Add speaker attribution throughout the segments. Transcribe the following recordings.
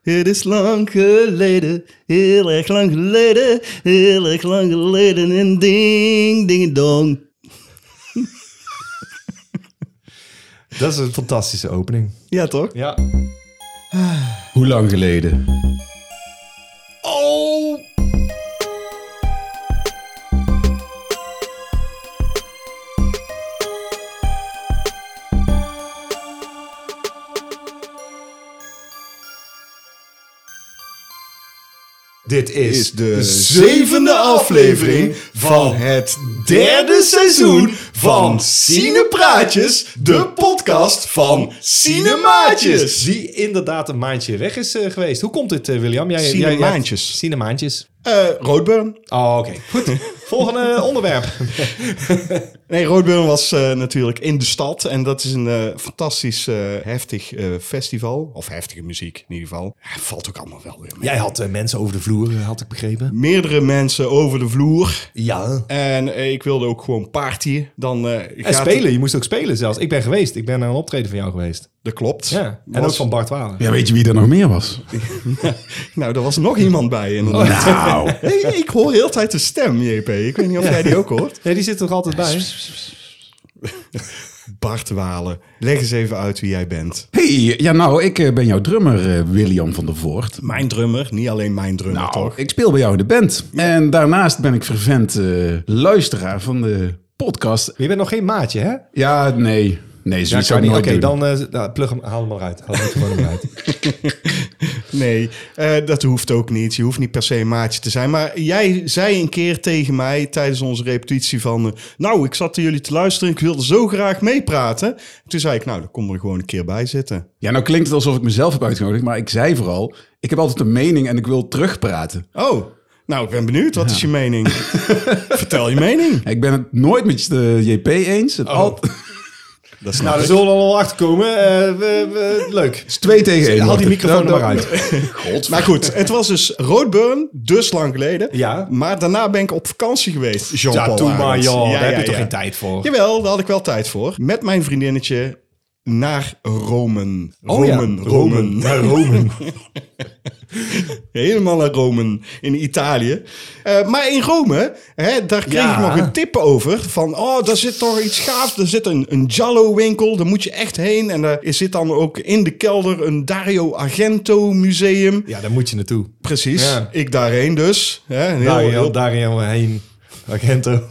Speaker 1: Het is lang geleden, heel erg lang geleden, heel erg lang geleden. En ding, ding, dong.
Speaker 2: Dat is een fantastische opening.
Speaker 1: Ja, toch?
Speaker 2: Ja.
Speaker 3: Hoe lang geleden?
Speaker 2: Oh! Dit
Speaker 3: Is de zevende aflevering van het derde seizoen van Cinepraatjes, de podcast van Cinemaatjes.
Speaker 2: Die inderdaad een maandje weg is eh, geweest. Hoe komt dit, eh, William? Jij, jij- jij-
Speaker 3: Cinemaandjes.
Speaker 2: Cinemaandjes.
Speaker 3: Eh Roodburn.
Speaker 2: Oh, oké. Goed. Volgende eh, onderwerp.
Speaker 3: Nee, Roodburn was eh, natuurlijk in de stad. En dat is een eh, fantastisch eh, heftig eh, festival. Of heftige muziek in ieder geval. Ja, valt ook allemaal wel weer mee.
Speaker 2: Jij had eh, mensen over de vloer, eh, had ik begrepen.
Speaker 3: Meerdere mensen over de vloer.
Speaker 2: Ja.
Speaker 3: En eh, ik wilde ook gewoon partyen. Dan, eh,
Speaker 2: En
Speaker 3: gaat het-
Speaker 2: spelen, je moest ook spelen zelfs. Ik ben geweest, ik ben naar een optreden van jou geweest.
Speaker 3: Dat klopt.
Speaker 2: Ja. En
Speaker 3: Was-
Speaker 2: ook van Bart Walen.
Speaker 4: Ja, weet je wie er nog meer was?
Speaker 3: Nou, er was nog iemand bij inderdaad.
Speaker 2: Oh,
Speaker 4: Nou,
Speaker 3: Hey, ik hoor heel de tijd de stem, JP. Ik weet niet of jij die ook hoort.
Speaker 2: Nee, die zit er toch altijd bij?
Speaker 3: Bart Walen, leg eens even uit wie jij bent.
Speaker 4: hey, ja nou, ik eh, ben jouw drummer eh, William van der Voort.
Speaker 3: Mijn drummer, niet alleen mijn drummer,
Speaker 4: Nou,
Speaker 3: toch?
Speaker 4: ik speel bij jou in de band. En daarnaast ben ik vervent eh, luisteraar van de podcast.
Speaker 2: Je bent nog geen maatje, hè?
Speaker 4: Ja, nee, nee,
Speaker 2: Ja,
Speaker 4: zoiets
Speaker 2: kan
Speaker 4: zou ik
Speaker 2: niet.
Speaker 4: nooit
Speaker 2: Oké,
Speaker 4: doen.
Speaker 2: dan eh, nou, plug hem, haal hem maar uit. Haal hem gewoon maar uit.
Speaker 3: Nee, eh, dat hoeft ook niet. Je hoeft niet per se een maatje te zijn. Maar jij zei een keer tegen mij tijdens onze repetitie van... eh, nou, ik zat naar jullie te luisteren. Ik wilde zo graag meepraten. Toen zei ik, nou, dan kom er gewoon een keer bij zitten.
Speaker 4: Ja, nou klinkt het alsof ik mezelf heb uitgenodigd, maar ik zei vooral, ik heb altijd een mening en ik wil terugpraten.
Speaker 3: Oh, nou, ik ben benieuwd. Wat is je mening? Vertel je mening.
Speaker 4: Ik ben het nooit met eh, JP
Speaker 2: Oh.
Speaker 4: eens. Het al- het
Speaker 3: Dat snap
Speaker 2: nou, daar
Speaker 3: ik.
Speaker 2: zullen we al achter komen. Eh, leuk.
Speaker 4: is twee tegen één.
Speaker 2: Haal
Speaker 4: Martin.
Speaker 2: die microfoon er
Speaker 4: Nou,
Speaker 2: maar
Speaker 4: dan-
Speaker 2: uit.
Speaker 3: Maar goed, het was dus Roodburn, dus lang geleden.
Speaker 2: Ja.
Speaker 3: Maar daarna ben ik op vakantie geweest, Jean-Paul
Speaker 2: Ja, toen maar,
Speaker 3: Arends.
Speaker 2: joh.
Speaker 3: Ja,
Speaker 2: Daar heb
Speaker 3: ja,
Speaker 2: je toch
Speaker 3: ja.
Speaker 2: geen tijd voor?
Speaker 3: Jawel, daar had ik wel tijd voor. Met mijn vriendinnetje naar Rome.
Speaker 2: Oh ja,
Speaker 3: Rome,
Speaker 2: Romen.
Speaker 3: Rome. Helemaal naar Rome in Italië. Eh, maar in Rome, hè, daar kreeg
Speaker 2: Ja.
Speaker 3: ik nog een tip over. Van, oh, daar zit toch iets gaafs. Er zit een, een Giallo-winkel, daar moet je echt heen. En daar zit dan ook in de kelder een Dario Argento-museum.
Speaker 2: Ja, daar moet je naartoe.
Speaker 3: Precies,
Speaker 2: Ja. Nou,
Speaker 3: ik daarheen dus. Hè, een heel,
Speaker 2: Daar
Speaker 3: heel-
Speaker 2: heel Dariel heen. Agento.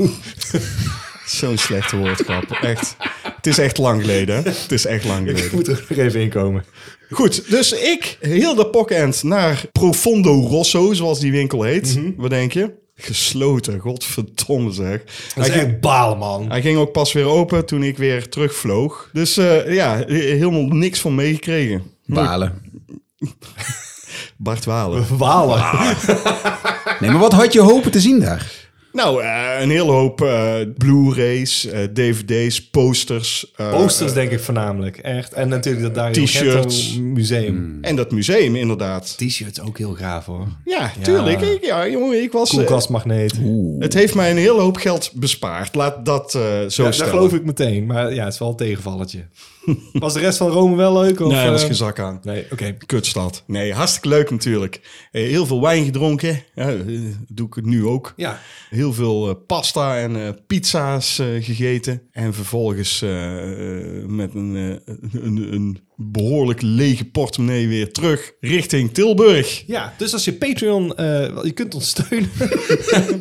Speaker 3: Zo'n slechte woordgrap, echt. Het is echt lang geleden. hè. Het is echt lang geleden.
Speaker 2: Ik moet er nog even inkomen.
Speaker 3: Goed, dus ik heel de pockend naar Profondo Rosso, zoals die winkel heet.
Speaker 2: Mhm.
Speaker 3: Wat denk je? Gesloten, godverdomme zeg.
Speaker 2: Dat
Speaker 3: Hij
Speaker 2: is
Speaker 3: ging,
Speaker 2: echt balen, man.
Speaker 3: hij ging ook pas weer open toen ik weer terugvloog. Dus eh, ja, he- helemaal niks van meegekregen.
Speaker 4: Balen.
Speaker 3: Bart Walen.
Speaker 2: Balen.
Speaker 4: Nee, maar wat had je hopen te zien daar?
Speaker 3: Nou, eh, een hele hoop eh, Blu-rays, eh, DVD's, posters. eh,
Speaker 2: Posters denk ik voornamelijk, echt. En natuurlijk dat Dario
Speaker 3: T-shirts. Hmm.
Speaker 2: Argento museum.
Speaker 3: En dat museum, inderdaad.
Speaker 2: T-shirts ook heel gaaf hoor.
Speaker 3: Ja, tuurlijk. Ik, ja, jongen, ik was... eh,
Speaker 2: Koelkastmagneet.
Speaker 3: het heeft mij een hele hoop geld bespaard. Laat dat eh, zo
Speaker 2: Ja, dat
Speaker 3: stellen.
Speaker 2: geloof ik meteen, maar ja, het is wel een tegenvalletje. Was de rest van Rome wel leuk? Of,
Speaker 3: Nee, er was
Speaker 2: eh,
Speaker 3: geen zak aan.
Speaker 2: Nee, oké.
Speaker 3: Kutstad. Nee, hartstikke leuk natuurlijk. Eh, Heel veel wijn gedronken. Ja, eh, doe ik het nu ook.
Speaker 2: Ja.
Speaker 3: Heel veel eh, pasta en eh, pizza's eh, gegeten. En vervolgens eh, eh, met een, eh, een, een behoorlijk lege portemonnee weer terug richting Tilburg.
Speaker 2: ja, dus als je Patreon, eh, wel, je kunt ons steunen.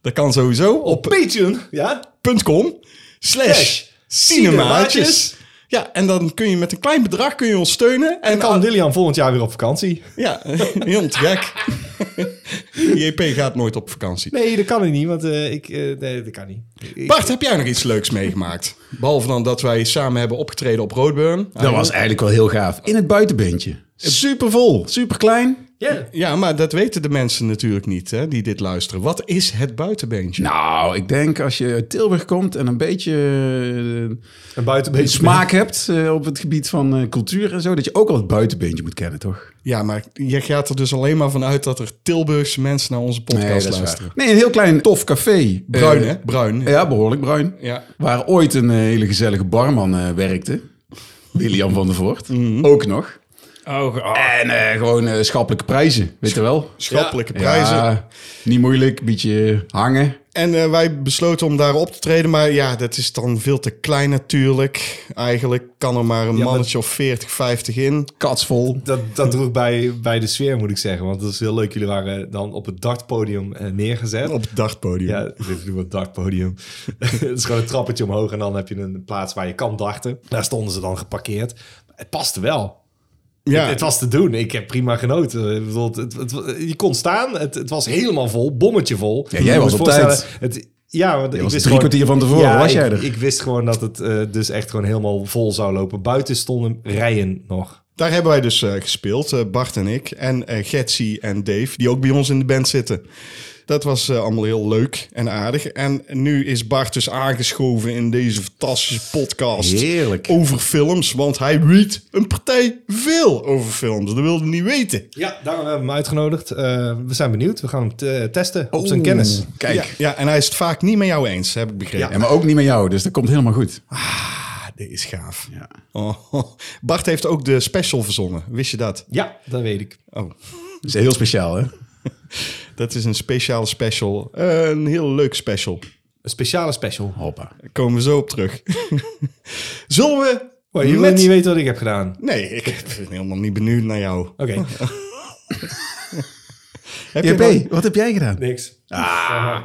Speaker 3: Dat kan sowieso op
Speaker 2: Patreon? Ja?
Speaker 3: patreon.com slash cinemaatjes.
Speaker 2: cinemaatjes.
Speaker 3: Ja, en dan kun je met een klein bedrag kun je ons steunen. En
Speaker 2: En kan Lilian volgend jaar weer op vakantie?
Speaker 3: Ja, heel te gek. JP gaat nooit op vakantie.
Speaker 2: Nee, dat kan ik niet, want eh, ik, eh, nee, dat kan niet. Ik-
Speaker 3: Bart, heb jij nog iets leuks meegemaakt? Behalve dan dat wij samen hebben opgetreden op Roadburn.
Speaker 2: Ah,
Speaker 4: Dat was eigenlijk wel heel gaaf. In het buitenbeentje.
Speaker 3: supervol.
Speaker 4: Super klein.
Speaker 2: Ja.
Speaker 3: Ja, maar dat weten de mensen natuurlijk niet hè, die dit luisteren. Wat is het buitenbeentje?
Speaker 4: Nou, ik denk als je uit Tilburg komt en een beetje eh,
Speaker 2: En buiten een beetje
Speaker 4: smaak hebt eh, op het gebied van eh, cultuur en zo, dat je ook al het buitenbeentje moet kennen, toch?
Speaker 3: Ja, maar je gaat er dus alleen maar vanuit dat er Tilburgse mensen naar onze podcast luisteren.
Speaker 4: Nee, een heel klein tof café.
Speaker 3: Bruin,
Speaker 4: Eh,
Speaker 3: hè? Bruin.
Speaker 4: Ja, behoorlijk bruin.
Speaker 3: Ja.
Speaker 4: Waar
Speaker 3: Mhm.
Speaker 4: ooit een eh, hele gezellige barman eh, werkte. William van der Voort. Ook nog.
Speaker 2: Oh,
Speaker 4: En eh, gewoon eh, schappelijke prijzen, weet je wel.
Speaker 3: Schappelijke
Speaker 2: Ja.
Speaker 3: prijzen.
Speaker 4: Ja, niet moeilijk, een beetje hangen.
Speaker 3: En eh, wij besloten om daar op te treden. Maar ja, dat is dan veel te klein natuurlijk. Eigenlijk kan er maar een
Speaker 2: maar-
Speaker 3: mannetje of 40, 50 in.
Speaker 4: Katsvol.
Speaker 2: Dat, dat droeg bij, bij de sfeer, moet ik zeggen. Want dat is heel leuk. Jullie waren dan op het dartpodium eh, neergezet.
Speaker 3: Op het dartpodium.
Speaker 2: Ja, dit noemen we het dartpodium. het is gewoon een trappetje omhoog en dan heb je een plaats waar je kan darten. Daar stonden ze dan geparkeerd. Maar het paste wel.
Speaker 3: Ja.
Speaker 2: Het, het was te doen. Ik heb prima genoten. Ik bedoel, het, het, het- je kon staan. Het, het was helemaal vol. Bommetje vol.
Speaker 4: Ja, jij
Speaker 2: Je
Speaker 4: was
Speaker 2: moet
Speaker 4: op
Speaker 2: voorstellen,
Speaker 4: tijd.
Speaker 2: Het, ja, want ik
Speaker 4: was
Speaker 2: wist
Speaker 4: drie
Speaker 2: gewoon-
Speaker 4: kwartier van tevoren, was
Speaker 2: ik,
Speaker 4: jij er?
Speaker 2: Ik wist gewoon dat het eh, dus echt gewoon helemaal vol zou lopen. Buiten stonden rijen nog.
Speaker 3: Daar hebben wij dus eh, gespeeld, eh, Bart en ik. En eh Getsy en Dave, die ook bij ons in de band zitten. Dat was eh, allemaal heel leuk en aardig. En nu is Bart dus aangeschoven in deze fantastische podcast.
Speaker 4: Heerlijk.
Speaker 3: Over films, want hij weet een partij veel over films. Dat wilde hij niet weten.
Speaker 2: Ja, daarom hebben Eh, we hem uitgenodigd. Eh, we zijn benieuwd. We gaan hem te- testen op zijn kennis.
Speaker 4: Kijk,
Speaker 3: Ja, ja, en hij is het vaak niet met jou eens, heb ik begrepen.
Speaker 4: Ja, maar ook niet met jou, dus dat komt helemaal goed.
Speaker 3: Ah, dit is gaaf.
Speaker 4: Ja.
Speaker 3: Oh, Bart heeft ook de special verzonnen, wist je dat?
Speaker 2: Ja, dat weet ik.
Speaker 3: Oh,
Speaker 4: Dat is heel speciaal, hè?
Speaker 3: dat is een speciale special. Eh, een heel leuk special.
Speaker 2: Een speciale special.
Speaker 4: Hoppa.
Speaker 3: Daar komen we zo op terug. Zullen we
Speaker 2: Oh, je
Speaker 3: met...
Speaker 2: wil niet weten wat ik heb gedaan.
Speaker 3: Nee, ik ben helemaal niet benieuwd naar jou.
Speaker 2: Oké,
Speaker 3: Heb je nog-
Speaker 4: JP, wat heb jij gedaan?
Speaker 2: niks. Ah.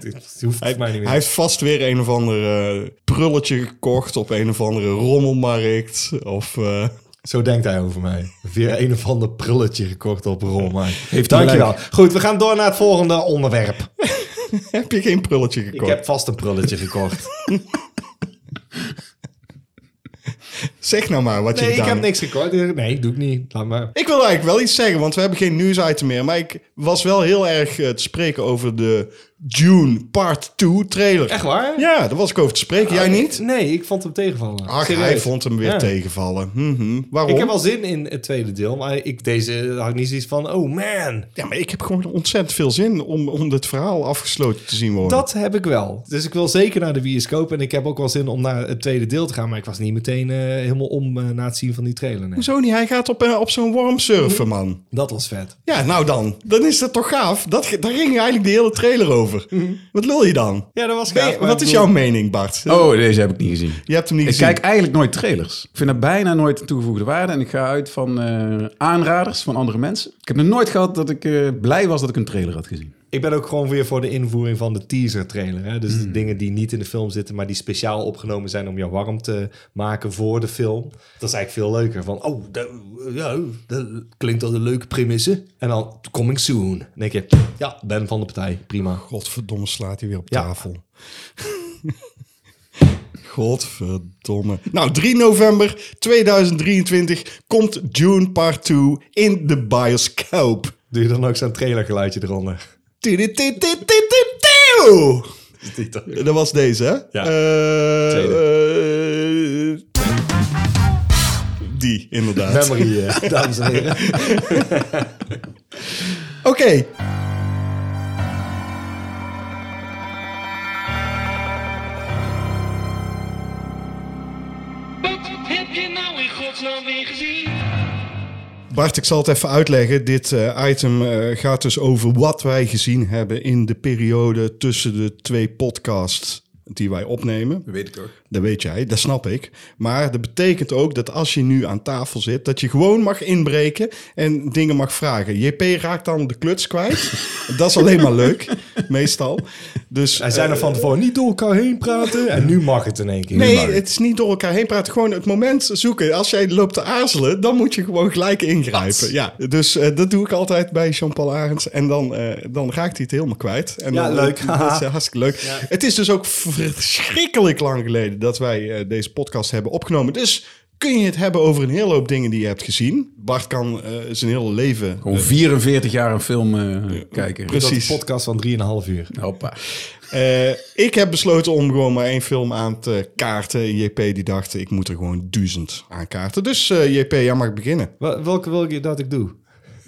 Speaker 2: Het hoeft
Speaker 3: Hij,
Speaker 2: mij niet meer.
Speaker 3: hij heeft vast weer een of ander eh, prulletje gekocht op een of andere rommelmarkt. Of, eh,
Speaker 2: Zo denkt hij over mij. Weer een of ander prulletje gekocht op rol. Maar...
Speaker 4: Heeft hij
Speaker 2: Dankjewel. Goed, we gaan door naar het volgende onderwerp.
Speaker 3: heb je geen prulletje
Speaker 2: Ik
Speaker 3: gekocht?
Speaker 2: heb vast een prulletje gekocht.
Speaker 3: Zeg nou maar wat je
Speaker 2: Nee, ik
Speaker 3: gedaan
Speaker 2: heb
Speaker 3: hebt.
Speaker 2: niks gekocht. Nee, doe ik niet. Laat maar.
Speaker 3: Ik wil eigenlijk wel iets zeggen, want we hebben geen nieuwsitem meer. Maar ik was wel heel erg eh, te spreken over de June Part 2 trailer.
Speaker 2: Echt waar?
Speaker 3: Ja, daar was ik over te spreken. Jij niet?
Speaker 2: Nee, ik vond hem tegenvallen.
Speaker 3: Ach, hij
Speaker 2: Serieus.
Speaker 3: vond hem weer
Speaker 2: Ja.
Speaker 3: tegenvallen. Mhm. Waarom?
Speaker 2: Ik heb wel zin in het tweede deel, maar ik, deze had ik niet zoiets van, oh man.
Speaker 3: Ja, maar ik heb gewoon ontzettend veel zin om, om dit verhaal afgesloten te zien worden.
Speaker 2: Dat heb ik wel. Dus ik wil zeker naar de bioscoop en ik heb ook wel zin om naar het tweede deel te gaan, maar ik was niet meteen eh, helemaal om eh, na het zien van die trailer. nee.
Speaker 3: Hoezo niet? Hij gaat op, eh, op zo'n worm surfen, man.
Speaker 2: Dat was vet.
Speaker 3: Ja, nou dan. Dan is dat toch gaaf? Dat, ge- daar ging eigenlijk de hele trailer over. Wat wil je dan?
Speaker 2: Ja, dat was
Speaker 3: Ben je- wat is jouw mening, Bart?
Speaker 4: Oh, deze heb ik niet gezien.
Speaker 3: Je hebt hem niet
Speaker 4: Ik
Speaker 3: gezien.
Speaker 4: kijk eigenlijk nooit trailers. Ik vind dat bijna nooit een toegevoegde waarde. En ik ga uit van eh, aanraders van andere mensen. Ik heb nog nooit gehad dat ik eh, blij was dat ik een trailer had gezien.
Speaker 2: Ik ben ook gewoon weer voor de invoering van de teaser trailer. Hè? Dus de dingen die niet in de film zitten, maar die speciaal opgenomen zijn om jou warm te maken voor de film. Dat is eigenlijk veel leuker. Van, oh, dat, ja, dat klinkt als een leuke premisse. En dan, coming soon. Dan denk je, ja, ben van de partij. Prima.
Speaker 3: Godverdomme slaat hij weer op
Speaker 2: Ja.
Speaker 3: tafel. Godverdomme. Nou, 3 november 2023 komt June Part 2 in de bioscoop.
Speaker 2: Doe je dan ook zo'n trailergeluidje eronder?
Speaker 3: Tudu-tudu-tudu-tudu.
Speaker 2: Is die toch-
Speaker 3: Dat was deze, hè?
Speaker 2: Ja.
Speaker 3: Eh, eh,
Speaker 2: Tweede.
Speaker 3: die, inderdaad.
Speaker 2: Memory, eh, dames en heren.
Speaker 3: Oké.
Speaker 5: Wat heb je nou in godsnaam weer gezien?
Speaker 3: Bart, ik zal het even uitleggen. Dit eh, item eh, gaat dus over wat wij gezien hebben in de periode tussen de twee podcasts die wij opnemen.
Speaker 4: Dat weet ik ook.
Speaker 3: Dat weet jij, dat snap ik. Maar dat betekent ook dat als je nu aan tafel zit, dat je gewoon mag inbreken en dingen mag vragen. JP raakt dan de kluts kwijt. dat is alleen maar leuk, meestal. Dus,
Speaker 2: Hij zei er van tevoren niet door elkaar heen praten. En nu mag het in één keer.
Speaker 3: Nee, het is niet door elkaar heen praten. Gewoon het moment zoeken. Als jij loopt te aarzelen, dan moet je gewoon gelijk ingrijpen. Ja, dus eh, dat doe ik altijd bij Jean-Paul Arends. En dan, eh, dan raakt hij het helemaal kwijt. En
Speaker 2: Ja,
Speaker 3: dan-
Speaker 2: leuk.
Speaker 3: Dat is eh, hartstikke leuk. Het is dus ook verschrikkelijk lang geleden dat wij eh, deze podcast hebben opgenomen. Dus kun je het hebben over een hele hoop dingen die je hebt gezien. Bart kan eh, zijn hele leven...
Speaker 4: Gewoon 44 jaar een film eh, kijken.
Speaker 2: Dat
Speaker 3: Precies.
Speaker 2: is een podcast van 3,5 uur.
Speaker 4: Hoppa.
Speaker 3: Eh, ik heb besloten om gewoon maar één film aan te kaarten. JP die dacht, ik moet er gewoon duizend aan kaarten. Dus eh, JP, jij mag beginnen.
Speaker 2: Wel- Welke wil je dat ik doe?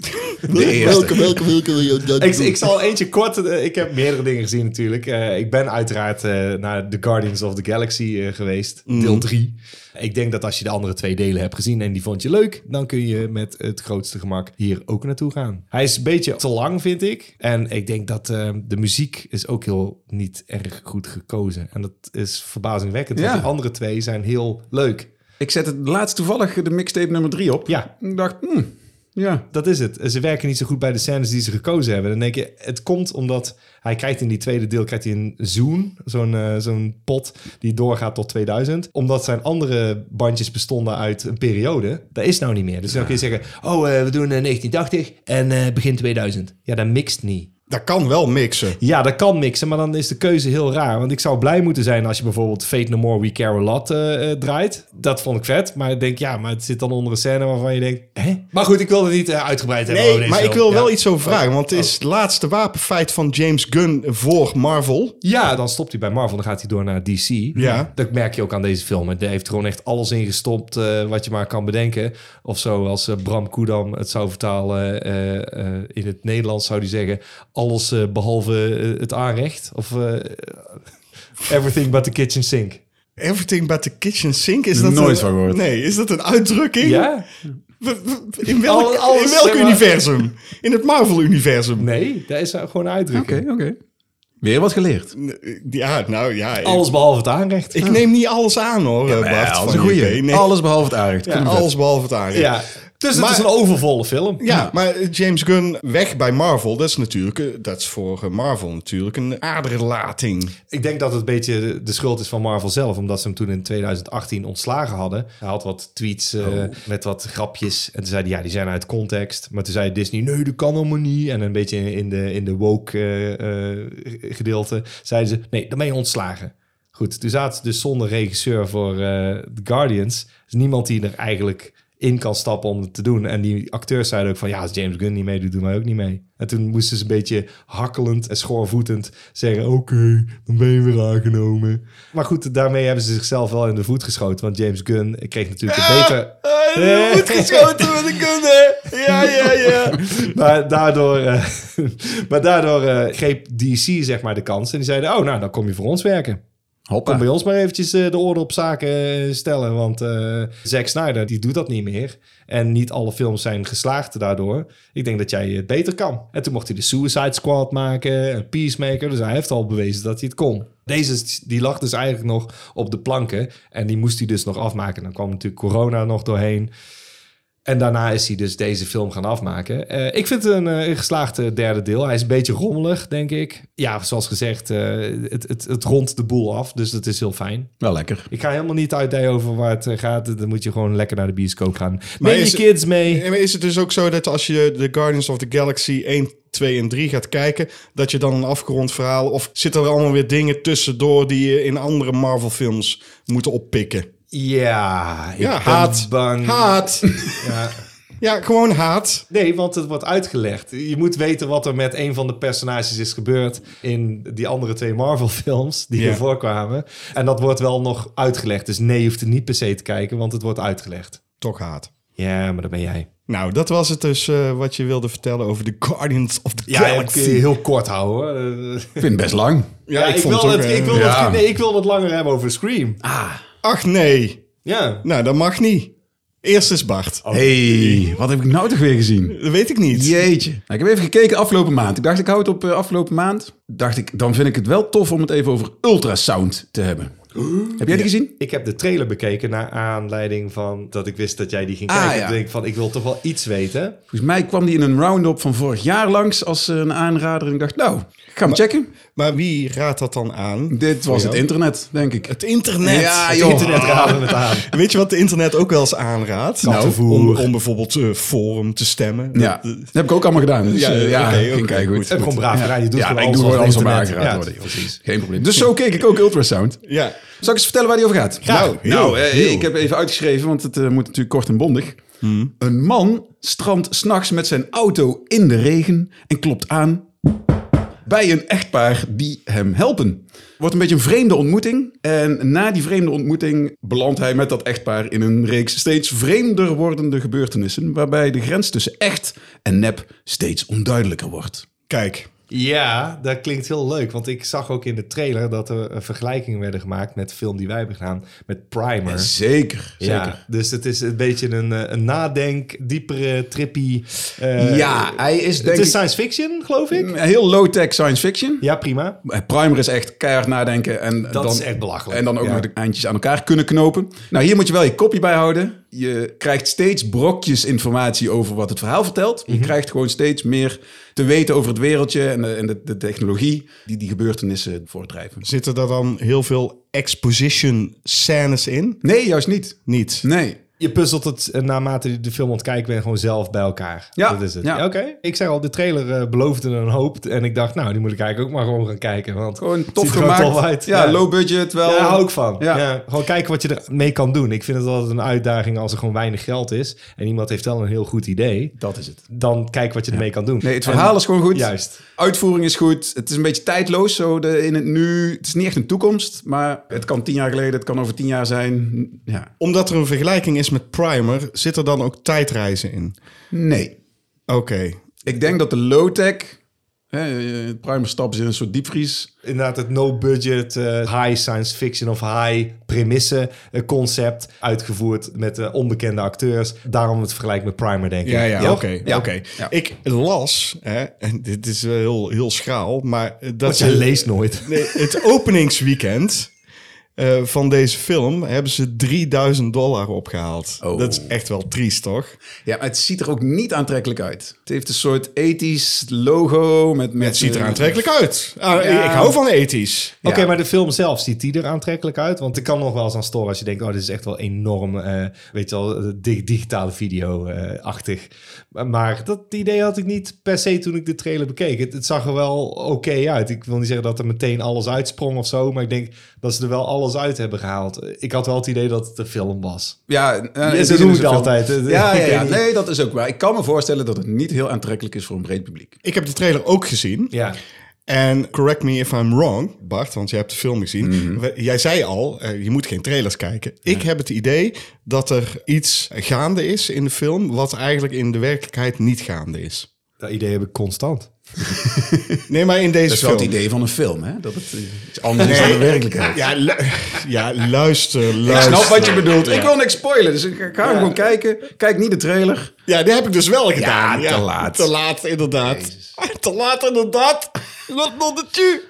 Speaker 4: eerste.
Speaker 6: Welke, welke, welke wil je dat
Speaker 2: Ik,
Speaker 6: doen?
Speaker 2: ik zal eentje kort. eh, Ik heb meerdere dingen gezien natuurlijk. Eh, ik ben uiteraard eh, naar The Guardians of the Galaxy eh, geweest, deel 3. Ik denk dat als je de andere twee delen hebt gezien en die vond je leuk, dan kun je met het grootste gemak hier ook naartoe gaan. Hij is een beetje te lang, vind ik. En ik denk dat eh, de muziek is ook heel niet erg goed gekozen. En dat is verbazingwekkend.
Speaker 4: Ja.
Speaker 2: Want die andere twee zijn heel leuk.
Speaker 4: Ik zet het laatst toevallig de mixtape nummer 3 op.
Speaker 2: Ja.
Speaker 4: Ik dacht, hmm, ja.
Speaker 2: Dat is het. Ze werken niet zo goed bij de scènes die ze gekozen hebben. Dan denk je, het komt omdat hij krijgt in die tweede deel krijgt hij een zoen, zo'n eh, zo'n pot die doorgaat tot 2000. Omdat zijn andere bandjes bestonden uit een periode. Dat is nou niet meer. Dus dan kun je zeggen, oh, eh, we doen eh, 1980 en eh, begin 2000. Ja, dat mixt niet.
Speaker 3: Dat kan wel mixen.
Speaker 2: Ja, dat kan mixen, maar dan is de keuze heel raar. Want ik zou blij moeten zijn als je bijvoorbeeld Fate No More We Care A Lot eh, eh, draait. Dat vond ik vet, maar ik denk, ja, maar het zit dan onder een scène waarvan je denkt... Hè? Maar goed, ik wil het niet eh, uitgebreid hebben. over
Speaker 3: Nee,
Speaker 2: deze
Speaker 3: maar ik
Speaker 2: film.
Speaker 3: wil
Speaker 2: Ja.
Speaker 3: wel iets over vragen. Want het is het laatste wapenfeit van James Gunn voor Marvel.
Speaker 2: Ja, dan stopt hij bij Marvel, dan gaat hij door naar DC.
Speaker 3: Ja.
Speaker 2: Dat merk je ook aan deze film. Hij heeft gewoon echt alles ingestopt eh, wat je maar kan bedenken. Of zo, als eh, Bram Koedam het zou vertalen eh, eh, in het Nederlands, zou hij zeggen... alles eh, behalve eh, het aanrecht. Of eh, everything but the kitchen sink.
Speaker 3: Everything but the kitchen sink. Is dat
Speaker 4: Nooit
Speaker 3: een-
Speaker 4: van gehoord.
Speaker 3: Nee, is dat een uitdrukking?
Speaker 2: Ja?
Speaker 3: W- w- In welk,
Speaker 2: Al- alles,
Speaker 3: in welk
Speaker 2: zeg maar.
Speaker 3: universum? In het Marvel-universum.
Speaker 2: Nee, dat is gewoon een
Speaker 4: Oké,
Speaker 2: uitdrukking.
Speaker 4: oké. Weer wat geleerd.
Speaker 3: Ja, nou ja. ik-
Speaker 2: Alles behalve het aanrecht.
Speaker 3: Ik neem niet alles aan hoor, Bart.
Speaker 4: Ja,
Speaker 3: van
Speaker 4: dat is een
Speaker 3: JP.
Speaker 4: goeie.
Speaker 3: Nee,
Speaker 4: Alles behalve het aardig.
Speaker 3: alles, behalve het aardig.
Speaker 2: Ja. Dus het
Speaker 3: Maar-
Speaker 2: is een overvolle film.
Speaker 3: Ja, maar James Gunn weg bij Marvel, dat is natuurlijk, eh, dat is voor eh, Marvel natuurlijk een aderlating.
Speaker 2: Ik denk dat het een beetje de schuld is van Marvel zelf, omdat ze hem toen in 2018 ontslagen hadden. Hij had wat tweets eh, met wat grapjes. En toen zei hij, ja, die zijn uit context. Maar toen zei Disney, nee, dat kan allemaal niet. En een beetje in de, in de woke eh, eh, gedeelte zeiden ze, nee, dan ben je ontslagen. Goed, toen zaten ze dus zonder regisseur voor eh, The Guardians. Dus niemand die er eigenlijk in kan stappen om het te doen. En die acteurs zeiden ook van... ja, als James Gunn niet meedoet, doen wij ook niet mee. En toen moesten ze een beetje hakkelend en schoorvoetend zeggen... oké, dan ben je weer aangenomen. Maar goed, daarmee hebben ze zichzelf wel in de voet geschoten. Want James Gunn kreeg natuurlijk een beter... voet geschoten met een gunde. Ja, ja, ja. maar daardoor, eh, maar daardoor eh, greep DC zeg maar de kans. En die zeiden, oh, nou, dan kom je voor ons werken. Kom bij ons maar eventjes eh, de orde op zaken eh, stellen. Want eh Zack Snyder, die doet dat niet meer. En niet alle films zijn geslaagd daardoor. Ik denk dat jij het beter kan. En toen mocht hij de Suicide Squad maken. En Peacemaker. Dus hij heeft al bewezen dat hij het kon. Deze is- die lag dus eigenlijk nog op de planken. En die moest hij dus nog afmaken. Dan kwam natuurlijk corona nog doorheen. En daarna is hij dus deze film gaan afmaken. Eh, ik vind het een eh, geslaagd eh, derde deel. Hij is een beetje rommelig, denk ik. Ja, zoals gezegd, eh, het, het, het rondt de boel af. Dus dat is heel fijn.
Speaker 4: Wel lekker.
Speaker 2: Ik ga helemaal niet uitdijen over waar het eh, gaat. Dan moet je gewoon lekker naar de bioscoop gaan. Neem
Speaker 3: is-
Speaker 2: je kids mee.
Speaker 3: En is het dus ook zo dat als je de Guardians of the Galaxy 1, 2 en 3 gaat kijken, dat je dan een afgerond verhaal, of zitten er allemaal weer dingen tussendoor die je in andere Marvel films moet oppikken?
Speaker 2: Ja, ik
Speaker 3: Ja,
Speaker 2: ben
Speaker 3: haat.
Speaker 2: bang.
Speaker 3: Haat.
Speaker 2: Ja.
Speaker 3: Ja, gewoon haat.
Speaker 2: Nee, want het wordt uitgelegd. Je moet weten wat er met een van de personages is gebeurd in die andere twee Marvel-films die
Speaker 3: Ja.
Speaker 2: ervoor kwamen. En dat wordt wel nog uitgelegd. Dus nee, je hoeft het niet per se te kijken, want het wordt uitgelegd.
Speaker 3: Toch haat.
Speaker 2: Ja, maar dat ben jij.
Speaker 3: Nou, dat was het dus eh, wat je wilde vertellen over de Guardians of the
Speaker 2: Ja, dat kun je
Speaker 3: Galaxy.
Speaker 2: heel kort houden. hoor. Eh,
Speaker 4: Ik vind het best lang.
Speaker 3: Ja, ik vond
Speaker 2: wil
Speaker 3: het ook,
Speaker 2: het,
Speaker 3: eh,
Speaker 2: ik, wil
Speaker 4: ja.
Speaker 2: het, nee, ik wil het langer hebben over Scream.
Speaker 3: Ach nee.
Speaker 2: Ja.
Speaker 3: Nou, dat mag niet. Eerst is Bart.
Speaker 4: hey, wat heb ik nou toch weer gezien?
Speaker 3: Dat weet ik niet.
Speaker 4: Jeetje. Nou, ik heb even gekeken afgelopen maand. Ik dacht, ik hou het op eh, afgelopen maand. Dacht ik, dan vind ik het wel tof om het even over ultrasound te hebben. Heb jij die gezien?
Speaker 2: Ik heb de trailer bekeken naar aanleiding van dat ik wist dat jij die ging
Speaker 4: Ah,
Speaker 2: kijken.
Speaker 4: ja. Oh.
Speaker 2: Ik denk van, ik wil toch wel iets weten.
Speaker 4: Volgens mij kwam die in een round-up van vorig jaar langs als eh, een aanrader. En ik dacht, nou, ik ga hem checken.
Speaker 3: Maar wie raadt dat dan aan?
Speaker 4: Dit was het internet, denk ik.
Speaker 3: Het internet.
Speaker 4: Ja,
Speaker 3: Het
Speaker 4: joh.
Speaker 3: internet.
Speaker 2: Internet raden het aan.
Speaker 3: Weet je wat het internet ook wel eens aanraadt?
Speaker 2: Kattenvoer.
Speaker 3: om, om bijvoorbeeld eh, forum te stemmen.
Speaker 4: Ja, dat heb ik ook allemaal gedaan. Dus,
Speaker 3: Ja,
Speaker 4: eh, ja,
Speaker 3: oké,
Speaker 4: ging
Speaker 3: oké,
Speaker 4: kijken
Speaker 3: goed.
Speaker 4: goed.
Speaker 2: En gewoon braaf gedaan. Je doet
Speaker 4: Ja,
Speaker 2: gewoon
Speaker 4: ik doe
Speaker 2: alles
Speaker 4: gewoon alles
Speaker 2: op
Speaker 4: om
Speaker 2: internet.
Speaker 4: aangeraden
Speaker 2: Ja,
Speaker 4: worden. joh.
Speaker 2: precies.
Speaker 4: Geen probleem. Dus zo keek ik ook ultrasound.
Speaker 3: Ja.
Speaker 4: Zal ik eens vertellen waar die over gaat? Nou, nou eh,
Speaker 3: heel.
Speaker 4: ik heb even uitgeschreven, want het eh, moet natuurlijk kort en bondig.
Speaker 3: Hmm.
Speaker 4: Een man strandt s'nachts met zijn auto in de regen en klopt aan bij een echtpaar die hem helpen. Wordt een beetje een vreemde ontmoeting. En na die vreemde ontmoeting belandt hij met dat echtpaar in een reeks steeds vreemder wordende gebeurtenissen. Waarbij de grens tussen echt en nep steeds onduidelijker wordt.
Speaker 3: Kijk,
Speaker 2: Ja, dat klinkt heel leuk. Want ik zag ook in de trailer dat er een vergelijking werden gemaakt met de film die wij hebben gedaan. Met Primer.
Speaker 4: Zeker, zeker.
Speaker 2: Ja, dus het is een beetje een, eh, een nadenk, diepere, trippy. eh,
Speaker 4: ja, hij is
Speaker 2: het
Speaker 4: denk
Speaker 2: is
Speaker 4: ik Mm.
Speaker 2: science fiction, geloof ik.
Speaker 4: een heel low-tech science fiction.
Speaker 2: Ja, prima.
Speaker 4: Eh, Primer is echt keihard nadenken. En
Speaker 2: Dat
Speaker 4: dan,
Speaker 2: is echt belachelijk.
Speaker 4: En dan ook
Speaker 2: Ja.
Speaker 4: nog de eindjes aan elkaar kunnen knopen. Nou, hier moet je wel je kopje bij houden. Je krijgt steeds brokjes informatie over wat het verhaal vertelt.
Speaker 2: Mhm.
Speaker 4: Je krijgt gewoon steeds meer te weten over het wereldje en de, en de, de technologie die die gebeurtenissen voortdrijven.
Speaker 3: zitten er dan heel veel exposition scènes in?
Speaker 4: Nee, juist niet.
Speaker 3: Niet.
Speaker 4: Nee.
Speaker 2: Je puzzelt het eh, naarmate je de film aan het kijken bent gewoon zelf bij elkaar.
Speaker 4: Ja,
Speaker 2: Dat is het.
Speaker 4: ja.
Speaker 2: Oké. Ik zeg al, de trailer eh, beloofde een hoop. En ik dacht, nou, die moet ik eigenlijk ook maar gewoon gaan kijken. Want
Speaker 4: Gewoon
Speaker 2: het
Speaker 4: tof
Speaker 2: ziet er gewoon
Speaker 4: gemaakt.
Speaker 2: tof uit.
Speaker 4: Ja, low budget wel.
Speaker 2: Ja, daar hou ik van. Ja.
Speaker 4: Ja.
Speaker 2: gewoon kijken wat je ermee kan doen. Ik vind het altijd een uitdaging als er gewoon weinig geld is. En iemand heeft wel een heel goed idee.
Speaker 4: Dat is het.
Speaker 2: Dan kijk wat je ermee kan doen.
Speaker 4: Nee, het
Speaker 2: En-
Speaker 4: verhaal is gewoon goed.
Speaker 2: Juist.
Speaker 4: Uitvoering is goed. Het is een beetje tijdloos zo de, in het nu. Het is niet echt een toekomst, maar het kan tien jaar geleden, het kan over tien jaar zijn. Ja.
Speaker 3: Omdat er een vergelijking is met Primer, zit er dan ook tijdreizen in?
Speaker 4: Nee.
Speaker 3: Oké.
Speaker 4: Ik denk dat de low-tech... Hè, eh, Primer stappen ze in een soort diepvries.
Speaker 2: Inderdaad, het no-budget, eh, high science fiction of high premisse eh, concept. Uitgevoerd met eh, onbekende acteurs. Daarom het vergelijk met Primer, denk ik.
Speaker 3: Ja, ja, oké.
Speaker 2: Toch?
Speaker 4: Ja.
Speaker 3: oké.
Speaker 4: Ja.
Speaker 3: Ik las, hè, en dit is wel heel, heel schaal, maar eh, dat
Speaker 2: Want je
Speaker 3: ze-
Speaker 2: leest nooit.
Speaker 3: Nee, het openingsweekend eh, van deze film hebben ze 3000 dollar opgehaald.
Speaker 4: Oh.
Speaker 3: Dat is echt wel triest, toch?
Speaker 4: Ja, maar het ziet er ook niet aantrekkelijk uit. Het heeft een soort ethisch logo met... met
Speaker 3: Het ziet er
Speaker 4: eh,
Speaker 3: aantrekkelijk uit. Ah,
Speaker 4: Ja.
Speaker 3: ik, ik hou van ethisch.
Speaker 2: Oké,
Speaker 4: Ja.
Speaker 2: maar de film zelf, ziet die er aantrekkelijk uit? Want ik kan nog wel eens aan storen als je denkt... oh, dit is echt wel enorm, eh, weet je wel, eh, dig- digitale video-achtig. maar, maar dat idee had ik niet per se toen ik de trailer bekeek. Het, het zag er wel oké uit. Ik wil niet zeggen dat er meteen alles uitsprong of zo... maar ik denk dat ze er wel alles uit hebben gehaald. Ik had wel het idee dat het een film was.
Speaker 4: Ja, eh, in
Speaker 2: zo
Speaker 4: die zin
Speaker 2: doen we
Speaker 4: is
Speaker 2: het
Speaker 4: film-
Speaker 2: altijd. Eh,
Speaker 4: Ja, ja,
Speaker 2: ik
Speaker 4: ja,
Speaker 2: weet niet.
Speaker 4: nee, dat is ook waar. Ik kan me voorstellen dat het niet heel aantrekkelijk is voor een breed publiek.
Speaker 3: Ik heb de trailer ook gezien.
Speaker 2: Ja,
Speaker 3: En correct me if I'm wrong, Bart, want jij hebt de film gezien.
Speaker 4: Mhm.
Speaker 3: We- Jij zei al, eh, je moet geen trailers kijken. Ik heb het idee dat er iets gaande is in de film... wat eigenlijk in de werkelijkheid niet gaande is.
Speaker 2: dat idee heb ik constant.
Speaker 3: Nee, maar in deze
Speaker 4: Dat is wel
Speaker 3: film.
Speaker 4: het idee van een film, hè? Dat het eh, iets anders is dan de werkelijkheid.
Speaker 3: Ja, lu- ja, luister,
Speaker 4: Ik
Speaker 3: luister.
Speaker 4: snap wat je bedoelt. Ik wil niks spoilen, dus ik ga hem gewoon kijken. Kijk niet de trailer.
Speaker 3: Ja, die heb ik dus wel gedaan.
Speaker 4: te laat.
Speaker 3: Te laat, inderdaad. Te laat, inderdaad. Wat nonnetje.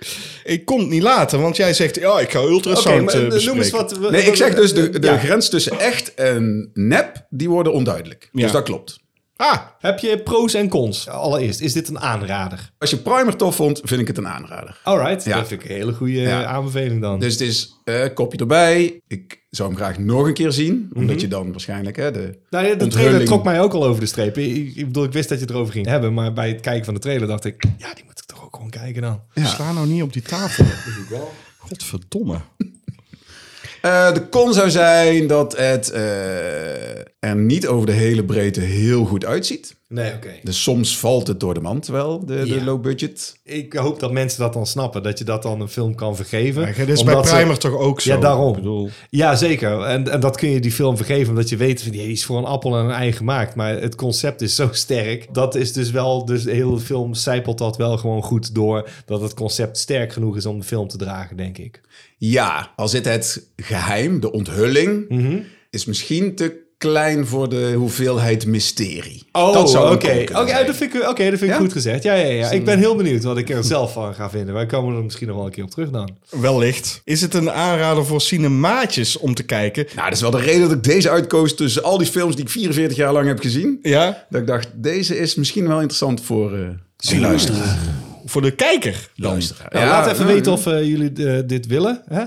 Speaker 3: Ik kon het niet laten, want jij zegt... Ja, ik ga ultrasound eh, bespreken.
Speaker 4: Nee, ik zeg dus de, de grens tussen echt en nep, die worden onduidelijk. Dus
Speaker 3: Ja.
Speaker 4: dat klopt.
Speaker 3: Ah,
Speaker 2: Heb je pro's en cons? Allereerst, is dit een aanrader?
Speaker 4: Als je Primer tof vond, vind ik het een aanrader.
Speaker 2: All right,
Speaker 4: Ja.
Speaker 2: dat vind ik een hele goede
Speaker 4: Ja.
Speaker 2: eh, aanbeveling dan.
Speaker 4: Dus het is eh, kopje erbij. Ik zou hem graag nog een keer zien. Omdat je dan waarschijnlijk hè, de
Speaker 2: Nou ja, de trailer
Speaker 4: onthulling-
Speaker 2: trok mij ook al over de streep. Ik, ik bedoel, ik wist dat je het erover ging hebben, maar bij het kijken van de trailer dacht ik, ja, die moet ik toch ook gewoon kijken dan.
Speaker 3: sla nou niet op die tafel. Godverdomme.
Speaker 4: Eh, de kon zou zijn dat het eh, er niet over de hele breedte heel goed uitziet.
Speaker 2: Nee, oké.
Speaker 4: Dus soms valt het door de mand wel, de, de
Speaker 2: Ja.
Speaker 4: low budget.
Speaker 2: Ik hoop dat mensen dat dan snappen, dat je dat dan een film kan vergeven.
Speaker 3: Ja, dit is
Speaker 2: Omdat
Speaker 3: bij
Speaker 2: ze-
Speaker 3: Primer toch ook zo?
Speaker 2: Ja, daarom.
Speaker 3: Ik bedoel,
Speaker 2: Ja, zeker. En, en dat kun je die film vergeven, omdat je weet, van, die is voor een appel en een ei gemaakt. Maar het concept is zo sterk. Dat is dus wel, dus de hele film zijpelt dat wel gewoon goed door. Dat het concept sterk genoeg is om de film te dragen, denk ik.
Speaker 4: Ja, al zit het geheim, de onthulling,
Speaker 2: Mhm.
Speaker 4: is misschien te klein voor de hoeveelheid mysterie. dat zou
Speaker 2: oké.
Speaker 4: een
Speaker 2: Oh, Oké, oh,
Speaker 4: kon kunnen zijn.
Speaker 2: dat vind ik, oké, dat vind ik
Speaker 4: Ja?
Speaker 2: goed gezegd. Ja, ja, ja. Ik ben heel benieuwd wat ik er zelf van ga vinden. Wij komen er misschien nog wel een keer op terug dan.
Speaker 3: wellicht. Is het een aanrader voor cinemaatjes om te kijken?
Speaker 4: Nou, dat is wel de reden dat ik deze uitkoos tussen al die films die ik 44 jaar lang heb gezien.
Speaker 3: Ja,
Speaker 4: Dat ik dacht, deze is misschien wel interessant voor eh de luisteraar.
Speaker 3: voor de kijker.
Speaker 4: luisteraar.
Speaker 2: Nou,
Speaker 4: Ja,
Speaker 2: laat even
Speaker 4: nou,
Speaker 2: weten of eh, jullie eh, dit willen. Hè?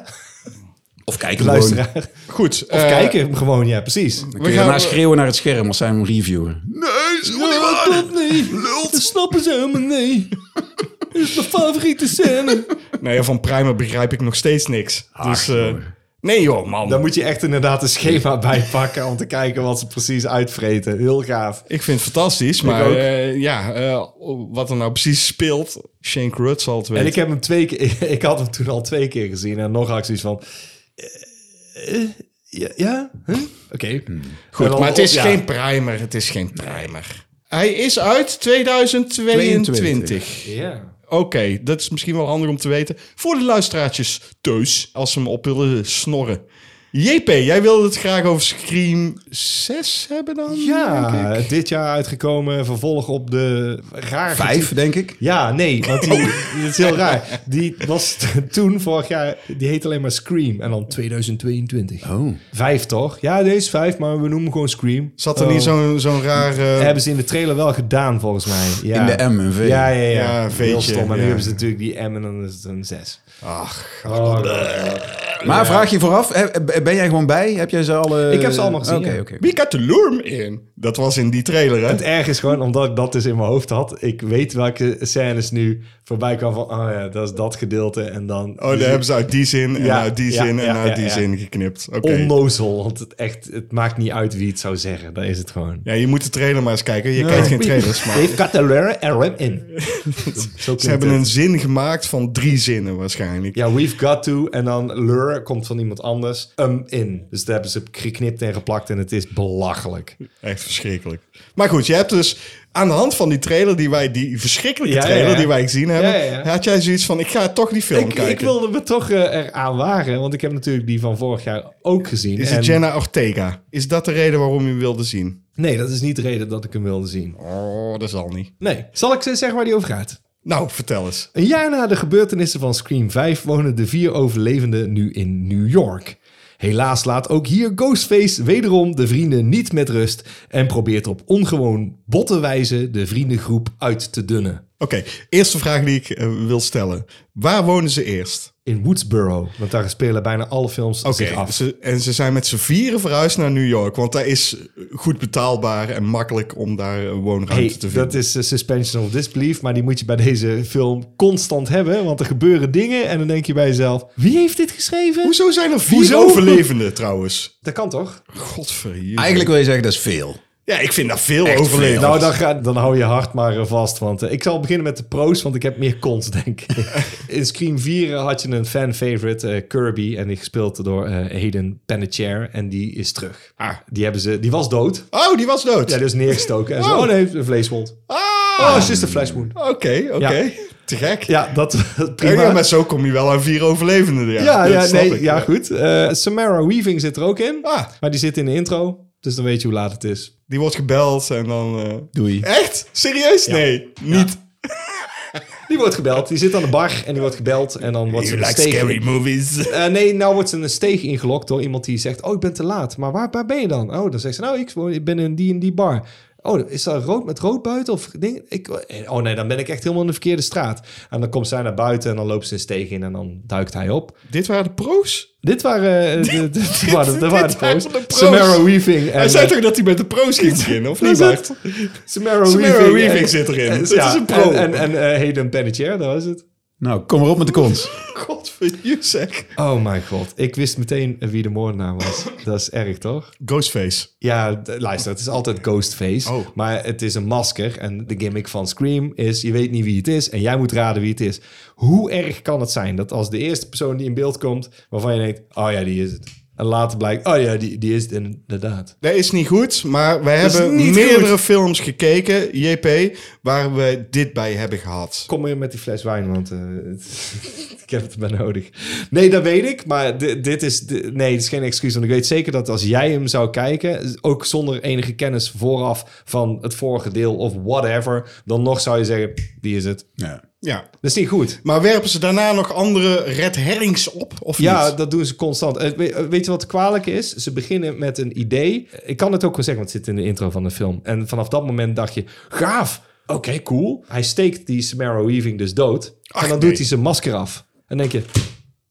Speaker 4: Of kijken
Speaker 2: De
Speaker 4: luisteren.
Speaker 2: luisteraar.
Speaker 3: Goed. eh,
Speaker 2: Of kijken gewoon, ja, precies.
Speaker 4: Kun je
Speaker 3: gaan-
Speaker 4: daarna schreeuwen naar het scherm als zij hem reviewen. Nee, is gewoon niet waar.
Speaker 2: nee. Dat snappen ze helemaal nee. Dat is mijn favoriete scène.
Speaker 3: Nou ja, van Primer begrijp ik nog steeds niks. dus eh, Nee joh, man.
Speaker 2: Dan moet je echt inderdaad een schema bijpakken om te kijken wat ze precies uitvreten. Heel gaaf.
Speaker 3: Ik vind het fantastisch, maar
Speaker 2: ook.
Speaker 3: eh, ja, eh, wat er nou precies speelt, Shane Rudd zal het weten.
Speaker 2: En ik heb hem twee keer, ik had hem toen al twee keer gezien en nog acties van. eh, eh, ja, ja? Huh? oké. Goed,
Speaker 3: Hmm. maar het is geen primer, het is geen primer. Hij is uit 2022.
Speaker 4: 22.
Speaker 2: Ja.
Speaker 3: Oké, dat is misschien wel handig om te weten. Voor de luisteraartjes thuis, als ze hem op willen snorren. JP, jij wilde het graag over Scream 6 hebben dan? denk ik?
Speaker 2: Ja, dit jaar uitgekomen, vervolg op de raar
Speaker 4: Vijf, denk ik.
Speaker 2: Ja, nee, want die, dat is heel raar. Die was t- toen vorig jaar, die heet alleen maar Scream en dan 2022.
Speaker 4: Oh.
Speaker 2: Vijf toch? Ja, deze is vijf, maar we noemen hem gewoon Scream.
Speaker 3: Zat er
Speaker 2: Oh.
Speaker 3: niet zo'n zo'n raar... eh,
Speaker 2: hebben ze in de trailer wel gedaan, volgens mij. Ja.
Speaker 4: Ehm. In de M en V.
Speaker 2: Ja, ja, ja.
Speaker 3: Ja, een
Speaker 2: Heel
Speaker 3: V'tje,
Speaker 2: stom. En
Speaker 3: ja.
Speaker 2: nu hebben ze natuurlijk die M en dan is het een 6. Ach,
Speaker 4: Maar vraag je vooraf, hè, ben jij gewoon bij? Heb jij ze alle...
Speaker 2: Ik heb ze allemaal gezien,
Speaker 4: Oké,
Speaker 2: ja.
Speaker 4: oké.
Speaker 3: Wie got the lure in? Dat was in die trailer, hè?
Speaker 2: Het erg is gewoon, omdat ik dat dus in mijn hoofd had, ik weet welke scènes nu voorbij kwamen van, oh ja, dat is dat gedeelte en dan...
Speaker 3: Oh, daar hebben ze uit die zin en
Speaker 2: Ja,
Speaker 3: uit die
Speaker 2: ja,
Speaker 3: zin en
Speaker 2: ja,
Speaker 3: uit
Speaker 2: ja,
Speaker 3: die
Speaker 2: ja.
Speaker 3: zin geknipt. Oké.
Speaker 2: Onnozel, want het, echt, het maakt niet uit wie het zou zeggen. Dat is het gewoon.
Speaker 3: Ja, je moet de trailer maar eens kijken. Je kijkt geen trailers, maar
Speaker 2: They've got the lure and rem in.
Speaker 3: ze hebben een zin gemaakt van drie zinnen waarschijnlijk.
Speaker 2: Ja, we've got to. En dan lure komt van iemand anders. Um in. Dus daar hebben ze geknipt en geplakt en het is belachelijk.
Speaker 3: Echt verschrikkelijk. Maar goed, je hebt dus aan de hand van die trailer die wij, die verschrikkelijke
Speaker 2: Ja, ja, ja.
Speaker 3: trailer die wij gezien hebben,
Speaker 2: Ja, ja, ja.
Speaker 3: had jij zoiets van: ik ga toch die film
Speaker 2: Ik,
Speaker 3: kijken.
Speaker 2: ik wilde me toch eh, eraan wagen, want ik heb natuurlijk die van vorig jaar ook gezien.
Speaker 3: Is
Speaker 2: En-
Speaker 3: het Jenna Ortega? Is dat de reden waarom je hem wilde zien?
Speaker 2: Nee, dat is niet de reden dat ik hem wilde zien.
Speaker 3: Oh, dat zal niet.
Speaker 2: Nee. Zal ik ze zeggen waar die over gaat?
Speaker 3: Nou, vertel eens.
Speaker 2: Een jaar na de gebeurtenissen van Scream 5 wonen de vier overlevenden nu in New York. Helaas laat ook hier Ghostface wederom de vrienden niet met rust en probeert op ongewoon botte wijze de vriendengroep uit te dunnen.
Speaker 3: Oké, eerste vraag die ik eh, wil stellen: waar wonen ze eerst?
Speaker 2: In Woodsboro, want daar spelen bijna alle films
Speaker 3: Oké,
Speaker 2: zich af.
Speaker 3: ze- en ze zijn met z'n vieren verhuisd naar New York. Want daar is goed betaalbaar en makkelijk om daar een woonruimte
Speaker 2: Hey,
Speaker 3: te vinden.
Speaker 2: dat is eh, suspension of disbelief, maar die moet je bij deze film constant hebben, want er gebeuren dingen en dan denk je bij jezelf, wie heeft dit geschreven?
Speaker 3: Hoezo zijn er vier
Speaker 2: Hoezo?
Speaker 3: overlevenden trouwens?
Speaker 2: Dat kan toch?
Speaker 3: Godverdomme.
Speaker 4: Eigenlijk wil je zeggen, dat is veel.
Speaker 3: Ja, ik vind daar veel overlevenden.
Speaker 2: Nou, dan, ga, dan hou je hart maar eh, vast. Want eh, ik zal beginnen met de pro's, want ik heb meer cons, denk ik. In Scream 4 had je een fan-favorite, eh, Kirby. En die gespeeld door eh Hayden Panettiere. En die is terug.
Speaker 3: Ah.
Speaker 2: Die, hebben ze, die was dood.
Speaker 3: Oh, die was dood.
Speaker 2: Ja, dus neergestoken. En zo,
Speaker 3: Oh.
Speaker 2: oh nee, een vleeswond.
Speaker 3: Ah,
Speaker 2: Oh, is just een flashwound.
Speaker 3: oké, oké. Te gek.
Speaker 2: Ja, dat
Speaker 3: Ja,
Speaker 2: prima.
Speaker 3: maar zo kom je wel aan vier overlevenden. Ja,
Speaker 2: ja,
Speaker 3: Dat
Speaker 2: ja,
Speaker 3: snap
Speaker 2: nee,
Speaker 3: ik.
Speaker 2: ja, goed. Eh, Samara Weaving zit er ook in.
Speaker 3: Ah.
Speaker 2: Maar die zit in de intro. Dus dan weet je hoe laat het is.
Speaker 3: Die wordt gebeld en dan... eh,
Speaker 4: Doei.
Speaker 3: Echt? Serieus? Nee, niet.
Speaker 2: Die wordt gebeld. Die zit aan de bar en die wordt gebeld. En dan wordt ze gestegen.
Speaker 3: movies.
Speaker 2: Eh, nee, nou wordt ze een steeg ingelokt door iemand die zegt... Oh, ik ben te laat. Maar waar, waar ben je dan? Oh, dan zegt ze... Nou, ik, woon- ik ben in die en die bar. Oh, is dat rood met rood buiten? Of ding? Ik, oh nee, dan ben ik echt helemaal in de verkeerde straat. En dan komt zij naar buiten en dan loopt ze een steeg in en dan duikt hij op.
Speaker 3: Dit waren de pro's?
Speaker 2: Dit waren eh, de, de, de, waren-
Speaker 3: dit
Speaker 2: de, waren de
Speaker 3: waren
Speaker 2: pro's.
Speaker 3: de pro's.
Speaker 2: Samara Weaving. En,
Speaker 3: Hij zei
Speaker 2: eh,
Speaker 3: toch dat hij met de pro's ging beginnen, of
Speaker 2: dat
Speaker 3: niet,
Speaker 2: is
Speaker 3: Bart?
Speaker 2: het. Samara,
Speaker 3: Samara
Speaker 2: Weaving,
Speaker 3: Weaving
Speaker 2: en-
Speaker 3: zit erin.
Speaker 2: en-
Speaker 3: Dat
Speaker 2: ja,
Speaker 3: is een pro.
Speaker 2: En, en, en eh, Hayden Panettiere, dat was het.
Speaker 4: Nou, kom maar op met de cons.
Speaker 3: God van je zeg.
Speaker 2: Oh mijn god, ik wist meteen eh, wie de moordenaar was. Dat is erg, toch?
Speaker 3: Ghostface.
Speaker 2: Ja, d- luister, het is altijd Ghostface.
Speaker 3: Oh.
Speaker 2: Maar het is een masker. En de gimmick van Scream is: je weet niet wie het is. En jij moet raden wie het is. Hoe erg kan het zijn dat als de eerste persoon die in beeld komt. waarvan je denkt: oh ja, die is het. En later blijkt: oh ja, die, die is het inderdaad.
Speaker 3: Dat is niet goed, maar we
Speaker 2: is
Speaker 3: hebben
Speaker 2: niet
Speaker 3: meerdere
Speaker 2: goed.
Speaker 3: films gekeken, JP, waar we dit bij hebben gehad.
Speaker 2: Kom weer met die fles wijn, want eh, ik heb het maar nodig. Nee, dat weet ik. Maar di- dit is, di- nee, dit is geen excuus. Want ik weet zeker dat als jij hem zou kijken, ook zonder enige kennis vooraf van het vorige deel of whatever, dan nog zou je zeggen: die is het.
Speaker 4: Ja.
Speaker 3: Ja.
Speaker 2: Dat is niet goed.
Speaker 3: Maar werpen ze daarna nog andere red herrings op, of
Speaker 2: Ja,
Speaker 3: niet?
Speaker 2: dat doen ze constant. Eh, we- Weet je wat kwalijk is? Ze beginnen met een idee. Ik kan het ook wel zeggen, want het zit in de intro van de film. En vanaf dat moment dacht je, gaaf. Oké, cool. Hij steekt die Samara Weaving dus dood. en dan
Speaker 3: nee.
Speaker 2: doet hij zijn masker af. En denk je,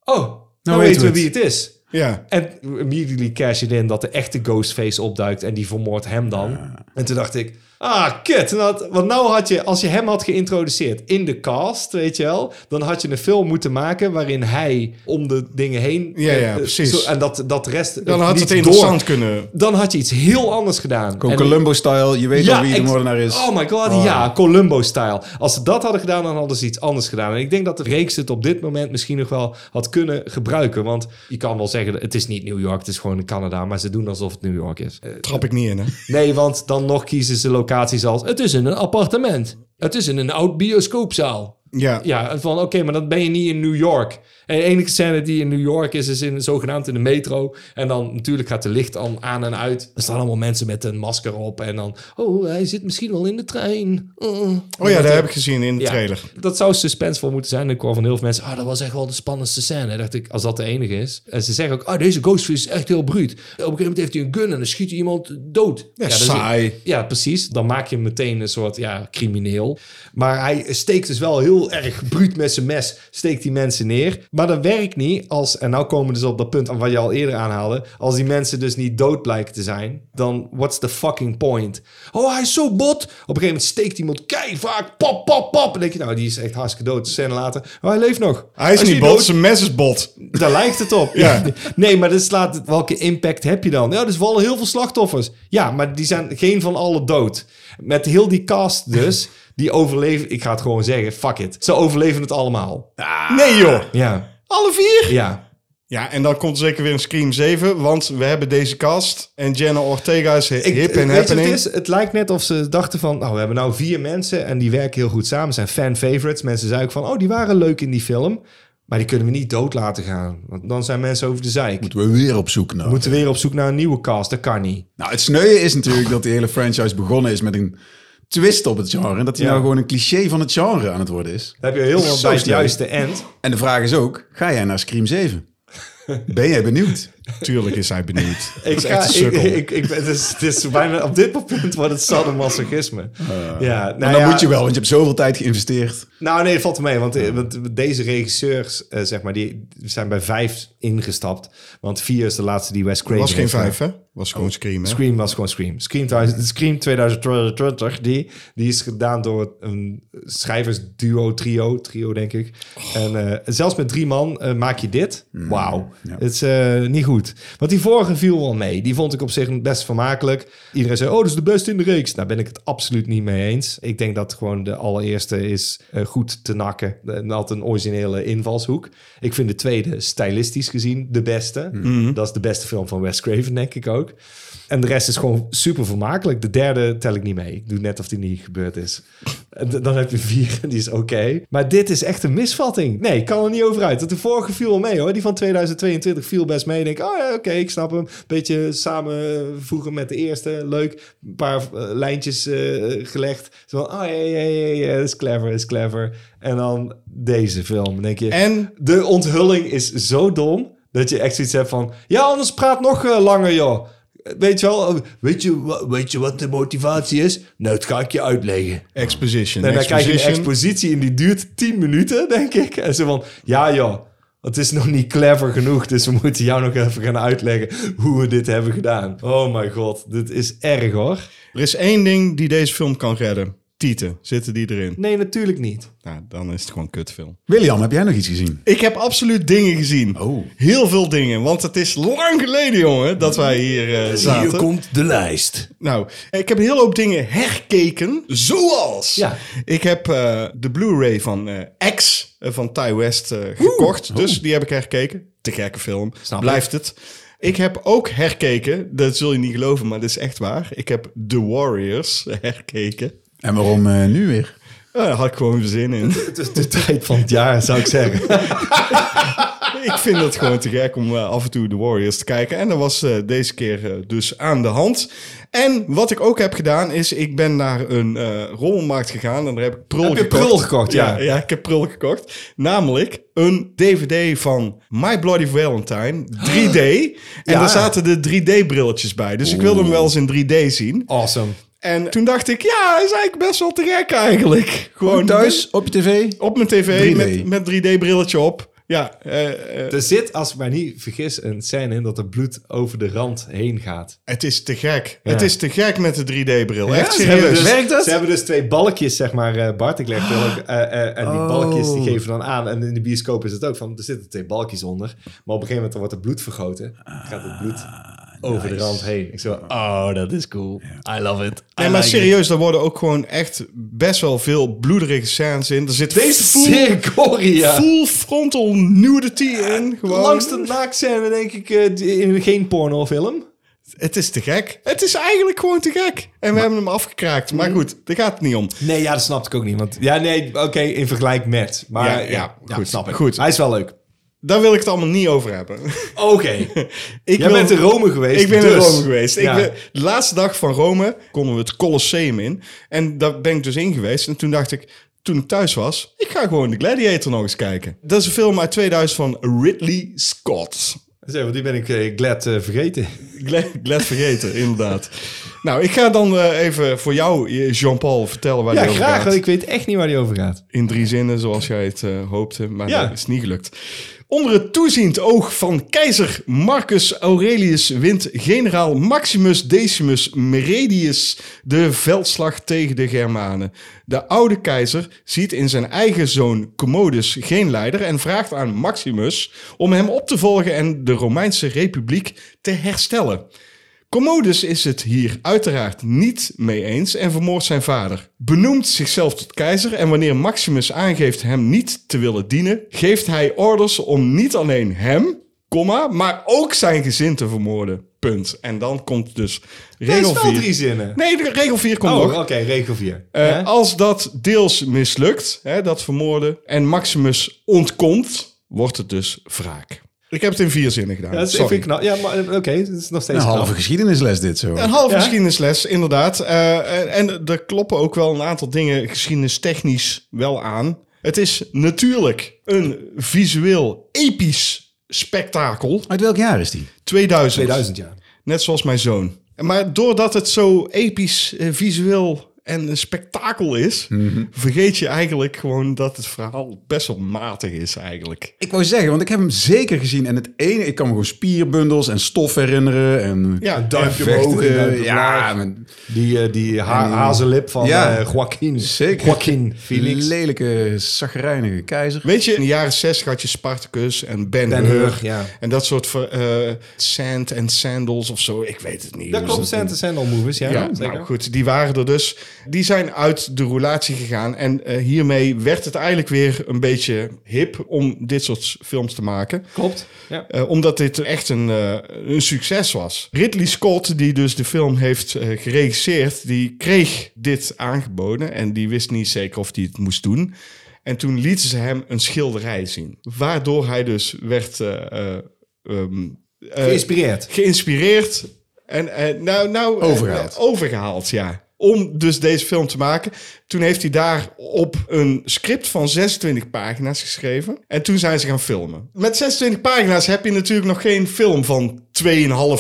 Speaker 2: oh, nou,
Speaker 4: weten
Speaker 2: weten
Speaker 4: we
Speaker 2: we
Speaker 4: het.
Speaker 2: wie het is.
Speaker 3: Ja.
Speaker 2: En immediately cash je in dat de echte Ghostface opduikt en die vermoordt hem dan. En toen dacht ik, Ah, kut. En dat- Want nou had je, als je hem had geïntroduceerd in de cast, weet je wel, dan had je een film moeten maken waarin hij om de dingen heen.
Speaker 3: Ja, ja,
Speaker 2: eh,
Speaker 3: precies.
Speaker 2: zo- en dat, dat de rest.
Speaker 3: Dan had
Speaker 2: niet
Speaker 3: het
Speaker 2: door-
Speaker 3: interessant kunnen.
Speaker 2: Dan had je iets heel anders gedaan.
Speaker 4: Gewoon
Speaker 2: En-
Speaker 4: Columbo-style, je weet al wie de
Speaker 2: ex-
Speaker 4: moordenaar is.
Speaker 2: Oh my god, ja, Columbo-style. Als ze dat hadden gedaan, dan hadden ze iets anders gedaan. En ik denk dat de reeks het op dit moment misschien nog wel had kunnen gebruiken. Want je kan wel zeggen, het is niet New York, het is gewoon in Canada. Maar ze doen alsof het New York is. Eh,
Speaker 3: Trap ik niet in, hè?
Speaker 2: nee, want dan nog kiezen ze locaties als... Het is in een appartement. Het is in een oud bioscoopzaal.
Speaker 3: Ja.
Speaker 2: Ja, van oké, maar dan ben je niet in New York. En de enige scène die in New York is, is in, zogenaamd in de metro. En dan natuurlijk gaat de licht aan, aan en uit. Er staan allemaal mensen met een masker op. En dan, oh, hij zit misschien wel in de trein. Uh.
Speaker 3: Oh ja, dat heb ik gezien in de
Speaker 2: Ja,
Speaker 3: trailer.
Speaker 2: Dat zou suspensevol moeten zijn. Ik hoor van heel veel mensen, ah, dat was echt wel de spannendste scène. Dacht ik, als dat de enige is. En ze zeggen ook, ah, deze Ghostface is echt heel bruut. Op een gegeven moment heeft hij een gun en dan schiet hij iemand dood. Ja, dat is-
Speaker 3: saai.
Speaker 2: ja, precies. Dan maak je hem meteen een soort ja, crimineel. Maar hij steekt dus wel heel erg bruut met zijn mes, steekt die mensen neer. Maar dat werkt niet als, en nou komen we dus op dat punt wat je al eerder aanhaalde, als die mensen dus niet dood blijken te zijn, dan what's the fucking point? Oh, hij is zo bot. Op een gegeven moment steekt iemand kei vaak, pap, pap, pap. En denk je, nou, die is echt hartstikke dood. Een Scène later, oh, hij leeft nog.
Speaker 3: Hij is niet
Speaker 2: dood.
Speaker 3: bot, zijn mes is bot.
Speaker 2: Daar lijkt het op.
Speaker 3: Ja.
Speaker 2: Nee, maar dat slaat, welke impact heb je dan? Ja, dus vallen heel veel slachtoffers. Ja, maar die zijn geen van alle dood. Met heel die cast dus, die overleven... Ik ga het gewoon zeggen, fuck it. Ze overleven het allemaal.
Speaker 3: Nee, joh.
Speaker 2: Ja,
Speaker 3: Alle vier?
Speaker 2: ja.
Speaker 3: Ja, en dan komt zeker weer een Scream 7, want we hebben deze cast. En Jenna Ortega is
Speaker 2: Ik,
Speaker 3: hip en
Speaker 2: weet je wat het,
Speaker 3: happening.
Speaker 2: is? het lijkt net of ze dachten van... Nou, we hebben nou vier mensen en die werken heel goed samen. Zijn fan favorites. Mensen zeiden ook van... Oh, die waren leuk in die film. Maar die kunnen we niet dood laten gaan. Want dan zijn mensen over de zeik.
Speaker 4: Moeten we weer op zoek naar.
Speaker 2: We moeten weer op zoek naar een nieuwe cast. Dat kan niet.
Speaker 4: Nou, het sneuwe is natuurlijk dat die hele franchise begonnen is met een twist op het genre. En dat hij
Speaker 2: Ja.
Speaker 4: nou gewoon een cliché van het genre aan het worden is.
Speaker 2: Dan heb je heel
Speaker 4: Zo
Speaker 2: wat bij het
Speaker 4: snel.
Speaker 2: juiste end.
Speaker 4: En de vraag is ook, ga jij naar Scream 7? Ben jij benieuwd?
Speaker 3: Tuurlijk is hij benieuwd.
Speaker 2: Ik
Speaker 3: is echt
Speaker 2: ga,
Speaker 3: een
Speaker 2: ik,
Speaker 3: sukkel.
Speaker 2: ik, ik, ben- het, is, het is bijna op dit punt wordt het sadomasochisme.
Speaker 3: Ah.
Speaker 2: ja, nou
Speaker 4: en dan
Speaker 2: ja,
Speaker 4: moet je wel, want je hebt zoveel tijd geïnvesteerd.
Speaker 2: Nou nee, dat valt mee, want, eh, want deze regisseurs, eh, zeg maar, die zijn bij vijf ingestapt. Want vier is de laatste die Wes Craven
Speaker 3: Was geen
Speaker 2: heeft
Speaker 3: vijf, hè? Was gewoon Scream, hè?
Speaker 2: Scream was gewoon Scream. Scream, 2000 Scream 2020, die, die is gedaan door een schrijversduo, trio, trio denk ik. En eh, zelfs met drie man eh, maak je dit. Wauw. Het is eh, niet goed. Want die vorige viel wel mee. Die vond ik op zich best vermakelijk. Iedereen zei, oh, dat is de beste in de reeks. Daar ben ik het absoluut niet mee eens. Ik denk dat gewoon de allereerste is eh, goed te nakken. En had een originele invalshoek. Ik vind de tweede, stylistisch gezien, de beste. Dat is de beste film van Wes Craven, denk ik ook. En de rest is gewoon super vermakelijk. De derde tel ik niet mee. Ik doe net of die niet gebeurd is. En d- Dan heb je vier en die is oké. Maar dit is echt een misvatting. Nee, ik kan er niet over uit. Dat de vorige viel wel mee hoor. Die van 2022 viel best mee. Ik Denk, oh ja, oké, ik snap hem. Beetje samenvoegen met de eerste. Leuk. Een paar eh, lijntjes eh, gelegd. Zo van, oh ja, ja, ja, ja, dat is clever, dat is clever. En dan deze film. Dan Denk je,
Speaker 3: En
Speaker 2: de onthulling is zo dom dat je echt zoiets hebt van... Ja, anders praat nog eh, langer, joh. Weet je wel, eh, weet je, wa- weet je wat de motivatie is? Nou, dat ga ik je uitleggen.
Speaker 3: Exposition.
Speaker 2: En dan krijg je een
Speaker 3: Exposition.
Speaker 2: expositie en die duurt 10 minuten, denk ik. En ze van, ja joh, het is nog niet clever genoeg, dus we moeten jou nog even gaan uitleggen hoe we dit hebben gedaan. Oh mijn god, dit is erg hoor.
Speaker 3: Er is één ding die deze film kan redden. Tieten, zitten die erin?
Speaker 2: Nee, natuurlijk niet.
Speaker 3: Nou, dan is het gewoon een kutfilm.
Speaker 4: William, heb jij nog iets gezien?
Speaker 3: Ik heb absoluut dingen gezien.
Speaker 4: Oh.
Speaker 3: Heel veel dingen. Want het is lang geleden, jongen, dat wij hier eh, zaten.
Speaker 2: komt de lijst.
Speaker 3: Nou, ik heb een hele hoop dingen herkeken. Zoals.
Speaker 2: Ja.
Speaker 3: Ik heb eh, de Blu-ray van eh, X eh, van Ty West eh, gekocht. Dus die heb ik herkeken. Te gekke film.
Speaker 2: Oh. Snap ik.
Speaker 3: Blijft het. Ik heb ook herkeken. Dat zul je niet geloven, maar dat is echt waar. Ik heb The Warriors herkeken.
Speaker 4: En waarom eh, nu weer?
Speaker 3: Eh, Daar had ik gewoon zin in.
Speaker 2: Het is de tijd van het jaar, zou ik zeggen.
Speaker 3: ik vind het gewoon te gek om eh, af en toe de Warriors te kijken. En dat was eh, deze keer eh, dus aan de hand. En wat ik ook heb gedaan is, ik ben naar een eh rommelmarkt gegaan en daar heb ik prul
Speaker 2: Heb je
Speaker 3: gekocht.
Speaker 2: prul gekocht, ja.
Speaker 3: ja. ik heb prul gekocht. Namelijk een DVD van My Bloody Valentine 3D. En
Speaker 2: Ja.
Speaker 3: daar zaten de 3D-brilletjes bij. Dus ik wilde hem wel eens in 3D zien.
Speaker 2: Awesome.
Speaker 3: En toen dacht ik, ja, is eigenlijk best wel te gek eigenlijk.
Speaker 2: Oh,
Speaker 4: Gewoon thuis, op je tv?
Speaker 3: Op mijn tv
Speaker 4: 3D.
Speaker 3: met, met 3D-brilletje op. Ja, eh, eh,
Speaker 2: Er zit, als ik mij niet vergis, een scène in dat er bloed over de rand heen gaat.
Speaker 3: het is te gek. Het is te gek met de 3D-bril. Echt
Speaker 2: ze hebben,
Speaker 3: serieus.
Speaker 2: dus,
Speaker 4: Werkt dat?
Speaker 2: ze hebben dus twee balkjes, zeg maar, eh, Bart, ik leg het wel ook, eh, eh, en die balkjes die geven dan aan. En in de bioscoop is het ook van, er zitten twee balkjes onder. Maar op een gegeven moment dan wordt het bloed vergoten. Dan gaat het bloed over de rand heen. Ik zo, oh, dat is cool. I love it. I
Speaker 3: Nee, maar
Speaker 2: like it.
Speaker 3: serieus, daar worden ook gewoon echt best wel veel bloederige scènes in. Er zit
Speaker 2: Deze
Speaker 3: full,
Speaker 2: full Korea.
Speaker 3: full frontal nudity in. Gewoon.
Speaker 2: Langs de naaktscène denk ik eh, die- in geen pornofilm.
Speaker 3: Het is te gek. Het is eigenlijk gewoon te gek. En we hebben hem afgekraakt. Maar goed, daar gaat het niet om.
Speaker 2: Nee, ja, dat snapte ik ook niet. Want, ja, nee, oké, in vergelijk met. Maar
Speaker 3: Ja,
Speaker 2: Ah, ja,
Speaker 3: ja, goed,
Speaker 2: goed, snap ik.
Speaker 3: goed.
Speaker 2: Hij is wel leuk.
Speaker 3: Daar wil ik het allemaal niet over hebben.
Speaker 2: Oké.
Speaker 3: Ik
Speaker 2: Jij
Speaker 3: wil-
Speaker 2: bent in Rome geweest.
Speaker 3: Ik ben in
Speaker 2: dus.
Speaker 3: Rome geweest.
Speaker 2: Ja.
Speaker 3: Ik ben, de laatste dag van Rome konden we het Colosseum in. En daar ben ik dus in geweest. En toen dacht ik, toen ik thuis was, ik ga gewoon de Gladiator nog eens kijken. Dat is een film uit 2000 van Ridley Scott.
Speaker 2: Zeg, want die ben ik eh, glad eh, vergeten.
Speaker 3: Glad, glad vergeten, inderdaad. Nou, ik ga dan eh, even voor jou, eh, Jean-Paul, vertellen waar
Speaker 2: Ja,
Speaker 3: die over
Speaker 2: graag.
Speaker 3: gaat.
Speaker 2: Want ik weet echt niet waar die over gaat.
Speaker 3: in drie zinnen, zoals jij het eh, hoopte, maar
Speaker 2: Ja.
Speaker 3: dat is niet gelukt. Onder het toeziend oog van keizer Marcus Aurelius wint generaal Maximus Decimus Meridius de veldslag tegen de Germanen. De oude keizer ziet in zijn eigen zoon Commodus geen leider en vraagt aan Maximus om hem op te volgen en de Romeinse Republiek te herstellen. Commodus is het hier uiteraard niet mee eens en vermoordt zijn vader. Benoemt zichzelf tot keizer en wanneer Maximus aangeeft hem niet te willen dienen, geeft hij orders om niet alleen hem, comma, maar ook zijn gezin te vermoorden. Punt. En dan komt dus
Speaker 2: Dat
Speaker 3: regel
Speaker 2: is wel
Speaker 3: 4.
Speaker 2: drie zinnen.
Speaker 3: Nee, de regel 4 komt
Speaker 2: Oh,
Speaker 3: nog.
Speaker 2: oké, regel 4.
Speaker 3: Eh, als dat deels mislukt, hè, dat vermoorden, en Maximus ontkomt, wordt het dus wraak. Ik heb het in vier zinnen gedaan.
Speaker 2: dat is,
Speaker 3: Sorry.
Speaker 2: vind ik knap. Ja, maar eh, oké, dat is nog
Speaker 4: Een
Speaker 2: steeds
Speaker 4: halve
Speaker 2: halve.
Speaker 4: geschiedenisles dit zo.
Speaker 3: Een halve
Speaker 2: Ja.
Speaker 3: geschiedenisles, inderdaad. Eh, en, en er kloppen ook wel een aantal dingen geschiedenistechnisch wel aan. Het is natuurlijk een visueel episch spektakel.
Speaker 4: Uit welk jaar is die?
Speaker 3: 2000.
Speaker 2: 2000 jaar.
Speaker 3: Net zoals mijn zoon. Maar doordat het zo episch, eh, visueel en een spektakel is... vergeet je eigenlijk gewoon dat het verhaal best wel matig is eigenlijk.
Speaker 4: Ik wou zeggen, want ik heb hem zeker gezien. En het ene, ik kan me gewoon spierbundels en stof herinneren. En
Speaker 3: Ja,
Speaker 2: Een duimpje
Speaker 4: vechten.
Speaker 2: omhoog. een duimpje
Speaker 4: ja,
Speaker 2: omlaag.
Speaker 4: een
Speaker 2: Die, eh, die ha- hazenlip van
Speaker 4: Ja.
Speaker 2: eh, Joaquin.
Speaker 4: Zeker.
Speaker 2: Joaquin Felix.
Speaker 4: lelijke, zagrijnige keizer.
Speaker 3: Weet je, in de jaren 60 had je Spartacus en Ben,
Speaker 2: Ben
Speaker 3: Hur.
Speaker 2: Hur, ja.
Speaker 3: En dat soort ver- eh sand en sandals of zo. Ik weet het niet.
Speaker 2: dat
Speaker 3: Dus
Speaker 2: klopt, Santa Sandal Movies. Ja,
Speaker 3: Ja,
Speaker 2: zeker.
Speaker 3: nou goed, die waren er dus. Die zijn uit de roulatie gegaan. En eh, hiermee werd het eigenlijk weer een beetje hip om dit soort films te maken.
Speaker 2: Klopt. Ja.
Speaker 3: Eh, omdat dit echt een, eh, een succes was. Ridley Scott, die dus de film heeft eh, geregisseerd, die kreeg dit aangeboden. En die wist niet zeker of hij het moest doen. En toen lieten ze hem een schilderij zien. Waardoor hij dus werd eh, eh, ehm, eh,
Speaker 2: Geïnspireerd.
Speaker 3: geïnspireerd en eh, nou, nou, eh,
Speaker 4: Overgehaald.
Speaker 3: overgehaald, ja. Om dus deze film te maken. Toen heeft hij daarop een script van 26 pagina's geschreven. En toen zijn ze gaan filmen. Met 26 pagina's heb je natuurlijk nog geen film van 2,5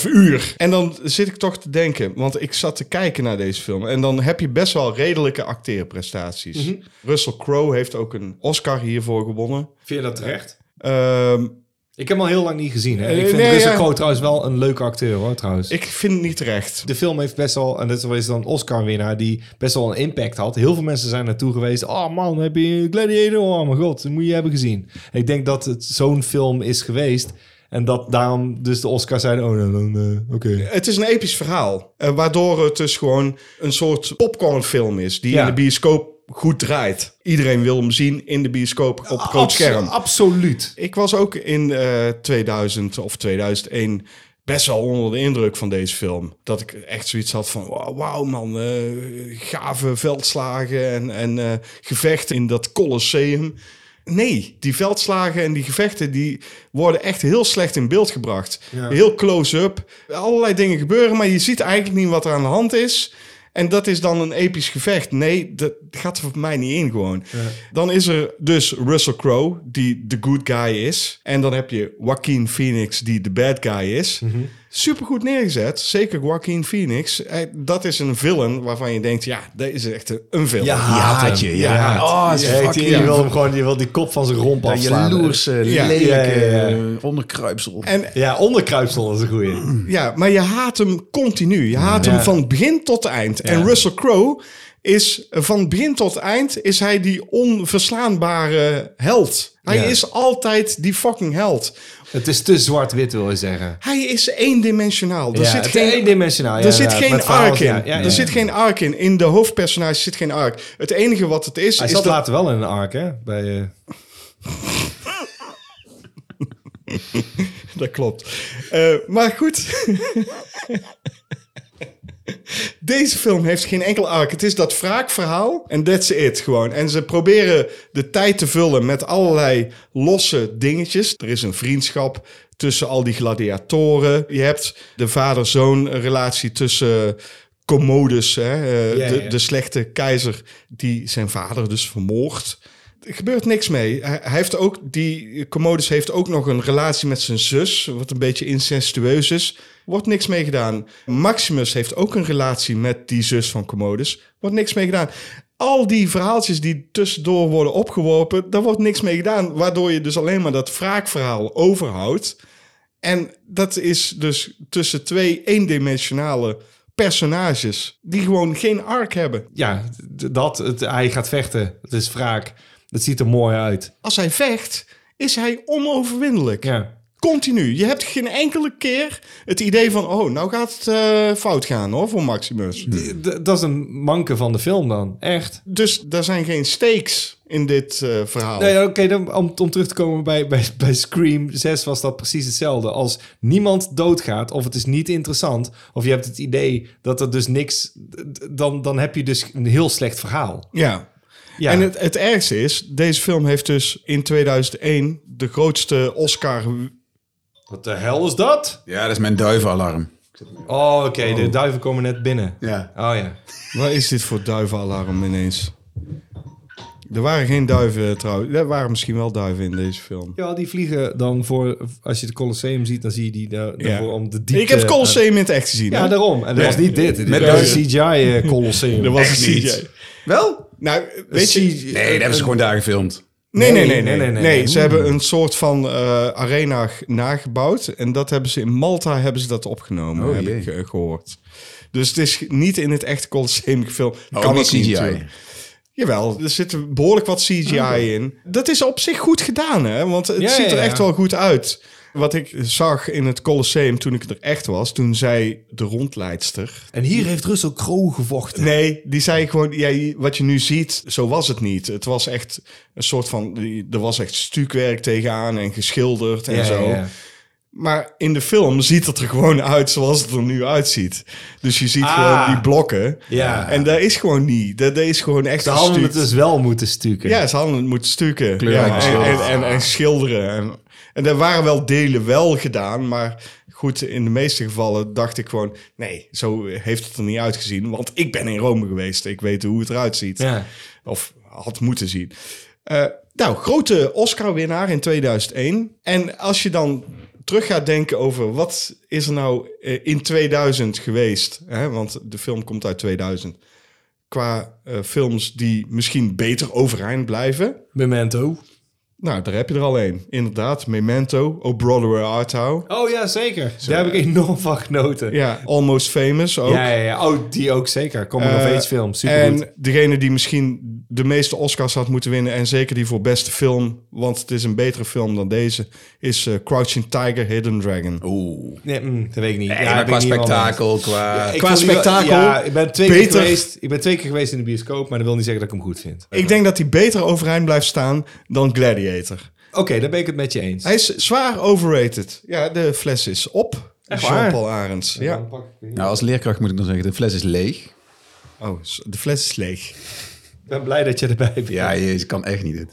Speaker 3: uur. En dan zit ik toch te denken, want ik zat te kijken naar deze film. En dan heb je best wel redelijke acteerprestaties. Russell Crowe heeft ook een Oscar hiervoor gewonnen.
Speaker 2: Vind je dat terecht?
Speaker 3: Ehm,
Speaker 2: Ik heb hem al heel lang niet gezien. Hè?
Speaker 3: Eh,
Speaker 2: Ik vind
Speaker 3: nee,
Speaker 2: Russell
Speaker 3: ja.
Speaker 2: Crowe trouwens wel een leuke acteur hoor, trouwens.
Speaker 3: ik vind het niet terecht.
Speaker 2: De film heeft best wel, en dat is dan een Oscar-winnaar, die best wel een impact had. Heel veel mensen zijn naartoe geweest. Oh man, heb je Gladiator? Oh mijn god, dat moet je hebben gezien. En ik denk dat het zo'n film is geweest. En dat daarom dus de Oscars zeiden, oh dan, dan, eh, oké.
Speaker 3: Ehm, Het is een episch verhaal. eh, waardoor het dus gewoon een soort popcornfilm is. Die
Speaker 2: Ja.
Speaker 3: in de bioscoop goed draait. Iedereen wil hem zien in de bioscoop op groot
Speaker 2: Abso-
Speaker 3: scherm.
Speaker 2: Absoluut.
Speaker 3: Ik was ook in eh, 2000 of 2001 best wel onder de indruk van deze film. Dat ik echt zoiets had van, wauw wauw, man, eh, gave veldslagen en, en eh, gevechten in dat colosseum. Nee, die veldslagen en die gevechten die worden echt heel slecht in beeld gebracht. Heel close-up. Allerlei dingen gebeuren, maar je ziet eigenlijk niet wat er aan de hand is. En dat is dan een episch gevecht. Nee, dat gaat er voor mij niet in gewoon. Dan is er dus Russell Crowe, die de good guy is. En dan heb je Joaquin Phoenix, die de bad guy is. Supergoed neergezet. Zeker Joaquin Phoenix. Eh, Dat is een villain waarvan je denkt, ja, dat is echt een- een villain.
Speaker 2: Ja,
Speaker 4: haatje, ja. Oh,
Speaker 2: Oh,
Speaker 4: dat is fucking-
Speaker 2: je wil hem gewoon die, wil die kop van zijn romp
Speaker 4: Dat
Speaker 2: afslaan.
Speaker 4: jaloerse,
Speaker 3: Ja.
Speaker 4: lelijke
Speaker 2: Ja, ja, ja.
Speaker 4: eh, onderkruipsel.
Speaker 3: En
Speaker 2: Ja, onderkruipsel is een goeie.
Speaker 3: Ja, maar je haat hem continu. Je haat hem van het begin tot het eind. En Russell Crowe is eh, van het begin tot het eind is hij die onverslaanbare held. Hij
Speaker 2: Ja.
Speaker 3: is altijd die fucking held.
Speaker 2: Het is te zwart-wit, wil je zeggen.
Speaker 3: Hij is eendimensionaal. Er
Speaker 2: Ja,
Speaker 3: zit
Speaker 2: het
Speaker 3: geen
Speaker 2: is eendimensionaal. Ja,
Speaker 3: er zit
Speaker 2: ja,
Speaker 3: geen
Speaker 2: met verhaal-
Speaker 3: arc in.
Speaker 2: ja, ja, ja.
Speaker 3: Er zit geen arc in. In de hoofdpersonage zit geen arc. Het enige wat het is,
Speaker 2: Hij
Speaker 3: is
Speaker 2: zat
Speaker 3: dat...
Speaker 2: later wel in een arc, hè? Bij, eh,
Speaker 3: Dat klopt. Eh, maar goed. Deze film heeft geen enkel arc. Het is dat wraakverhaal en that's it gewoon. En ze proberen de tijd te vullen met allerlei losse dingetjes. Er is een vriendschap tussen al die gladiatoren. Je hebt de vader-zoon relatie tussen Commodus, hè, eh,
Speaker 2: Ja,
Speaker 3: de,
Speaker 2: ja.
Speaker 3: de slechte keizer, die zijn vader dus vermoordt. Er gebeurt niks mee. Hij hij heeft ook, die Commodus heeft ook nog een relatie met zijn zus, wat een beetje incestueus is. Wordt niks mee gedaan. Maximus heeft ook een relatie met die zus van Commodus. Wordt niks mee gedaan. Al die verhaaltjes die tussendoor worden opgeworpen, daar wordt niks mee gedaan. Waardoor je dus alleen maar dat wraakverhaal overhoudt. En dat is dus tussen twee eendimensionale personages die gewoon geen arc hebben.
Speaker 2: ja, d- dat. Het, hij gaat vechten. Het is wraak. Het ziet er mooi uit.
Speaker 3: Als hij vecht, is hij onoverwinnelijk.
Speaker 2: Ja.
Speaker 3: Continu. Je hebt geen enkele keer het idee van... oh, nou gaat het eh, fout gaan hoor, voor Maximus.
Speaker 2: D- dat is een manke van de film dan. Echt.
Speaker 3: Dus daar zijn geen stakes in dit eh, verhaal.
Speaker 2: Nee, oké, dan om, om terug te komen bij, bij, bij Scream 6 was dat precies hetzelfde. Als niemand doodgaat of het is niet interessant... of je hebt het idee dat er dus niks... d- dan, dan heb je dus een heel slecht verhaal.
Speaker 3: Ja.
Speaker 2: Ja.
Speaker 3: En het, het ergste is, deze film heeft dus in 2001 de grootste Oscar...
Speaker 2: Wat de hel is dat?
Speaker 4: Ja, dat is mijn duivenalarm.
Speaker 2: Oh, oké, de duiven komen net binnen.
Speaker 4: Ja.
Speaker 2: Oh ja.
Speaker 3: Wat is dit voor duivenalarm ineens? Er waren geen duiven eh, trouwens. Er waren misschien wel duiven in deze film.
Speaker 2: Ja, die vliegen dan voor... Als je het Colosseum ziet, dan zie je die daar, daarvoor om de diepte...
Speaker 3: Ik heb het Colosseum in het echt gezien.
Speaker 2: eh, Ja,
Speaker 3: hè?
Speaker 2: daarom. En dat was niet dit.
Speaker 4: Met
Speaker 2: Met
Speaker 4: duiven.
Speaker 2: een eh, CGI-colosseum.
Speaker 3: Dat was
Speaker 4: Echt
Speaker 3: een
Speaker 4: niet.
Speaker 3: CGI.
Speaker 4: Wel?
Speaker 3: Nou, weet je...
Speaker 4: Nee, dat hebben ze gewoon daar gefilmd.
Speaker 3: Nee, nee, nee,
Speaker 2: Nee,
Speaker 3: nee. nee,
Speaker 2: nee, nee, nee.
Speaker 3: ze hebben een soort van eh, arena g- nagebouwd. En dat hebben ze in Malta hebben ze dat opgenomen,
Speaker 4: Oh,
Speaker 3: heb
Speaker 4: jee.
Speaker 3: ik eh, gehoord. Dus het is niet in het echte Colosseum gefilmd.
Speaker 4: Oh,
Speaker 3: kan
Speaker 4: niet
Speaker 3: ook niet,
Speaker 4: CGI.
Speaker 3: natuurlijk. Jawel, er zit behoorlijk wat CGI in. Dat is op zich goed gedaan, hè? Want het
Speaker 2: Oh, Ja,
Speaker 3: ziet er
Speaker 2: ja, ja.
Speaker 3: echt wel goed uit. Wat ik zag in het Colosseum toen ik er echt was, toen zei de rondleidster...
Speaker 2: En hier heeft Russell Crowe gevochten.
Speaker 3: Nee, die zei gewoon, ja, wat je nu ziet, zo was het niet. Het was echt een soort van, er was echt stucwerk tegenaan en geschilderd en
Speaker 2: Ja,
Speaker 3: zo.
Speaker 2: ja, ja.
Speaker 3: Maar in de film ziet het er gewoon uit zoals het er nu uitziet. Dus je ziet
Speaker 2: Ah.
Speaker 3: gewoon die blokken.
Speaker 2: Ja.
Speaker 3: En dat is gewoon niet. Dat, dat is gewoon echt
Speaker 2: Ze hadden het
Speaker 3: gestuukt.
Speaker 2: dus wel moeten stukken.
Speaker 3: Ja, ze hadden het moeten stukken. Ja, en, en,
Speaker 4: Kleurrijk geschilderd.
Speaker 3: en, en schilderen. En, en er waren wel delen wel gedaan, maar goed, in de meeste gevallen dacht ik gewoon... nee, zo heeft het er niet uitgezien, want ik ben in Rome geweest. Ik weet hoe het eruit ziet.
Speaker 2: Ja.
Speaker 3: Of had moeten zien. Eh, nou, grote Oscar-winnaar in 2001. En als je dan terug gaat denken over wat is er nou eh, in 2000 geweest... Hè? want de film komt uit 2000 qua eh, films die misschien beter overeind blijven.
Speaker 2: Memento.
Speaker 3: Nou, daar heb je er al één. Inderdaad, Memento, O Brother Where Art Thou.
Speaker 2: Oh ja, zeker. Daar heb ik enorm van genoten.
Speaker 3: Ja, Almost Famous ook.
Speaker 2: ja, ja, ja. Oh, die ook zeker. Coming of
Speaker 3: Eh,
Speaker 2: Age film. Supergoed.
Speaker 3: En degene die misschien de meeste Oscars had moeten winnen... en zeker die voor beste film, want het is een betere film dan deze... is eh, Crouching Tiger, Hidden Dragon.
Speaker 4: Oeh.
Speaker 2: Nee, mm, dat weet ik niet.
Speaker 4: Nee,
Speaker 2: Ja,
Speaker 4: maar
Speaker 2: ik
Speaker 4: qua
Speaker 2: ben niet helemaal
Speaker 4: spektakel, eh, qua...
Speaker 2: mee. Ik
Speaker 3: qua
Speaker 2: wil die wel-
Speaker 3: spektakel,
Speaker 2: Ja, ik ben, twee keer
Speaker 3: beter.
Speaker 2: geweest, ik ben twee keer geweest in de bioscoop, maar dat wil niet zeggen dat ik hem goed vind.
Speaker 3: Ik denk dat hij beter overeind blijft staan dan Gladiator.
Speaker 2: Oké, daar ben ik het met je eens.
Speaker 3: Hij is zwaar overrated. Ja, de fles is op.
Speaker 2: waar?
Speaker 3: Jean-Paul Arends. Ja.
Speaker 2: Dan pak ik die.
Speaker 4: Nou, als leerkracht moet ik dan zeggen, de fles is leeg.
Speaker 3: Oh, de fles is leeg.
Speaker 2: Ik ben blij dat je erbij bent.
Speaker 4: Ja, jezus, kan echt niet dit.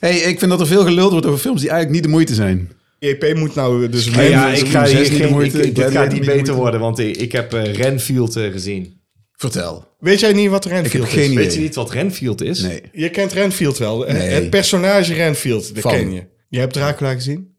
Speaker 4: hey, ik vind dat er veel geluld wordt over films die eigenlijk niet de moeite zijn.
Speaker 3: JP moet nou dus
Speaker 2: Ja,
Speaker 3: mee-
Speaker 2: ja,
Speaker 4: Zo'n
Speaker 2: ik ga
Speaker 4: zes
Speaker 2: hier
Speaker 4: niet de
Speaker 2: geen,
Speaker 4: moeite,
Speaker 2: ik- dit
Speaker 4: Gladiator
Speaker 2: gaat
Speaker 4: niet
Speaker 2: niet
Speaker 4: de
Speaker 2: beter
Speaker 4: moeite.
Speaker 2: worden, want ik, ik heb eh, Renfield eh, gezien.
Speaker 4: Vertel.
Speaker 3: Weet jij niet wat Renfield
Speaker 4: Ik heb geen
Speaker 3: is?
Speaker 4: idee.
Speaker 2: Weet je niet wat Renfield is?
Speaker 4: Nee.
Speaker 3: Je kent Renfield wel. Eh,
Speaker 4: Nee.
Speaker 3: Het personage Renfield, dat
Speaker 4: Van.
Speaker 3: ken je. Je hebt Dracula gezien?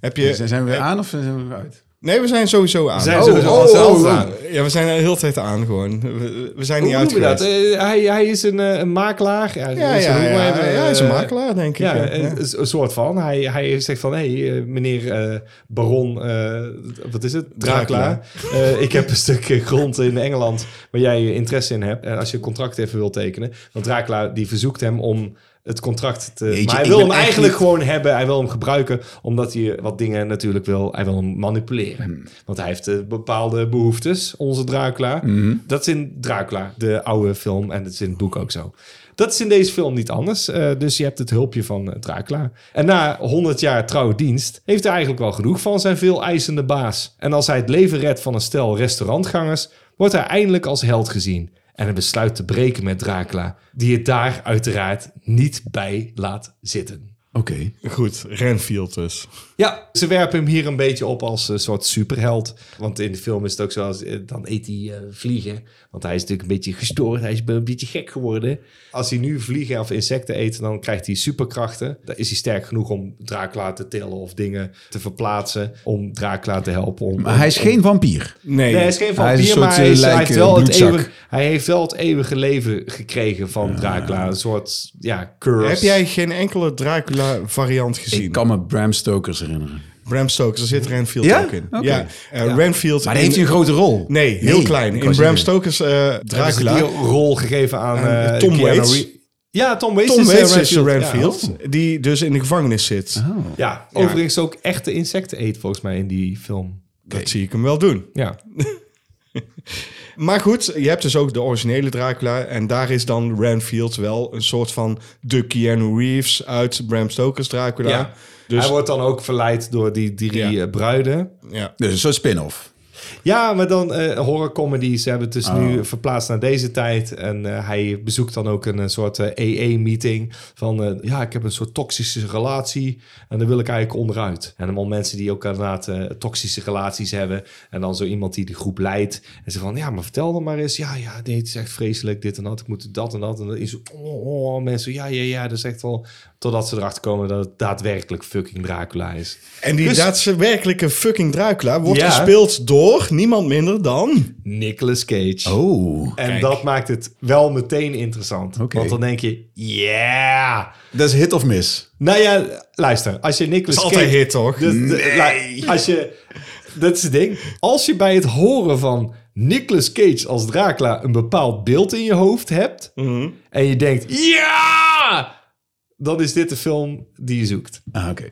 Speaker 3: Heb je...
Speaker 4: Zijn zijn we weer aan of zijn we weer uit?
Speaker 3: Nee, we zijn sowieso aan. Oh.
Speaker 2: We zijn sowieso al zelf aan.
Speaker 3: Ja, we zijn de hele tijd aan gewoon. We, we zijn niet
Speaker 2: Hoe
Speaker 3: uit
Speaker 2: noemen we dat?
Speaker 3: geweest.
Speaker 2: Eh, hij, hij is een, eh, een makelaar. Ja,
Speaker 3: Ja,
Speaker 2: zo
Speaker 3: ja,
Speaker 2: noemen we
Speaker 3: ja,
Speaker 2: hem,
Speaker 3: ja,
Speaker 2: eh,
Speaker 3: hij is een makelaar, denk ik.
Speaker 2: Ja,
Speaker 3: ja.
Speaker 2: eh,
Speaker 3: Ja.
Speaker 2: een soort van. Hij, hij zegt van, hé, hey, eh, meneer eh, baron, eh, wat is het? Dracula. Eh, ik heb een stuk eh, grond in Engeland waar jij interesse in hebt. En als je een contract even wilt tekenen. Want Dracula die verzoekt hem om het contract te...
Speaker 4: Jeetje,
Speaker 2: maar hij
Speaker 4: ik
Speaker 2: wil
Speaker 4: ben
Speaker 2: hem
Speaker 4: echt
Speaker 2: eigenlijk
Speaker 4: niet-
Speaker 2: gewoon hebben. Hij wil hem gebruiken omdat hij wat dingen natuurlijk wil. Hij wil hem manipuleren. Want hij heeft eh, bepaalde behoeftes, onze Dracula. Dat is in Dracula, de oude film. En dat is in het boek ook zo. Dat is in deze film niet anders. Eh, dus je hebt het hulpje van eh, Dracula. En na 100 jaar trouwe dienst heeft hij eigenlijk wel genoeg van zijn veel eisende baas. En als hij het leven redt van een stel restaurantgangers, wordt hij eindelijk als held gezien. En hij besluit te breken met Dracula, die het daar uiteraard niet bij laat zitten.
Speaker 4: Oké.
Speaker 3: Goed, Renfield dus.
Speaker 2: Ja, ze werpen hem hier een beetje op als een soort superheld. Want in de film is het ook zo, als, eh, dan eet hij eh, vliegen. Want hij is natuurlijk een beetje gestoord, hij is een beetje gek geworden. Als hij nu vliegen of insecten eet, dan krijgt hij superkrachten. Dan is hij sterk genoeg om Dracula te tillen of dingen te verplaatsen. Om Dracula te helpen. Om,
Speaker 4: Maar hij is
Speaker 2: om-
Speaker 4: geen vampier.
Speaker 3: Nee,
Speaker 2: Nee, hij is geen
Speaker 4: Hij is
Speaker 2: vampier,
Speaker 4: een soort,
Speaker 2: maar hij,
Speaker 4: eh,
Speaker 2: is- hij
Speaker 4: lijk,
Speaker 2: heeft wel
Speaker 4: eh,
Speaker 2: het
Speaker 4: bloedzak.
Speaker 2: eeuwige, hij heeft wel het eeuwige leven gekregen van Dracula. Een soort, ja, curse.
Speaker 3: heb jij geen enkele Dracula-variant
Speaker 4: Ik
Speaker 3: gezien?
Speaker 4: kan me Bram Stokers herinneren.
Speaker 3: Bram Stoker, daar zit Renfield
Speaker 4: Ja?
Speaker 3: ook in.
Speaker 4: Oké.
Speaker 3: Ja, eh, Renfield...
Speaker 4: Maar heeft hij een grote rol? dus-
Speaker 3: Nee, heel klein. In Bram Stoker's eh,
Speaker 2: Hebben ze
Speaker 3: Dracula...
Speaker 2: die rol gegeven aan
Speaker 3: Aan
Speaker 2: eh,
Speaker 3: Tom
Speaker 2: Keanu
Speaker 3: Waits.
Speaker 2: Ree- Ja, Tom Waits
Speaker 3: Tom
Speaker 2: is, eh,
Speaker 3: Waits is de
Speaker 2: Renfield.
Speaker 3: Renfield,
Speaker 2: Ja.
Speaker 3: die dus in de gevangenis zit.
Speaker 2: Ja, overigens ook echte insecten eet volgens mij in die film.
Speaker 3: Dat zie ik hem wel doen.
Speaker 2: Ja,
Speaker 3: Maar goed, je hebt dus ook de originele Dracula. En daar is dan Renfield wel een soort van de Keanu Reeves uit Bram Stoker's Dracula.
Speaker 2: ja.
Speaker 3: Dus
Speaker 2: Hij wordt dan ook verleid door die drie
Speaker 3: Ja.
Speaker 2: eh, bruiden.
Speaker 3: ja.
Speaker 4: Dus een soort spin-off.
Speaker 2: Ja, maar dan horror horrorcomedies hebben het dus nu verplaatst naar deze tijd. En eh, hij bezoekt dan ook een, eh, soort EE-meeting van... eh, ja, ik heb een soort toxische relatie en daar wil ik eigenlijk onderuit. En allemaal mensen die ook inderdaad eh, toxische relaties hebben. En dan zo iemand die de groep leidt. En ze van, ja, maar vertel dan maar eens. Ja, ja, nee, het is echt vreselijk, dit en dat. Ik moet dat en dat. En dan is het, oh, oh, mensen, ja, ja, ja. Dat is echt wel... Totdat ze erachter komen dat het daadwerkelijk fucking Dracula is.
Speaker 3: En die
Speaker 2: Dus-
Speaker 3: daadwerkelijke fucking Dracula wordt
Speaker 2: Ja.
Speaker 3: gespeeld door niemand minder dan...
Speaker 2: Nicolas Cage.
Speaker 4: Oh.
Speaker 2: En dat maakt het wel meteen interessant.
Speaker 4: Oké.
Speaker 2: Want dan denk je, yeah.
Speaker 4: Dat is hit of miss.
Speaker 2: Nou ja, luister. Als je Nicolas
Speaker 3: Dat is altijd hit, toch?
Speaker 2: Dus de- la- als je, dat is het ding. Als je bij het horen van Nicolas Cage als Dracula een bepaald beeld in je hoofd hebt.
Speaker 3: Mhm.
Speaker 2: En je denkt, ja! dan is dit de film die je zoekt.
Speaker 4: Ah, oké.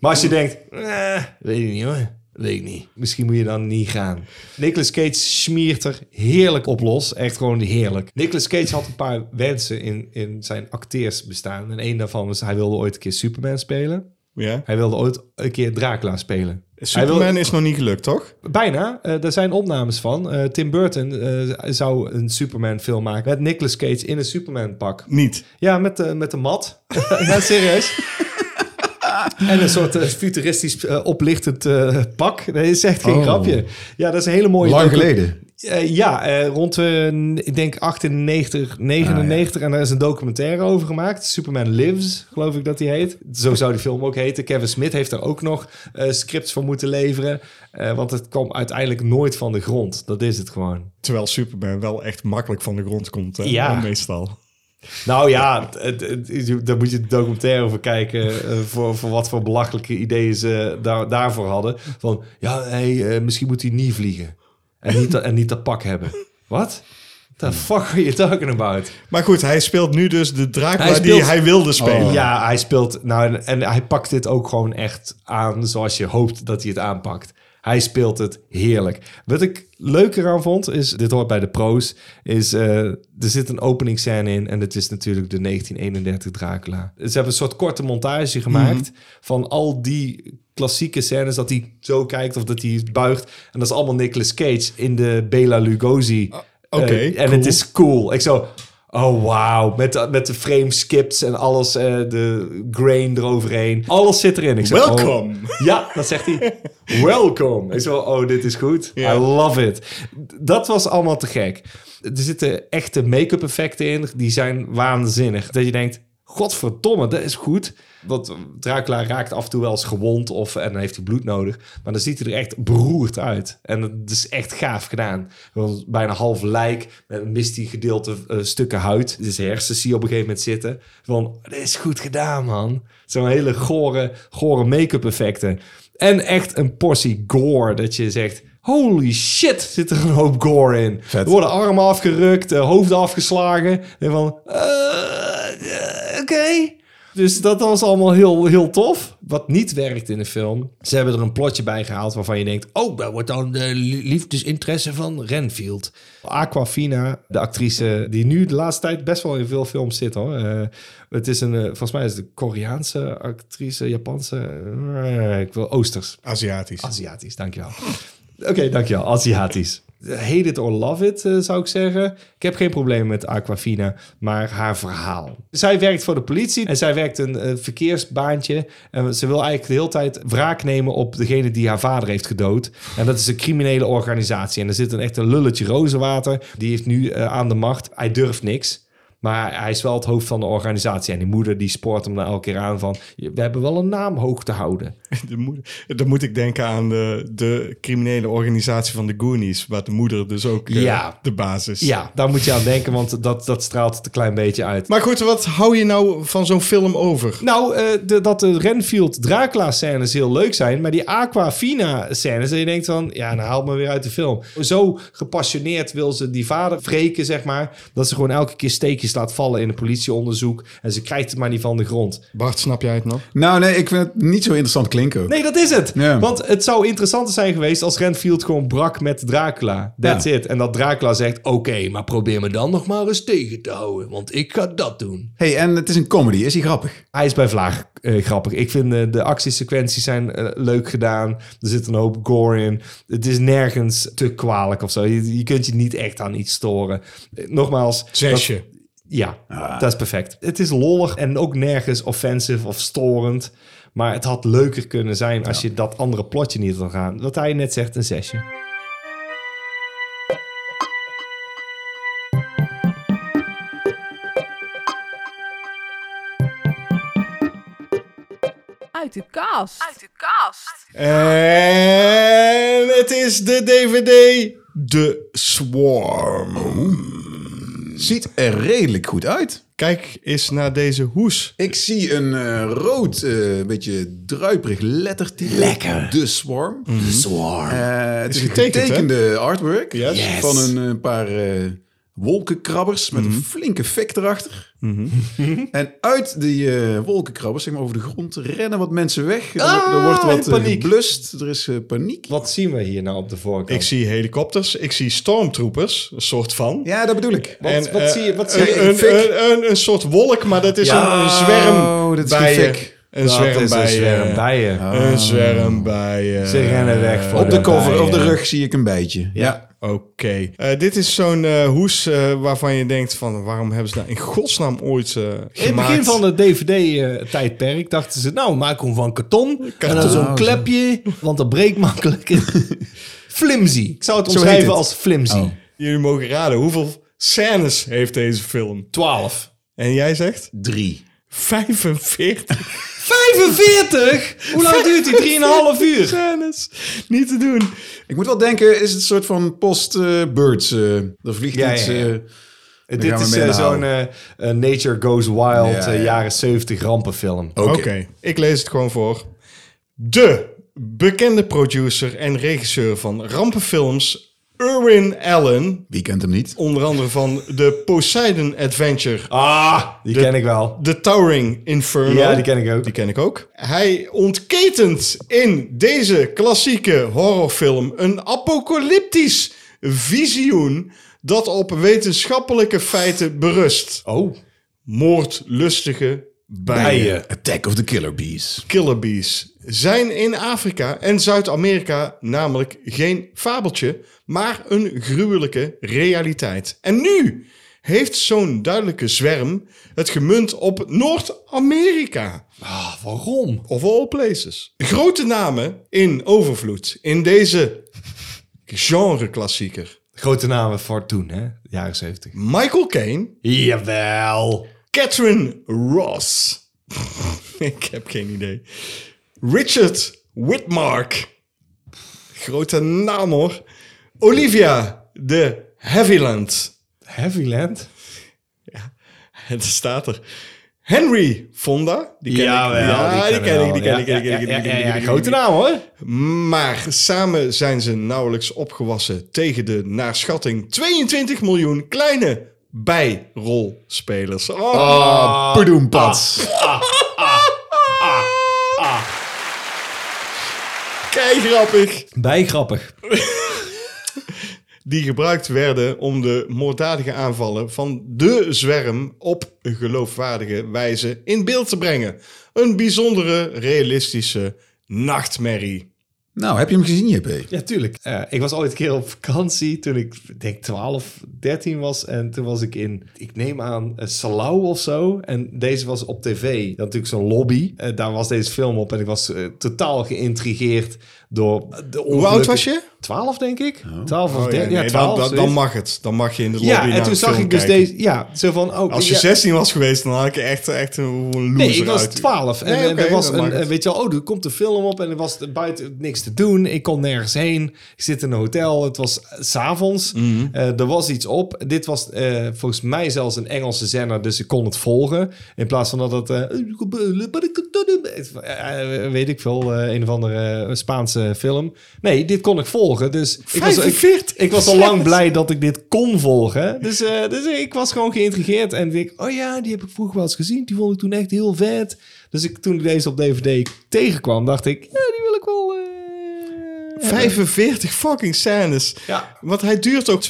Speaker 2: Maar als je denkt, eh, weet ik niet hoor. Weet ik niet. Misschien moet je dan niet gaan. Nicolas Cage smiert er heerlijk op los. Echt gewoon heerlijk. Nicolas Cage had een paar wensen in, in zijn acteersbestaan. En één daarvan was, hij wilde ooit een keer Superman spelen.
Speaker 3: Ja.
Speaker 2: Hij wilde ooit een keer Dracula spelen.
Speaker 3: Superman
Speaker 2: Hij wil-
Speaker 3: is nog niet gelukt, toch?
Speaker 2: Bijna. Eh daar zijn opnames van. Eh, Tim Burton eh, zou een Superman film maken met Nicolas Cage in een Superman pak.
Speaker 3: Niet.
Speaker 2: Ja, met de, met de mat. ja, serieus. En een soort eh, futuristisch eh, oplichtend eh, pak. Dat is echt geen
Speaker 4: Oh.
Speaker 2: grapje. Ja, dat is een hele mooie...
Speaker 4: Lang
Speaker 2: docu-
Speaker 4: geleden.
Speaker 2: Eh, ja, eh, rond, eh, ik denk 98, 99. En daar is een documentaire over gemaakt. Superman Lives, geloof ik dat die heet. Zo zou die film ook heten. Kevin Smith heeft daar ook nog eh, scripts voor moeten leveren. Eh, want het kwam uiteindelijk nooit van de grond. Dat is het gewoon.
Speaker 3: Terwijl Superman wel echt makkelijk van de grond komt, hè?
Speaker 2: Ja.
Speaker 3: meestal.
Speaker 2: Nou ja, het, het- het- daar moet je de documentaire over kijken. eh, voor, voor wat voor belachelijke ideeën ze daar, daarvoor hadden. Van ja, hey, eh, misschien moet hij niet vliegen. En niet, dat- en niet dat pak hebben. Wat? The fuck are you talking about?
Speaker 3: Maar goed, hij speelt nu dus de Dracula
Speaker 2: Hij speelt- Oh.
Speaker 3: die hij wilde spelen.
Speaker 2: Ja, hij speelt. Nou, en hij pakt dit ook gewoon echt aan zoals je hoopt dat hij het aanpakt. Hij speelt het heerlijk. Wat ik leuker aan vond, is, dit hoort bij de pro's, is eh, er zit een openingsscène in en het is natuurlijk de 1931 Dracula. Ze hebben een soort korte montage gemaakt
Speaker 3: Mhm.
Speaker 2: van al die klassieke scènes dat hij zo kijkt of dat hij buigt. En dat is allemaal Nicolas Cage in de Bela Lugosi.
Speaker 3: Oh, oké,
Speaker 2: Eh, en
Speaker 3: cool.
Speaker 2: het is cool. Ik zo, oh wauw. Met, de- met de frame skips en alles, eh, de grain eroverheen. Alles zit erin. Ik zo, oh.
Speaker 3: Welcome.
Speaker 2: ja, dat zegt hij. Welcome. Ik zo, oh, dit is goed.
Speaker 3: Ja.
Speaker 2: I love it. Dat was allemaal te gek. Er zitten echte make-up effecten in, die zijn waanzinnig. Dat je denkt, Godverdomme, dat is goed. Want Dracula raakt af en toe wel eens gewond of, en dan heeft hij bloed nodig. Maar dan ziet hij er echt beroerd uit. En dat is echt gaaf gedaan. Want bijna half lijk, met een misty gedeelte eh, stukken huid. Dus hersens zie je op een gegeven moment zitten. Van, dit is goed gedaan, man. Zo'n hele gore, gore make-up effecten. En echt een portie gore, dat je zegt... Holy shit, zit er een hoop gore in. Er worden armen afgerukt, eh, hoofden afgeslagen. En van, eh, eh, oké. Dus dat was allemaal heel, heel tof. Wat niet werkt in de film. Ze hebben er een plotje bij gehaald waarvan je denkt... oh, daar wordt dan de li- liefdesinteresse van Renfield. Aquafina, de actrice die nu de laatste tijd best wel in veel films zit. hoor. Eh, het is een, eh, volgens mij is het een Koreaanse actrice, Japanse... eh, ik wil Oosters.
Speaker 3: Aziatisch.
Speaker 2: Aziatisch, dankjewel. Oké, dankjewel. Aziatisch. Hate it or love it, eh, zou ik zeggen. Ik heb geen probleem met Aquafina, maar haar verhaal. Zij werkt voor de politie en zij werkt een eh, verkeersbaantje. En ze wil eigenlijk de hele tijd wraak nemen op degene die haar vader heeft gedood. En dat is een criminele organisatie. En er zit een echt een lulletje rozenwater. Die heeft nu eh, aan de macht. Hij durft niks. Maar hij is wel het hoofd van de organisatie. En die moeder die spoort hem dan elke keer aan van... we hebben wel een naam hoog te houden.
Speaker 3: De moeder, dan moet ik denken aan de, de criminele organisatie van de Goonies, waar de moeder dus ook eh,
Speaker 2: Ja.
Speaker 3: de basis.
Speaker 2: Ja, daar moet je aan denken, want dat, dat straalt het een klein beetje uit.
Speaker 3: Maar goed, wat hou je nou van zo'n film over?
Speaker 2: Nou, eh, de- dat de Renfield-Dracula-scènes heel leuk zijn, maar die Aquafina-scènes, en je denkt van, ja, nou haal me weer uit de film. Zo gepassioneerd wil ze die vader wreken, zeg maar, dat ze gewoon elke keer steekjes laat vallen in een politieonderzoek en ze krijgt het maar niet van de grond.
Speaker 3: Bart, snap jij het nog?
Speaker 4: Nou nee, ik vind het niet zo interessant klinken.
Speaker 2: Nee, dat is het.
Speaker 4: Ja.
Speaker 2: Want het zou interessanter zijn geweest als Renfield gewoon brak met Dracula. That's
Speaker 4: Ja.
Speaker 2: it. En dat Dracula zegt, oké, maar probeer me dan nog maar eens tegen te houden, want ik ga dat doen.
Speaker 4: hey, en het is een comedy. Is hij grappig?
Speaker 2: Hij is bij Vlaag eh, grappig. Ik vind eh, de actiesequenties zijn eh, leuk gedaan. Er zit een hoop gore in. Het is nergens te kwalijk of zo. Je, je kunt je niet echt aan iets storen. Eh, Nogmaals.
Speaker 3: Zesje.
Speaker 2: dat- ja, dat is perfect. Het is lollig en ook nergens offensive of storend. Maar het had leuker kunnen zijn als je dat andere plotje niet had gaan. Wat hij net zegt, een zesje.
Speaker 6: Uit de kast.
Speaker 3: En het is de DVD The Swarm.
Speaker 4: Ziet er redelijk goed uit.
Speaker 3: Kijk eens naar deze hoes.
Speaker 4: Ik zie een eh, rood, eh, beetje druiperig lettertype. Lekker. De Swarm. De Swarm. het is een
Speaker 3: getekend, hè?
Speaker 4: getekende artwork
Speaker 3: Yes.
Speaker 4: van een eh, paar eh, wolkenkrabbers met een flinke fik erachter. en uit die eh, wolkenkrabbers, zeg maar over de grond, rennen wat mensen weg. Er wo- er, wordt wat
Speaker 2: in
Speaker 4: eh,
Speaker 2: paniek.
Speaker 4: geblust. Er is eh, paniek.
Speaker 2: Wat zien we hier nou op de voorkant?
Speaker 3: Ik zie helikopters, ik zie stormtroopers, een soort van.
Speaker 4: Ja, dat bedoel ik.
Speaker 2: wat,
Speaker 3: En,
Speaker 2: wat
Speaker 3: eh,
Speaker 2: zie je? Wat zie je?
Speaker 3: Een,
Speaker 4: ik?
Speaker 3: een, een, een, een soort wolk, maar dat is
Speaker 4: Ja.
Speaker 3: een, een zwerm
Speaker 4: Oh, dat is geen
Speaker 3: bijen.
Speaker 4: fik.
Speaker 3: Een zwerm eh,
Speaker 2: bij
Speaker 3: bijen. Een zwerm eh, bijen.
Speaker 2: Ze rennen weg voor
Speaker 4: Op de cover,
Speaker 2: bijen.
Speaker 4: op de rug zie ik een bijtje. Ja.
Speaker 3: Oké. Eh, dit is zo'n eh, hoes eh, waarvan je denkt van... waarom hebben ze dat in godsnaam ooit eh, gemaakt?
Speaker 2: In het begin van het DVD-tijdperk dachten ze, nou, maak hem van karton. En dan zo'n klepje, want dat breekt makkelijk. flimsy. Ik zou het omschrijven
Speaker 4: het.
Speaker 2: als flimsy.
Speaker 3: Jullie mogen raden, hoeveel scènes heeft deze film?
Speaker 2: 12.
Speaker 3: En jij zegt?
Speaker 4: Drie.
Speaker 3: 45
Speaker 2: 45? Hoe lang duurt die? 3,5 uur.
Speaker 3: scènes. Niet te doen.
Speaker 4: Ik moet wel denken, is het een soort van post-birds? eh, er vliegt
Speaker 2: Ja,
Speaker 4: iets.
Speaker 2: ja, ja.
Speaker 4: eh,
Speaker 2: Dit
Speaker 4: gaan we
Speaker 2: is
Speaker 4: mee
Speaker 2: eh,
Speaker 4: naar
Speaker 2: zo'n eh, eh, Nature Goes Wild,
Speaker 4: Ja,
Speaker 2: eh,
Speaker 4: ja.
Speaker 2: jaren 70 rampenfilm.
Speaker 4: Oké.
Speaker 3: Oké, ik lees het gewoon voor. De bekende producer en regisseur van rampenfilms... Erwin Allen,
Speaker 4: Wie kent hem niet?
Speaker 3: onder andere van de Poseidon Adventure...
Speaker 2: Ah, die ken ik wel.
Speaker 3: The Towering Inferno.
Speaker 2: Ja, die ken ik ook.
Speaker 3: Die ken ik ook. Hij ontketent in deze klassieke horrorfilm een apocalyptisch visioen dat op wetenschappelijke feiten berust.
Speaker 2: Oh,
Speaker 3: Moordlustige bijen.
Speaker 4: Eh,
Speaker 2: eh.
Speaker 4: Attack of the Killer Bees.
Speaker 3: Killer bees zijn in Afrika en Zuid-Amerika namelijk geen fabeltje, maar een gruwelijke realiteit. En nu heeft zo'n duidelijke zwerm het gemunt op Noord-Amerika.
Speaker 2: Ah, waarom?
Speaker 3: Of all places. Grote namen in overvloed in deze genre-klassieker.
Speaker 2: Grote namen voor toen, hè? Jaren 70.
Speaker 3: Michael Caine,
Speaker 2: Jawel.
Speaker 3: Catherine Ross. Ik heb geen idee. Richard Whitmark. Grote naam hoor. Olivia de Havilland.
Speaker 2: Heavyland?
Speaker 3: Het staat er. Henry Fonda. Die ken ik. Ja, die ken ik, die ken ik, die ken ik, die ken ik, die ken ik, die ken ik, die ken ik.
Speaker 2: Grote naam hoor.
Speaker 3: Maar samen zijn ze nauwelijks opgewassen tegen de naar schatting 22 miljoen kleine bijrolspelers. Oh,
Speaker 2: Ah,
Speaker 4: Ah, Poedoempats.
Speaker 3: kei grappig.
Speaker 2: Bijgrappig.
Speaker 3: Die gebruikt werden om de moorddadige aanvallen van de zwerm op geloofwaardige wijze in beeld te brengen. Een bijzondere, realistische nachtmerrie.
Speaker 4: Nou, heb je hem gezien, JP?
Speaker 2: Ja, tuurlijk. Eh, ik was ooit een keer op vakantie toen ik denk 12, 13 was. En toen was ik in, ik neem aan, eh, Salau of zo. En deze was op tv. Dat natuurlijk zo'n lobby. Eh, daar was deze film op. En ik was eh, totaal geïntrigeerd door de
Speaker 3: Hoe oud was je?
Speaker 2: 12, denk ik. 12 of
Speaker 3: Oh ja,
Speaker 2: 13.
Speaker 3: nee, dan-
Speaker 2: Ja, 12.
Speaker 3: dan, dan
Speaker 2: zoiets.
Speaker 3: mag het. Dan mag je in de lobby
Speaker 2: ja,
Speaker 3: naar
Speaker 2: en toen
Speaker 3: een
Speaker 2: zag
Speaker 3: film
Speaker 2: ik dus
Speaker 3: kijken.
Speaker 2: deze. Ja, zo van. Oh,
Speaker 3: Als je
Speaker 2: ja,
Speaker 3: 16 was geweest, dan had ik echt, echt een hoe een loser
Speaker 2: Nee, ik was
Speaker 3: uit.
Speaker 2: 12. En,
Speaker 3: Nee,
Speaker 2: eh,
Speaker 3: oké,
Speaker 2: er was
Speaker 3: dan
Speaker 2: een,
Speaker 3: mag het.
Speaker 2: eh, weet je wel, oh, er komt een film op en er was buiten niks te doen. Ik kon nergens heen. Ik zit in een hotel. Het was eh, s'avonds.
Speaker 3: Mhm.
Speaker 2: Eh, er was iets op. Dit was eh, volgens mij zelfs een Engelse zender, dus ik kon het volgen. In plaats van dat het... eh, eh, weet ik veel, eh, een of andere eh, Spaanse film. Nee, dit kon ik volgen. Dus ik was, ik,
Speaker 3: 45.
Speaker 2: ik was al lang blij dat ik dit kon volgen. Dus, eh, dus ik was gewoon geïntrigeerd. En ik, oh ja, die heb ik vroeger wel eens gezien. Die vond ik toen echt heel vet. Dus ik, toen ik deze op DVD tegenkwam, dacht ik, ja, die wil ik wel. eh,
Speaker 3: 45 fucking scènes.
Speaker 2: Ja.
Speaker 3: Want hij duurt ook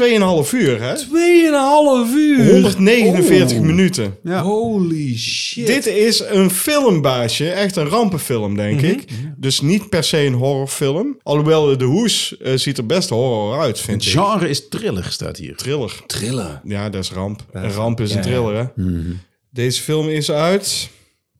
Speaker 3: 2,5 uur, hè?
Speaker 2: Tweeënhalf uur.
Speaker 3: 149
Speaker 2: Oh.
Speaker 3: minuten.
Speaker 2: Holy shit.
Speaker 3: Dit is een filmbaasje, echt een rampenfilm, denk
Speaker 2: Mhm,
Speaker 3: ik. Dus niet per se een horrorfilm. Alhoewel de hoes eh, ziet er best horror uit, vind ik.
Speaker 4: Genre is thriller, staat hier.
Speaker 3: Thriller.
Speaker 2: trillen.
Speaker 3: Ja, dat is ramp. Een ramp is een
Speaker 2: ja, Mhm. ja.
Speaker 3: thriller, hè? Deze film is uit...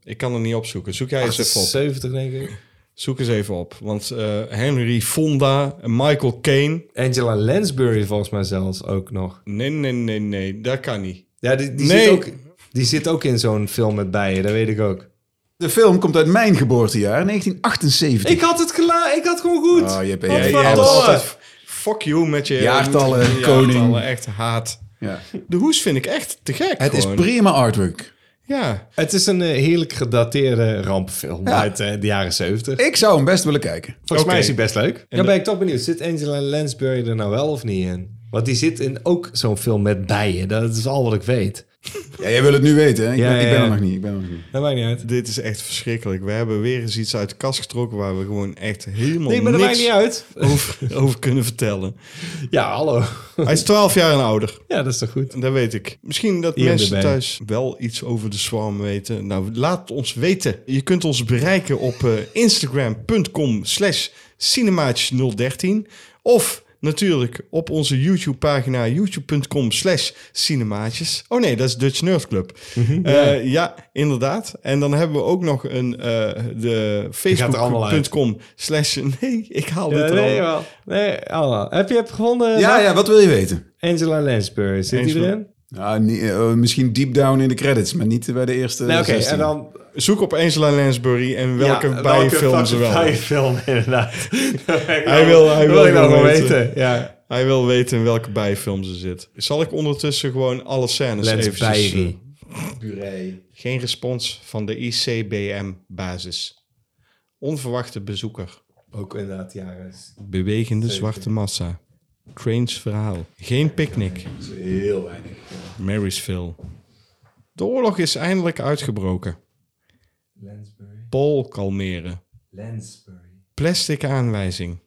Speaker 3: Ik kan het niet opzoeken. Zoek jij eens even op.
Speaker 2: 70, denk ik.
Speaker 3: Zoek eens even op. Want eh, Henry Fonda en Michael Caine...
Speaker 2: Angela Lansbury, volgens mij zelfs ook nog.
Speaker 3: Nee, nee, nee, nee. Dat kan niet.
Speaker 2: Ja, die, die,
Speaker 3: Nee.
Speaker 2: zit, ook, die zit ook in zo'n film met bijen, dat weet ik ook.
Speaker 4: De film komt uit mijn geboortejaar, 1978.
Speaker 2: Ik had het gela ik had gewoon goed.
Speaker 4: Oh, JP,
Speaker 2: Wat
Speaker 4: jij-
Speaker 2: voor
Speaker 4: jij
Speaker 2: dolle.
Speaker 4: was
Speaker 3: altijd Fuck you met je...
Speaker 4: Jaartallen,
Speaker 3: met je
Speaker 4: koning.
Speaker 3: jaartallen, Echt haat.
Speaker 4: Ja.
Speaker 3: De hoes vind ik echt te gek.
Speaker 4: Het is
Speaker 3: gewoon.
Speaker 4: prima artwork.
Speaker 3: Ja.
Speaker 2: Het is een eh, heerlijk gedateerde rampfilm
Speaker 4: Ja.
Speaker 2: uit eh, de jaren 70.
Speaker 4: Ik zou hem best willen kijken.
Speaker 2: Volgens
Speaker 3: Oké.
Speaker 2: mij is hij best leuk. Ja, ben ik toch benieuwd. Zit Angela Lansbury er nou wel of niet in? Want die zit in ook zo'n film met bijen. Dat is al wat ik weet.
Speaker 4: Ja, jij wil het nu weten, hè? Ik,
Speaker 2: Ja,
Speaker 4: ben, ik
Speaker 2: ja,
Speaker 4: ben
Speaker 2: ja.
Speaker 4: er nog niet. Ik ben er nog niet.
Speaker 2: Dat maakt niet uit.
Speaker 3: Dit is echt verschrikkelijk. We hebben weer eens iets uit de kast getrokken waar we gewoon echt helemaal
Speaker 2: Nee, maar dat maakt
Speaker 3: niks
Speaker 2: niet uit.
Speaker 3: over, over kunnen vertellen.
Speaker 2: Ja, hallo.
Speaker 3: Hij is 12 jaar en ouder.
Speaker 2: Ja, dat is toch goed.
Speaker 3: Dat weet ik. Misschien dat
Speaker 2: IMDb.
Speaker 3: mensen thuis wel iets over de Swarm weten. Nou, laat het ons weten. Je kunt ons bereiken op eh, instagram.com slash cinemaatje013. Of natuurlijk op onze YouTube pagina youtube.com slash cinemaatjes. Oh nee, dat is Dutch Nerd Club.
Speaker 2: Mhm,
Speaker 3: Eh, ja. inderdaad. En dan hebben we ook nog een eh, de
Speaker 2: gaat er allemaal uit.
Speaker 3: facebook.com slash... Nee, ik haal dit er
Speaker 2: nee,
Speaker 3: al.
Speaker 2: wel. Nee, allemaal. Heb je het gevonden?
Speaker 4: Ja, ja, wat wil je weten?
Speaker 2: Angela Lansbury, zit die
Speaker 3: Angela-
Speaker 2: erin?
Speaker 4: Nou, niet- eh, misschien deep down in de credits, maar niet bij de eerste.
Speaker 2: Nee, oké.
Speaker 4: 16.
Speaker 2: En dan
Speaker 3: Zoek op Angela Lansbury en welke
Speaker 2: Ja,
Speaker 3: bijfilm
Speaker 2: welke
Speaker 3: ze wel.
Speaker 2: Bijfilm, inderdaad.
Speaker 3: Hij wil- hij wil
Speaker 2: ik nou
Speaker 3: wel
Speaker 2: gewoon
Speaker 3: weten.
Speaker 2: weten. Ja.
Speaker 3: Hij wil weten in welke bijfilm ze zit. Zal ik ondertussen gewoon alle scènes
Speaker 2: Lens
Speaker 3: eventjes...
Speaker 2: Bijri.
Speaker 3: eh, geen respons van de ICBM-basis. Onverwachte bezoeker.
Speaker 2: Ook inderdaad, jaren.
Speaker 3: Bewegende zwarte massa. Trains verhaal. Geen picknick.
Speaker 4: Heel weinig.
Speaker 3: Marysville. De oorlog is eindelijk uitgebroken.
Speaker 2: Lansbury.
Speaker 3: Paul kalmeren.
Speaker 2: Lansbury.
Speaker 3: Plastic aanwijzing.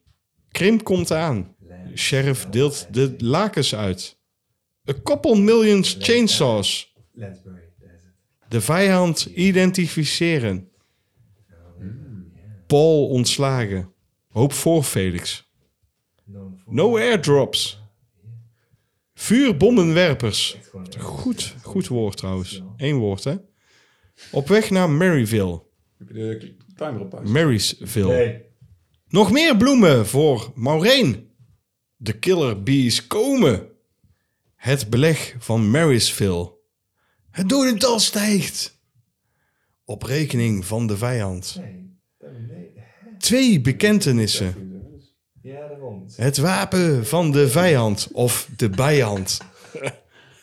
Speaker 3: Krim komt aan. Sheriff deelt de lakens uit. A couple millions chainsaws.
Speaker 2: Lansbury.
Speaker 3: De vijand identificeren. Paul ontslagen. Hoop voor Felix. No airdrops. Vuurbommenwerpers. Goed, goed woord trouwens. Eén woord, hè? Op weg naar Maryville.
Speaker 4: Heb je de timer op pauze?
Speaker 3: Marysville. Nog meer bloemen voor Maureen. De killer bees komen. Het beleg van Marysville. Het dodental stijgt. Op rekening van de vijand.
Speaker 4: Oh,
Speaker 3: Twee bekentenissen.
Speaker 2: Ja, daarom.
Speaker 3: Het wapen van de vijand of de bijhand.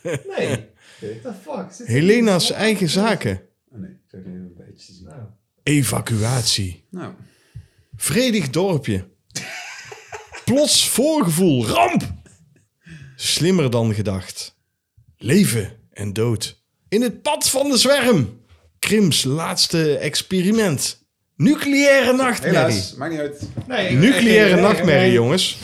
Speaker 2: Nee. The fuck? Zit
Speaker 3: Helena's eigen zaken.
Speaker 4: Oh, nee, ik zou het even een beetje zien.
Speaker 3: Evacuatie.
Speaker 4: Nou,
Speaker 3: Vredig dorpje. Plots voorgevoel. Ramp! Slimmer dan gedacht. Leven en dood. In het pad van de zwerm. Krims laatste experiment. Nucleaire nachtmerrie.
Speaker 4: helaas, maakt niet uit.
Speaker 3: Nucleaire
Speaker 2: Nee,
Speaker 3: nachtmerrie,
Speaker 2: nee.
Speaker 3: jongens.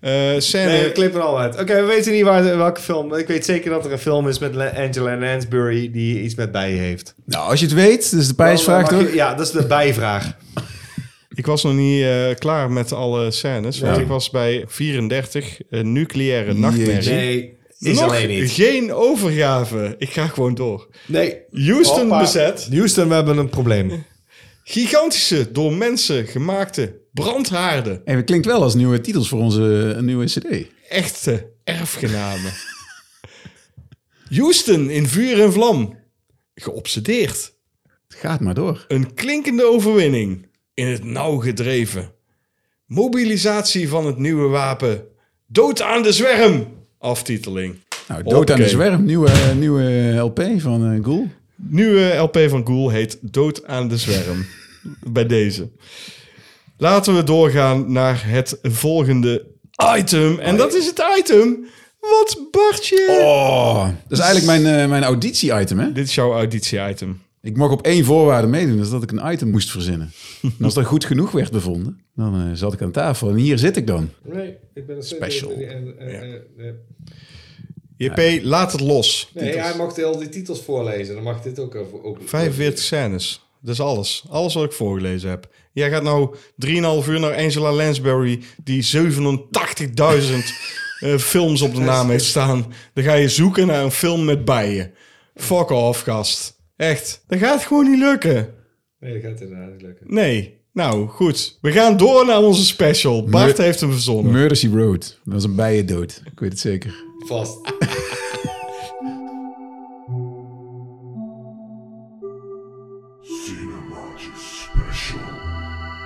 Speaker 3: Eh scène...
Speaker 2: Nee, we knippen er al uit. Oké, we weten niet waar, welke film. Ik weet zeker dat er een film is met La- Angela Lansbury die iets met bijen heeft.
Speaker 4: Nou, als je het weet, dus de prijsvraag
Speaker 2: Dan mag
Speaker 4: toch?
Speaker 2: je- Ja, dat is de bijvraag.
Speaker 3: Ik was nog niet eh, klaar met alle scènes. Want ik was bij 34, een nucleaire nachtmerrie.
Speaker 2: Nee, is
Speaker 3: Nog
Speaker 2: alleen niet.
Speaker 3: geen overgave. Ik ga gewoon door.
Speaker 2: Nee.
Speaker 3: Houston
Speaker 2: Hoppa.
Speaker 3: bezet.
Speaker 2: Houston, we hebben een probleem.
Speaker 3: Gigantische, door mensen gemaakte brandhaarden.
Speaker 4: En het klinkt wel als nieuwe titels voor onze eh, nieuwe CD.
Speaker 3: Echte erfgenamen. Houston in vuur en vlam. Geobsedeerd.
Speaker 4: Gaat maar door.
Speaker 3: Een klinkende overwinning. In het nauw gedreven. Mobilisatie van het nieuwe wapen. Dood aan de zwerm. Aftiteling.
Speaker 4: Nou, Dood aan de
Speaker 3: Oké.
Speaker 4: Zwerm, nieuwe, nieuwe LP van eh Ghoul.
Speaker 3: Nieuwe LP van Ghoul heet Dood aan de Zwerm. Bij deze. Laten we doorgaan naar het volgende item. En dat is het item. Wat Bartje.
Speaker 4: Oh, dat is eigenlijk mijn, eh, mijn auditie-item, hè?
Speaker 3: Dit is jouw auditie-item.
Speaker 4: Ik mocht op één voorwaarde meedoen, dat is dat ik een item moest verzinnen. En als dat goed genoeg werd bevonden, dan eh, zat ik aan tafel. En hier zit ik dan.
Speaker 2: Nee, ik ben een
Speaker 4: Special. eh,
Speaker 3: JP, laat het los.
Speaker 2: Nee, hij mag al die titels voorlezen. Dan mag dit ook over.
Speaker 3: 45 scènes. Dat is alles. Alles wat ik voorgelezen heb. Jij gaat nou 3,5 uur naar Angela Lansbury, die 87.000 eh, films op de naam heeft staan. Dan ga je zoeken naar een film met bijen. Fuck off, gast. Echt. Dat gaat gewoon niet lukken.
Speaker 2: Nee, dat gaat inderdaad niet lukken.
Speaker 3: Nee. Nou, goed. We gaan door naar onze special. Bart heeft hem verzonnen.
Speaker 4: Mercy Road. Dat was een bijendood. Ik weet het zeker.
Speaker 2: Vast.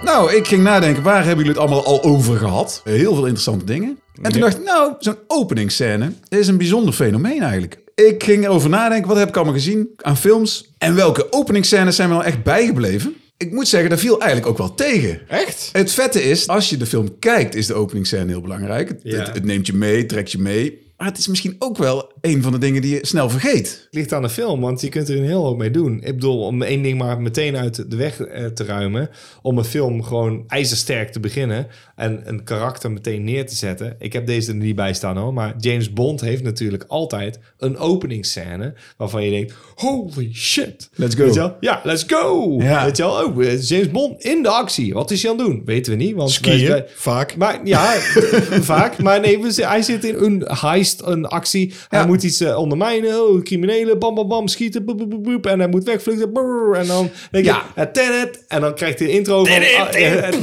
Speaker 4: Nou, ik ging nadenken, waar hebben jullie het allemaal al over gehad? Heel veel interessante dingen. En toen dacht ik, nou, zo'n openingsscène is een bijzonder fenomeen eigenlijk. Ik ging erover nadenken, wat heb ik allemaal gezien aan films? En welke openingsscènes zijn me nou echt bijgebleven? Ik moet zeggen, dat viel eigenlijk ook wel tegen.
Speaker 3: Echt?
Speaker 4: Het vette is, als je de film kijkt, is de openingsscène heel belangrijk. Het,
Speaker 2: Ja.
Speaker 4: het, het neemt je mee, trekt je mee. Maar het is misschien ook wel een van de dingen die je snel vergeet.
Speaker 2: Het ligt aan de film, want je kunt er een heel hoop mee doen. Ik bedoel, om één ding maar meteen uit de weg eh, te ruimen. Om een film gewoon ijzersterk te beginnen. En een karakter meteen neer te zetten. Ik heb deze er niet bij staan hoor. Maar James Bond heeft natuurlijk altijd een openingsscène. Waarvan je denkt, holy shit.
Speaker 4: Let's go.
Speaker 2: Weet je wel? Ja, let's go.
Speaker 4: Ja.
Speaker 2: Weet je wel? Oh, eh, James Bond in de actie. Wat is hij aan het doen? Weten we niet. Want wij-
Speaker 3: Skiën?
Speaker 2: wij-
Speaker 3: Vaak.
Speaker 2: maar ja, vaak. Maar nee, we- hij zit in een heist, een actie. Hij
Speaker 4: Ja.
Speaker 2: moet iets eh, ondermijnen. Oh, criminelen, bam, bam, bam, schieten. Boep, boep, boep, boep. en hij moet wegvluchten. brrr. en dan denk je,
Speaker 4: Ja.
Speaker 2: eh, tenet. En dan krijgt hij een intro van... ah, eh, eh,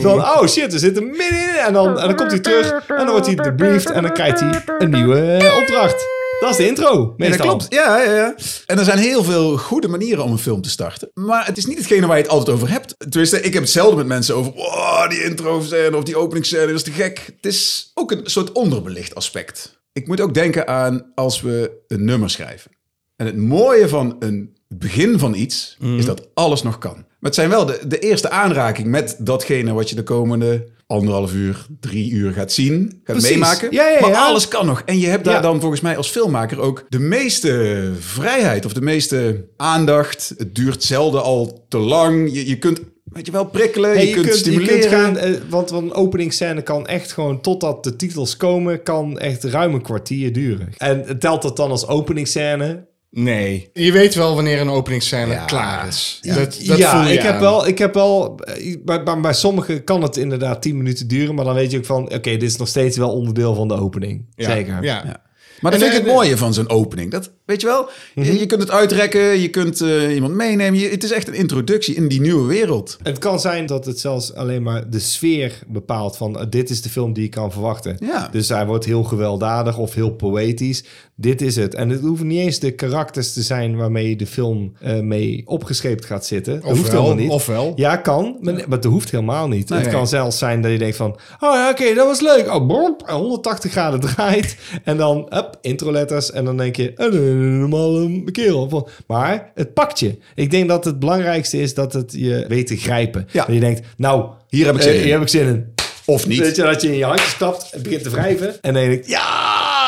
Speaker 2: Van, oh shit, we zitten middenin. En dan, en dan komt hij terug. En dan wordt hij debriefed. En dan krijgt hij een nieuwe eh, opdracht. Dat is de intro,
Speaker 4: En
Speaker 2: meestal.
Speaker 4: Ja, ja, ja. En er zijn heel veel goede manieren om een film te starten. Maar het is niet hetgene waar je het altijd over hebt. Tenminste, ik heb het zelden met mensen over... Wow, die intro-scène of die openingsscène, dat is te gek. Het is ook een soort onderbelicht aspect. Ik moet ook denken aan als we een nummer schrijven. En het mooie van een het begin van iets
Speaker 2: Mhm.
Speaker 4: is dat alles nog kan. Maar het zijn wel de, de eerste aanraking met datgene wat je de komende anderhalf uur, drie uur gaat zien, gaat
Speaker 2: Precies.
Speaker 4: meemaken.
Speaker 2: Ja, ja,
Speaker 4: maar
Speaker 2: ja.
Speaker 4: alles kan nog. En je hebt daar
Speaker 2: Ja.
Speaker 4: dan volgens mij als filmmaker ook de meeste vrijheid of de meeste aandacht. Het duurt zelden al te lang. Je, je kunt, weet je wel, prikkelen,
Speaker 2: Hey,
Speaker 4: je, kunt,
Speaker 2: je
Speaker 4: stimuleren.
Speaker 2: kunt gaan, eh, want een openingsscène kan echt gewoon totdat de titels komen, kan echt ruim een kwartier duren. En telt dat dan als openingsscène?
Speaker 3: Nee. Je weet wel wanneer een openingsscène klaar is. Dat, dat
Speaker 2: ja,
Speaker 3: voel je
Speaker 2: ik heb
Speaker 3: aan.
Speaker 2: wel, ik heb wel eh, bij, bij, bij sommigen kan het inderdaad 10 minuten duren, maar dan weet je ook van, oké, dit is nog steeds wel onderdeel van de opening.
Speaker 3: Ja,
Speaker 2: Zeker.
Speaker 3: Ja.
Speaker 4: Maar dat
Speaker 3: En,
Speaker 4: vind
Speaker 3: eh,
Speaker 4: ik het mooie van zo'n opening. Dat Weet je wel? Je-
Speaker 2: Mhm.
Speaker 4: Je, kunt het uitrekken, je kunt eh, iemand meenemen. Je- het is echt een introductie in die nieuwe wereld.
Speaker 2: Het kan zijn dat het zelfs alleen maar de sfeer bepaalt van eh, dit is de film die ik kan verwachten.
Speaker 4: Ja.
Speaker 2: Dus hij wordt heel gewelddadig of heel poëtisch. Dit is het. En het hoeven niet eens de karakters te zijn waarmee je de film eh, mee opgescheept gaat zitten. Dat hoeft
Speaker 3: Ofwel,
Speaker 2: helemaal niet.
Speaker 3: ofwel.
Speaker 2: Ja, kan. Maar, maar dat hoeft helemaal niet.
Speaker 4: Nee.
Speaker 2: het kan zelfs zijn dat je denkt van, oh ja, oké, dat was leuk. Oh, bromp, 180 graden draait. En dan, up, introletters. En dan denk je, eh, een normale ehm, kerel. Van- Maar het pakt je. Ik denk dat het belangrijkste is dat het je weet te grijpen.
Speaker 4: Ja.
Speaker 2: Dat je denkt, nou,
Speaker 4: Hier heb ik
Speaker 2: eh,
Speaker 4: zin in.
Speaker 2: Hier heb ik zin in.
Speaker 4: Of niet.
Speaker 2: Weet je, dat je in je handje stapt, het begint te wrijven. En dan denk je, ja!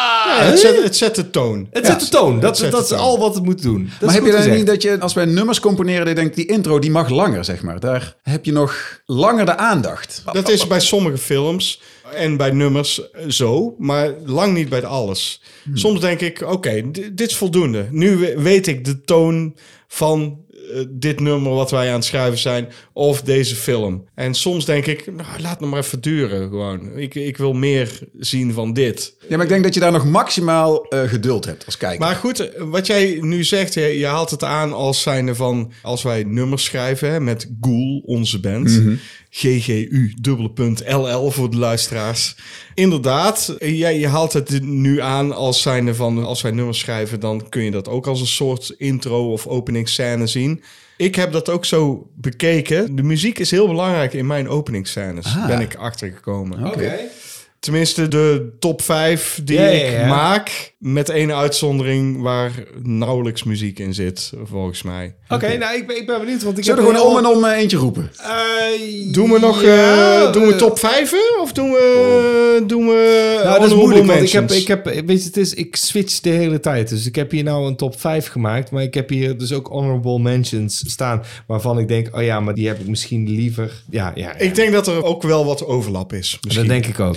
Speaker 3: het, zet, het zet de toon.
Speaker 2: Het zet de toon. Dat,
Speaker 3: zet
Speaker 2: dat
Speaker 3: de
Speaker 2: is
Speaker 3: toon.
Speaker 2: al wat het moet doen. Dat
Speaker 4: maar
Speaker 2: is
Speaker 4: heb
Speaker 2: goed
Speaker 4: je dan
Speaker 2: gezegd.
Speaker 4: niet dat je, als wij nummers componeren, dat je denkt, die intro die mag langer, zeg maar. Daar heb je nog langer de aandacht.
Speaker 3: Dat is bij sommige films en bij nummers eh, zo, maar lang niet bij alles. Soms denk ik, oké, di- dit is voldoende. Nu we- weet ik de toon van eh, dit nummer wat wij aan het schrijven zijn of deze film. En soms denk ik, nou, laat het maar even duren gewoon. Ik, ik wil meer zien van dit.
Speaker 4: Ja, maar ik denk dat je daar nog maximaal eh, geduld hebt als kijker.
Speaker 3: Maar goed, eh, wat jij nu zegt, je, je haalt het aan als zijnde van als wij nummers schrijven hè, met Ghoul, onze band. GGU, dubbele punt, LL voor de luisteraars. Inderdaad, eh, jij, je haalt het nu aan als zijnde van als wij nummers schrijven, dan kun je dat ook als een soort intro of openingsscène zien. Ik heb dat ook zo bekeken. De muziek is heel belangrijk in mijn openingsscènes. Ben ik achtergekomen.
Speaker 2: Oké.
Speaker 3: Tenminste, de top 5 die
Speaker 2: Ja, ja,
Speaker 3: ik
Speaker 2: ja.
Speaker 3: maak. Met één uitzondering waar nauwelijks muziek in zit, volgens mij.
Speaker 2: Oké, nou, ik ben, ik ben benieuwd. Want ik
Speaker 4: Zullen
Speaker 2: heb
Speaker 4: we gewoon om
Speaker 2: heel-
Speaker 4: en om eh, eentje roepen?
Speaker 2: Eh,
Speaker 3: Doen we nog
Speaker 2: ja,
Speaker 3: eh, doen we
Speaker 2: eh,
Speaker 3: top 5 of doen we, doen we
Speaker 2: Nou, dat is
Speaker 3: honorable
Speaker 2: moeilijk, want ik
Speaker 3: mentions?
Speaker 2: heb, ik heb, weet je, het is, ik switch de hele tijd. Dus ik heb hier nou een top 5 gemaakt, maar ik heb hier dus ook honorable mentions staan, waarvan ik denk, oh ja, maar die heb ik misschien liever. Ja, ja, ja.
Speaker 3: Ik denk dat er ook wel wat overlap is.
Speaker 2: dat
Speaker 3: Misschien.
Speaker 2: denk ik ook.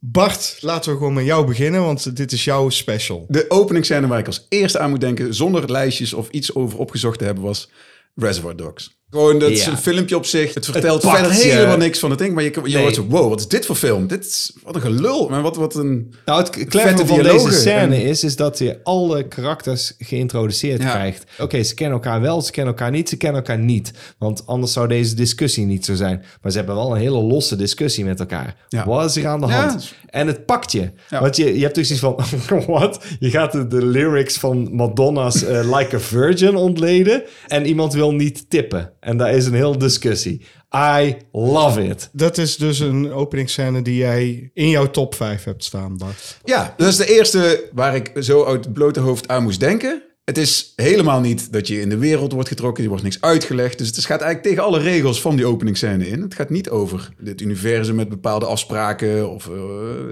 Speaker 3: Bart, laten we gewoon met jou beginnen, want dit is jouw special.
Speaker 4: De openingsscène waar ik als eerste aan moet denken, zonder lijstjes of iets over opgezocht te hebben, was Reservoir Dogs. Gewoon, dat is
Speaker 2: Ja.
Speaker 4: een filmpje op zich. Het vertelt
Speaker 2: pakt
Speaker 4: verder
Speaker 2: je.
Speaker 4: helemaal niks van het ding. Maar je, je
Speaker 2: Nee.
Speaker 4: hoort zo, wow, wat is dit voor film? Dit is, wat een gelul. Maar wat, wat een...
Speaker 2: Nou, het clevere van
Speaker 4: dialogen
Speaker 2: deze scène
Speaker 4: en-
Speaker 2: is, is dat je alle karakters geïntroduceerd
Speaker 4: Ja.
Speaker 2: krijgt. Oké, ze kennen elkaar wel, ze kennen elkaar niet, ze kennen elkaar niet. Want anders zou deze discussie niet zo zijn. Maar ze hebben wel een hele losse discussie met elkaar.
Speaker 4: Ja.
Speaker 2: Wat is hier aan de
Speaker 4: Ja.
Speaker 2: hand? En het pakt je.
Speaker 4: Ja.
Speaker 2: Want je, je hebt dus iets van, wat? Je gaat de, de lyrics van Madonna's eh, Like a Virgin ontleden. En iemand wil niet tippen. En daar is een hele discussie. I love it.
Speaker 3: Dat is dus een openingsscène die jij in jouw top 5 hebt staan, Bart.
Speaker 4: Ja, dat is de eerste waar ik zo uit het blote hoofd aan moest denken. Het is helemaal niet dat je in de wereld wordt getrokken, er wordt niks uitgelegd. Dus het gaat eigenlijk tegen alle regels van die openingsscène in. Het gaat niet over dit universum met bepaalde afspraken of... eh,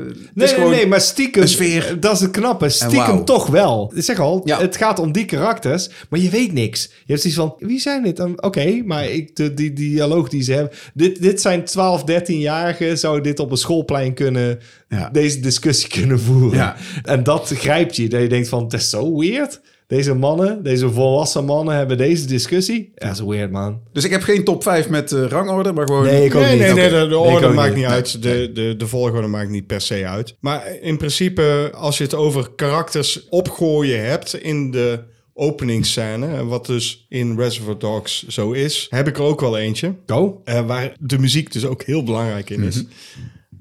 Speaker 4: het is
Speaker 2: Nee, nee,
Speaker 4: gewoon-
Speaker 2: nee, maar stiekem. eh,
Speaker 4: een sfeer.
Speaker 2: Dat is het knappe. Stiekem
Speaker 4: wauw.
Speaker 2: toch wel. Ik zeg al,
Speaker 4: Ja.
Speaker 2: het gaat om die karakters, maar je weet niks. Je hebt zoiets van, wie zijn dit? dan? Oké, maar ik, de, die, die dialoog die ze hebben. Dit, dit zijn 12, 13-jarigen, zou dit op een schoolplein kunnen,
Speaker 4: Ja.
Speaker 2: deze discussie kunnen voeren.
Speaker 4: Ja.
Speaker 2: En dat grijpt je, dat je denkt van, dat is zo weird. Deze mannen, deze volwassen mannen hebben deze discussie. Dat is weird, man.
Speaker 4: Dus ik heb geen top 5 met eh, rangorde, maar gewoon...
Speaker 2: Nee, ik ook
Speaker 3: nee, nee,
Speaker 2: niet.
Speaker 3: nee,
Speaker 2: Oké.
Speaker 3: de, de
Speaker 2: ik
Speaker 3: orde
Speaker 2: ook
Speaker 3: maakt
Speaker 2: niet.
Speaker 3: niet uit. De, de, de volgorde maakt niet per se uit. Maar in principe, als je het over karakters opgooien hebt in de openingsscène, wat dus in Reservoir Dogs zo is, heb ik er ook wel eentje.
Speaker 2: Go.
Speaker 3: eh, waar de muziek dus ook heel belangrijk in
Speaker 2: Mhm.
Speaker 3: is.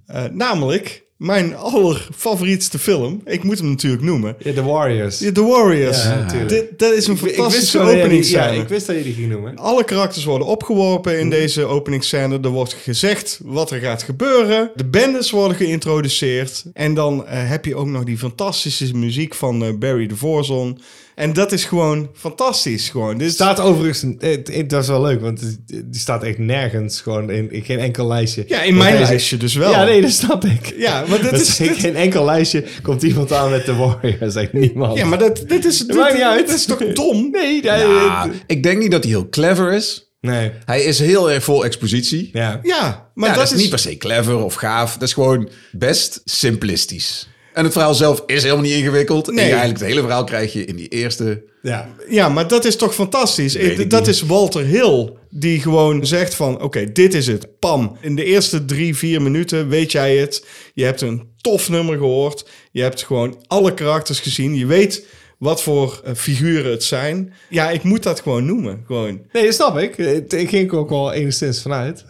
Speaker 3: Eh, namelijk mijn allerfavorietste film. Ik moet hem natuurlijk noemen.
Speaker 2: Ja, The Warriors.
Speaker 3: The Warriors.
Speaker 2: Ja, natuurlijk.
Speaker 3: Dit- dat is een
Speaker 2: Ik wist
Speaker 3: fantastische
Speaker 2: wel dat jij die-
Speaker 3: openingsscène.
Speaker 2: Ja, ik wist dat je die ging noemen.
Speaker 3: Alle karakters worden opgeworpen in deze openingsscène. Er wordt gezegd wat er gaat gebeuren. De bendes worden geïntroduceerd. En dan eh, heb je ook nog die fantastische muziek van eh, Barry de Voorzon. En dat is gewoon fantastisch. Gewoon. Dit is-
Speaker 2: staat overigens, het, het- dat is wel leuk, want het- die staat echt nergens, gewoon in, in geen enkel lijstje.
Speaker 3: ja, in mijn
Speaker 2: Want deze-
Speaker 3: lijstje dus wel.
Speaker 2: Ja, nee, dat snap ik.
Speaker 3: Ja, want dit
Speaker 2: Dat
Speaker 3: is,
Speaker 2: in
Speaker 3: dit-
Speaker 2: geen enkel lijstje komt iemand aan met de Warriors, echt niemand.
Speaker 3: ja, maar dat, dit is, dit,
Speaker 2: maakt niet uit.
Speaker 3: dit is toch dom?
Speaker 2: Nee, dat-
Speaker 4: Ja, Ah, ik denk niet dat hij heel clever is.
Speaker 2: nee.
Speaker 4: Hij is heel erg vol expositie. Ja,
Speaker 2: Ja.
Speaker 3: Ja, maar
Speaker 4: dat, is niet per se clever of gaaf. Dat is gewoon best simplistisch. En het verhaal zelf is helemaal niet ingewikkeld. En
Speaker 3: Nee.
Speaker 4: je eigenlijk het hele verhaal krijg je in die eerste...
Speaker 2: ja.
Speaker 3: Ja, maar dat is toch fantastisch?
Speaker 4: Weet ik
Speaker 3: dat
Speaker 4: niet.
Speaker 3: is Walter Hill die gewoon zegt van... oké, dit is het, pam. In de eerste drie, vier minuten weet jij het. Je hebt een tof nummer gehoord. Je hebt gewoon alle karakters gezien. Je weet wat voor eh, figuren het zijn. Ja, ik moet dat gewoon noemen. Gewoon.
Speaker 2: Nee, dat snap ik. Het- Ik ging er ook wel enigszins vanuit.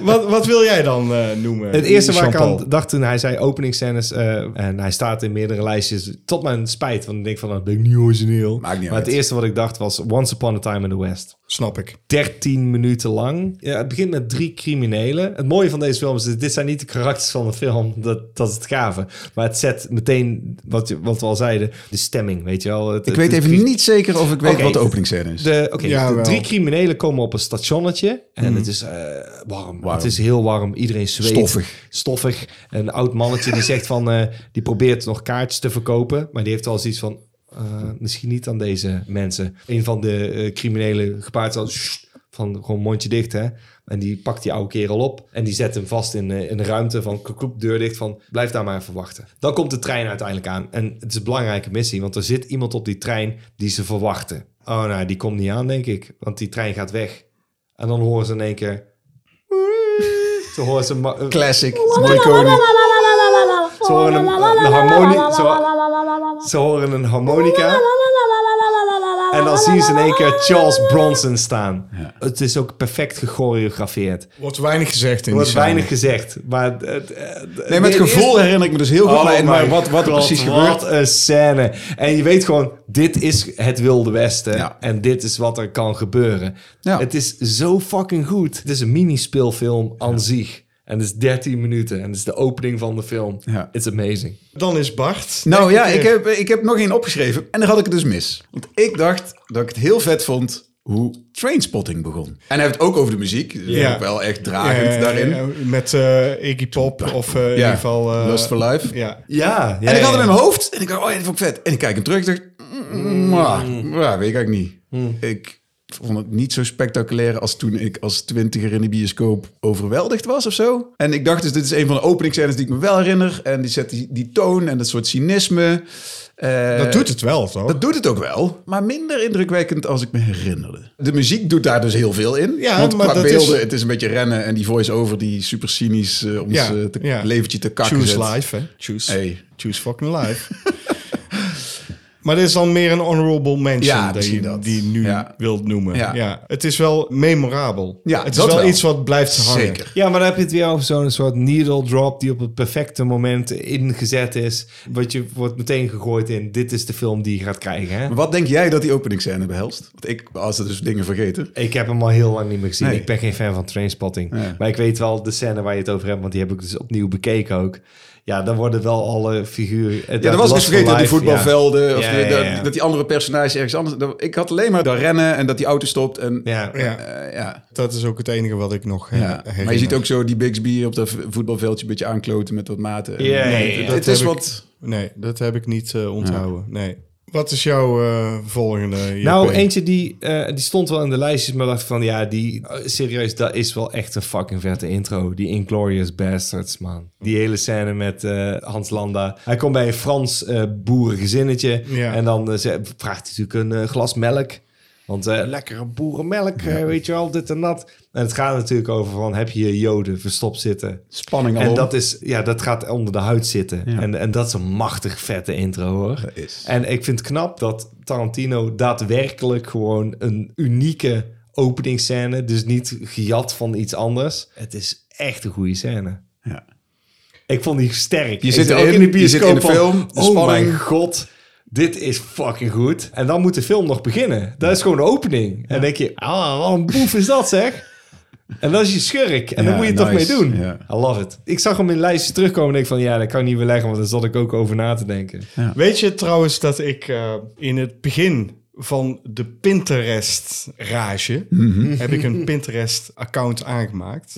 Speaker 3: Wat, wat wil jij dan eh, noemen?
Speaker 2: Het eerste waar ik
Speaker 3: Jean-Paul?
Speaker 2: aan dacht toen hij zei openingsscènes... eh, en hij staat in meerdere lijstjes, tot mijn spijt. Want ik denk van, nou, dat ben ik niet origineel.
Speaker 4: Maakt niet
Speaker 2: maar
Speaker 4: uit.
Speaker 2: het eerste wat ik dacht was Once Upon a Time in the West.
Speaker 3: Snap ik.
Speaker 2: 13 minuten lang. Ja, het begint met drie criminelen. Het mooie van deze film is, dit zijn niet de karakters van de film. Dat, dat is het gave. Maar het zet meteen, wat, je- wat we al zeiden, de stemming, weet je wel. Het-
Speaker 4: Ik weet
Speaker 2: het-
Speaker 4: even niet zeker of ik weet
Speaker 2: Oké.
Speaker 4: wat de openingscène is.
Speaker 2: De, oké,
Speaker 3: Jawel.
Speaker 2: de drie criminelen komen op een stationnetje. En het is eh, warm.
Speaker 4: Mhm. Warm.
Speaker 2: Het is heel warm. Iedereen zweet.
Speaker 4: Stoffig.
Speaker 2: Stoffig. Een oud mannetje die zegt van... eh, die probeert nog kaartjes te verkopen. Maar die heeft wel zoiets van... eh, misschien niet aan deze mensen. Een van de eh, criminelen gepaard zal... "Sst," Van gewoon mondje dicht, hè. En die pakt die oude kerel op. En die zet hem vast in, eh, in een ruimte van koekoek, deur dicht. Van blijf daar maar even wachten. Dan komt de trein uiteindelijk aan. En het is een belangrijke missie. Want er zit iemand op die trein die ze verwachten. Oh, nou, die komt niet aan, denk ik. Want die trein gaat weg. En dan horen ze in één keer... Ze horen ze... ma- eh,
Speaker 4: Classic. Morricone.
Speaker 2: Ze horen een, een harmonie, ze, ze horen een harmonica. En dan zien ze in één keer Charles Bronson staan. Het is ook perfect gechoreografeerd.
Speaker 3: Wordt weinig gezegd in
Speaker 2: Er wordt
Speaker 3: die scène.
Speaker 2: weinig gezegd. Maar het, het- het-
Speaker 4: Nee, maar het
Speaker 2: de
Speaker 4: gevoel
Speaker 2: eerste-
Speaker 4: herinner ik me dus heel goed.
Speaker 2: Oh
Speaker 4: alleen maar
Speaker 2: my
Speaker 4: wat, wat er
Speaker 2: God,
Speaker 4: precies gebeurt.
Speaker 2: Wat een scène. En je weet gewoon, dit is het Wilde Westen.
Speaker 4: Ja.
Speaker 2: En dit is wat er kan gebeuren.
Speaker 4: Ja.
Speaker 2: Het is zo fucking goed. Het is een minispeelfilm aan zich. En het is 13 minuten. En het is de opening van de film.
Speaker 4: Ja.
Speaker 2: It's amazing.
Speaker 3: Dan is Bart.
Speaker 4: Nou ja,
Speaker 3: keer.
Speaker 4: ik heb, ik heb nog één opgeschreven en daar had ik het dus mis. Want ik dacht dat ik het heel vet vond hoe Trainspotting begon. En hij heeft het ook over de muziek. Dus
Speaker 3: Ja.
Speaker 4: ook wel echt dragend
Speaker 3: Eh,
Speaker 4: daarin.
Speaker 3: eh, Met eh, Iggy Pop of eh, in ieder geval... eh,
Speaker 4: Lust for Life.
Speaker 3: Ja.
Speaker 2: Ja.
Speaker 4: En ik had hem in mijn hoofd en ik dacht, oh ja, dat vond ik vet. En ik kijk hem terug en dacht, mm, mwah, mwah, weet ik eigenlijk niet.
Speaker 3: Mm.
Speaker 4: Ik vond het niet zo spectaculair als toen ik als twintiger in de bioscoop overweldigd was of zo. En ik dacht dus, dit is een van de openingsscènes die ik me wel herinner. En die zet die, die toon en dat soort cynisme. Eh,
Speaker 3: Dat doet het wel, toch?
Speaker 4: Dat doet het ook wel, maar minder indrukwekkend als ik me herinnerde. De muziek doet daar dus heel veel in.
Speaker 3: Ja,
Speaker 4: want
Speaker 3: maar
Speaker 4: qua
Speaker 3: dat
Speaker 4: beelden,
Speaker 3: is-
Speaker 4: het is een beetje rennen en die voice-over die super cynisch eh, ons
Speaker 3: Ja,
Speaker 4: eh, te,
Speaker 3: ja.
Speaker 4: leventje te kakken
Speaker 3: Choose
Speaker 4: zet.
Speaker 3: life, hè? Choose,
Speaker 4: Hey.
Speaker 3: choose fucking life. maar dit is dan meer een honorable mention
Speaker 4: Ja,
Speaker 3: die,
Speaker 4: misschien dat.
Speaker 3: die je nu
Speaker 4: Ja.
Speaker 3: wilt noemen. Ja.
Speaker 4: Ja.
Speaker 3: Het is wel memorabel.
Speaker 4: Ja,
Speaker 3: het is
Speaker 4: dat
Speaker 3: wel,
Speaker 4: wel.
Speaker 3: iets wat blijft hangen.
Speaker 4: Zeker.
Speaker 2: Ja, maar dan heb je het weer over zo'n soort needle drop die op het perfecte moment ingezet is. Wat je wordt meteen gegooid in, dit is de film die je gaat krijgen. Hè?
Speaker 4: Maar Wat denk jij dat die openingscène behelst? Want ik, als er dus dingen vergeten.
Speaker 2: Ik heb hem al heel lang niet meer gezien.
Speaker 4: Nee.
Speaker 2: Ik ben geen fan van Trainspotting.
Speaker 4: Nee.
Speaker 2: Maar ik weet wel de scène waar je het over hebt, want die heb ik dus opnieuw bekeken ook. Ja, dan worden wel alle figuren... eh,
Speaker 4: Ja, er was dus vergeten dat die voetbalvelden, of
Speaker 2: Ja,
Speaker 4: die-
Speaker 2: ja, ja,
Speaker 4: dat-
Speaker 2: ja.
Speaker 4: dat die andere personage ergens anders... dat- ik had alleen maar dat rennen en dat die auto stopt en...
Speaker 2: Ja.
Speaker 3: Ja,
Speaker 4: eh, ja.
Speaker 3: dat is ook het enige wat ik nog eh,
Speaker 4: Ja,
Speaker 3: herinner.
Speaker 4: maar je ziet ook zo die Bixby op dat voetbalveldje een beetje aankloten met wat maten.
Speaker 2: Ja, ja,
Speaker 4: Nee,
Speaker 2: ja.
Speaker 4: het-
Speaker 2: Dat
Speaker 4: Het is
Speaker 3: heb ik-
Speaker 4: wat...
Speaker 3: Nee, dat heb ik niet eh, onthouden. Nee. Wat is jouw eh, volgende? JP?
Speaker 2: Nou, eentje die, eh, die stond wel in de lijstjes, maar dacht van ja, die eh, serieus, dat is wel echt een fucking vette intro. Die Inglorious Bastards, man. Die hele scène met eh, Hans Landa. Hij komt bij een Frans eh, boerengezinnetje
Speaker 3: Ja.
Speaker 2: en dan eh, ze- vraagt hij natuurlijk een eh, glas melk. Want eh, lekkere boerenmelk, eh, weet je wel, dit en dat. En het gaat natuurlijk over van, heb je hier joden verstopt zitten?
Speaker 4: Spanning
Speaker 2: En
Speaker 4: al.
Speaker 2: dat, is, ja, dat gaat onder de huid zitten. En, en dat is een machtig vette intro hoor.
Speaker 4: Dat is.
Speaker 2: En ik vind het knap dat Tarantino daadwerkelijk gewoon een unieke openingsscène, dus niet gejat van iets anders. Het is echt een goede scène.
Speaker 4: Ja.
Speaker 2: Ik vond die sterk.
Speaker 4: Je
Speaker 2: Ik
Speaker 4: zit
Speaker 2: zat
Speaker 4: erin, je zit in de film, de
Speaker 2: oh
Speaker 4: spanning.
Speaker 2: mijn god, dit is fucking goed. En dan moet de film nog beginnen. Dat is gewoon de opening. En dan denk je, ah, wat een boef is dat zeg. En dat is je schurk. En
Speaker 4: Ja,
Speaker 2: dan moet je het
Speaker 4: nice.
Speaker 2: toch mee doen.
Speaker 4: Ja.
Speaker 2: I love it. Ik zag hem in lijstjes terugkomen en ik van, ja, dat kan ik niet beleggen, want daar zat ik ook over na te denken.
Speaker 3: Weet je trouwens dat ik eh, in het begin van de Pinterest-rage...
Speaker 4: Mhm.
Speaker 3: heb ik een Pinterest-account aangemaakt.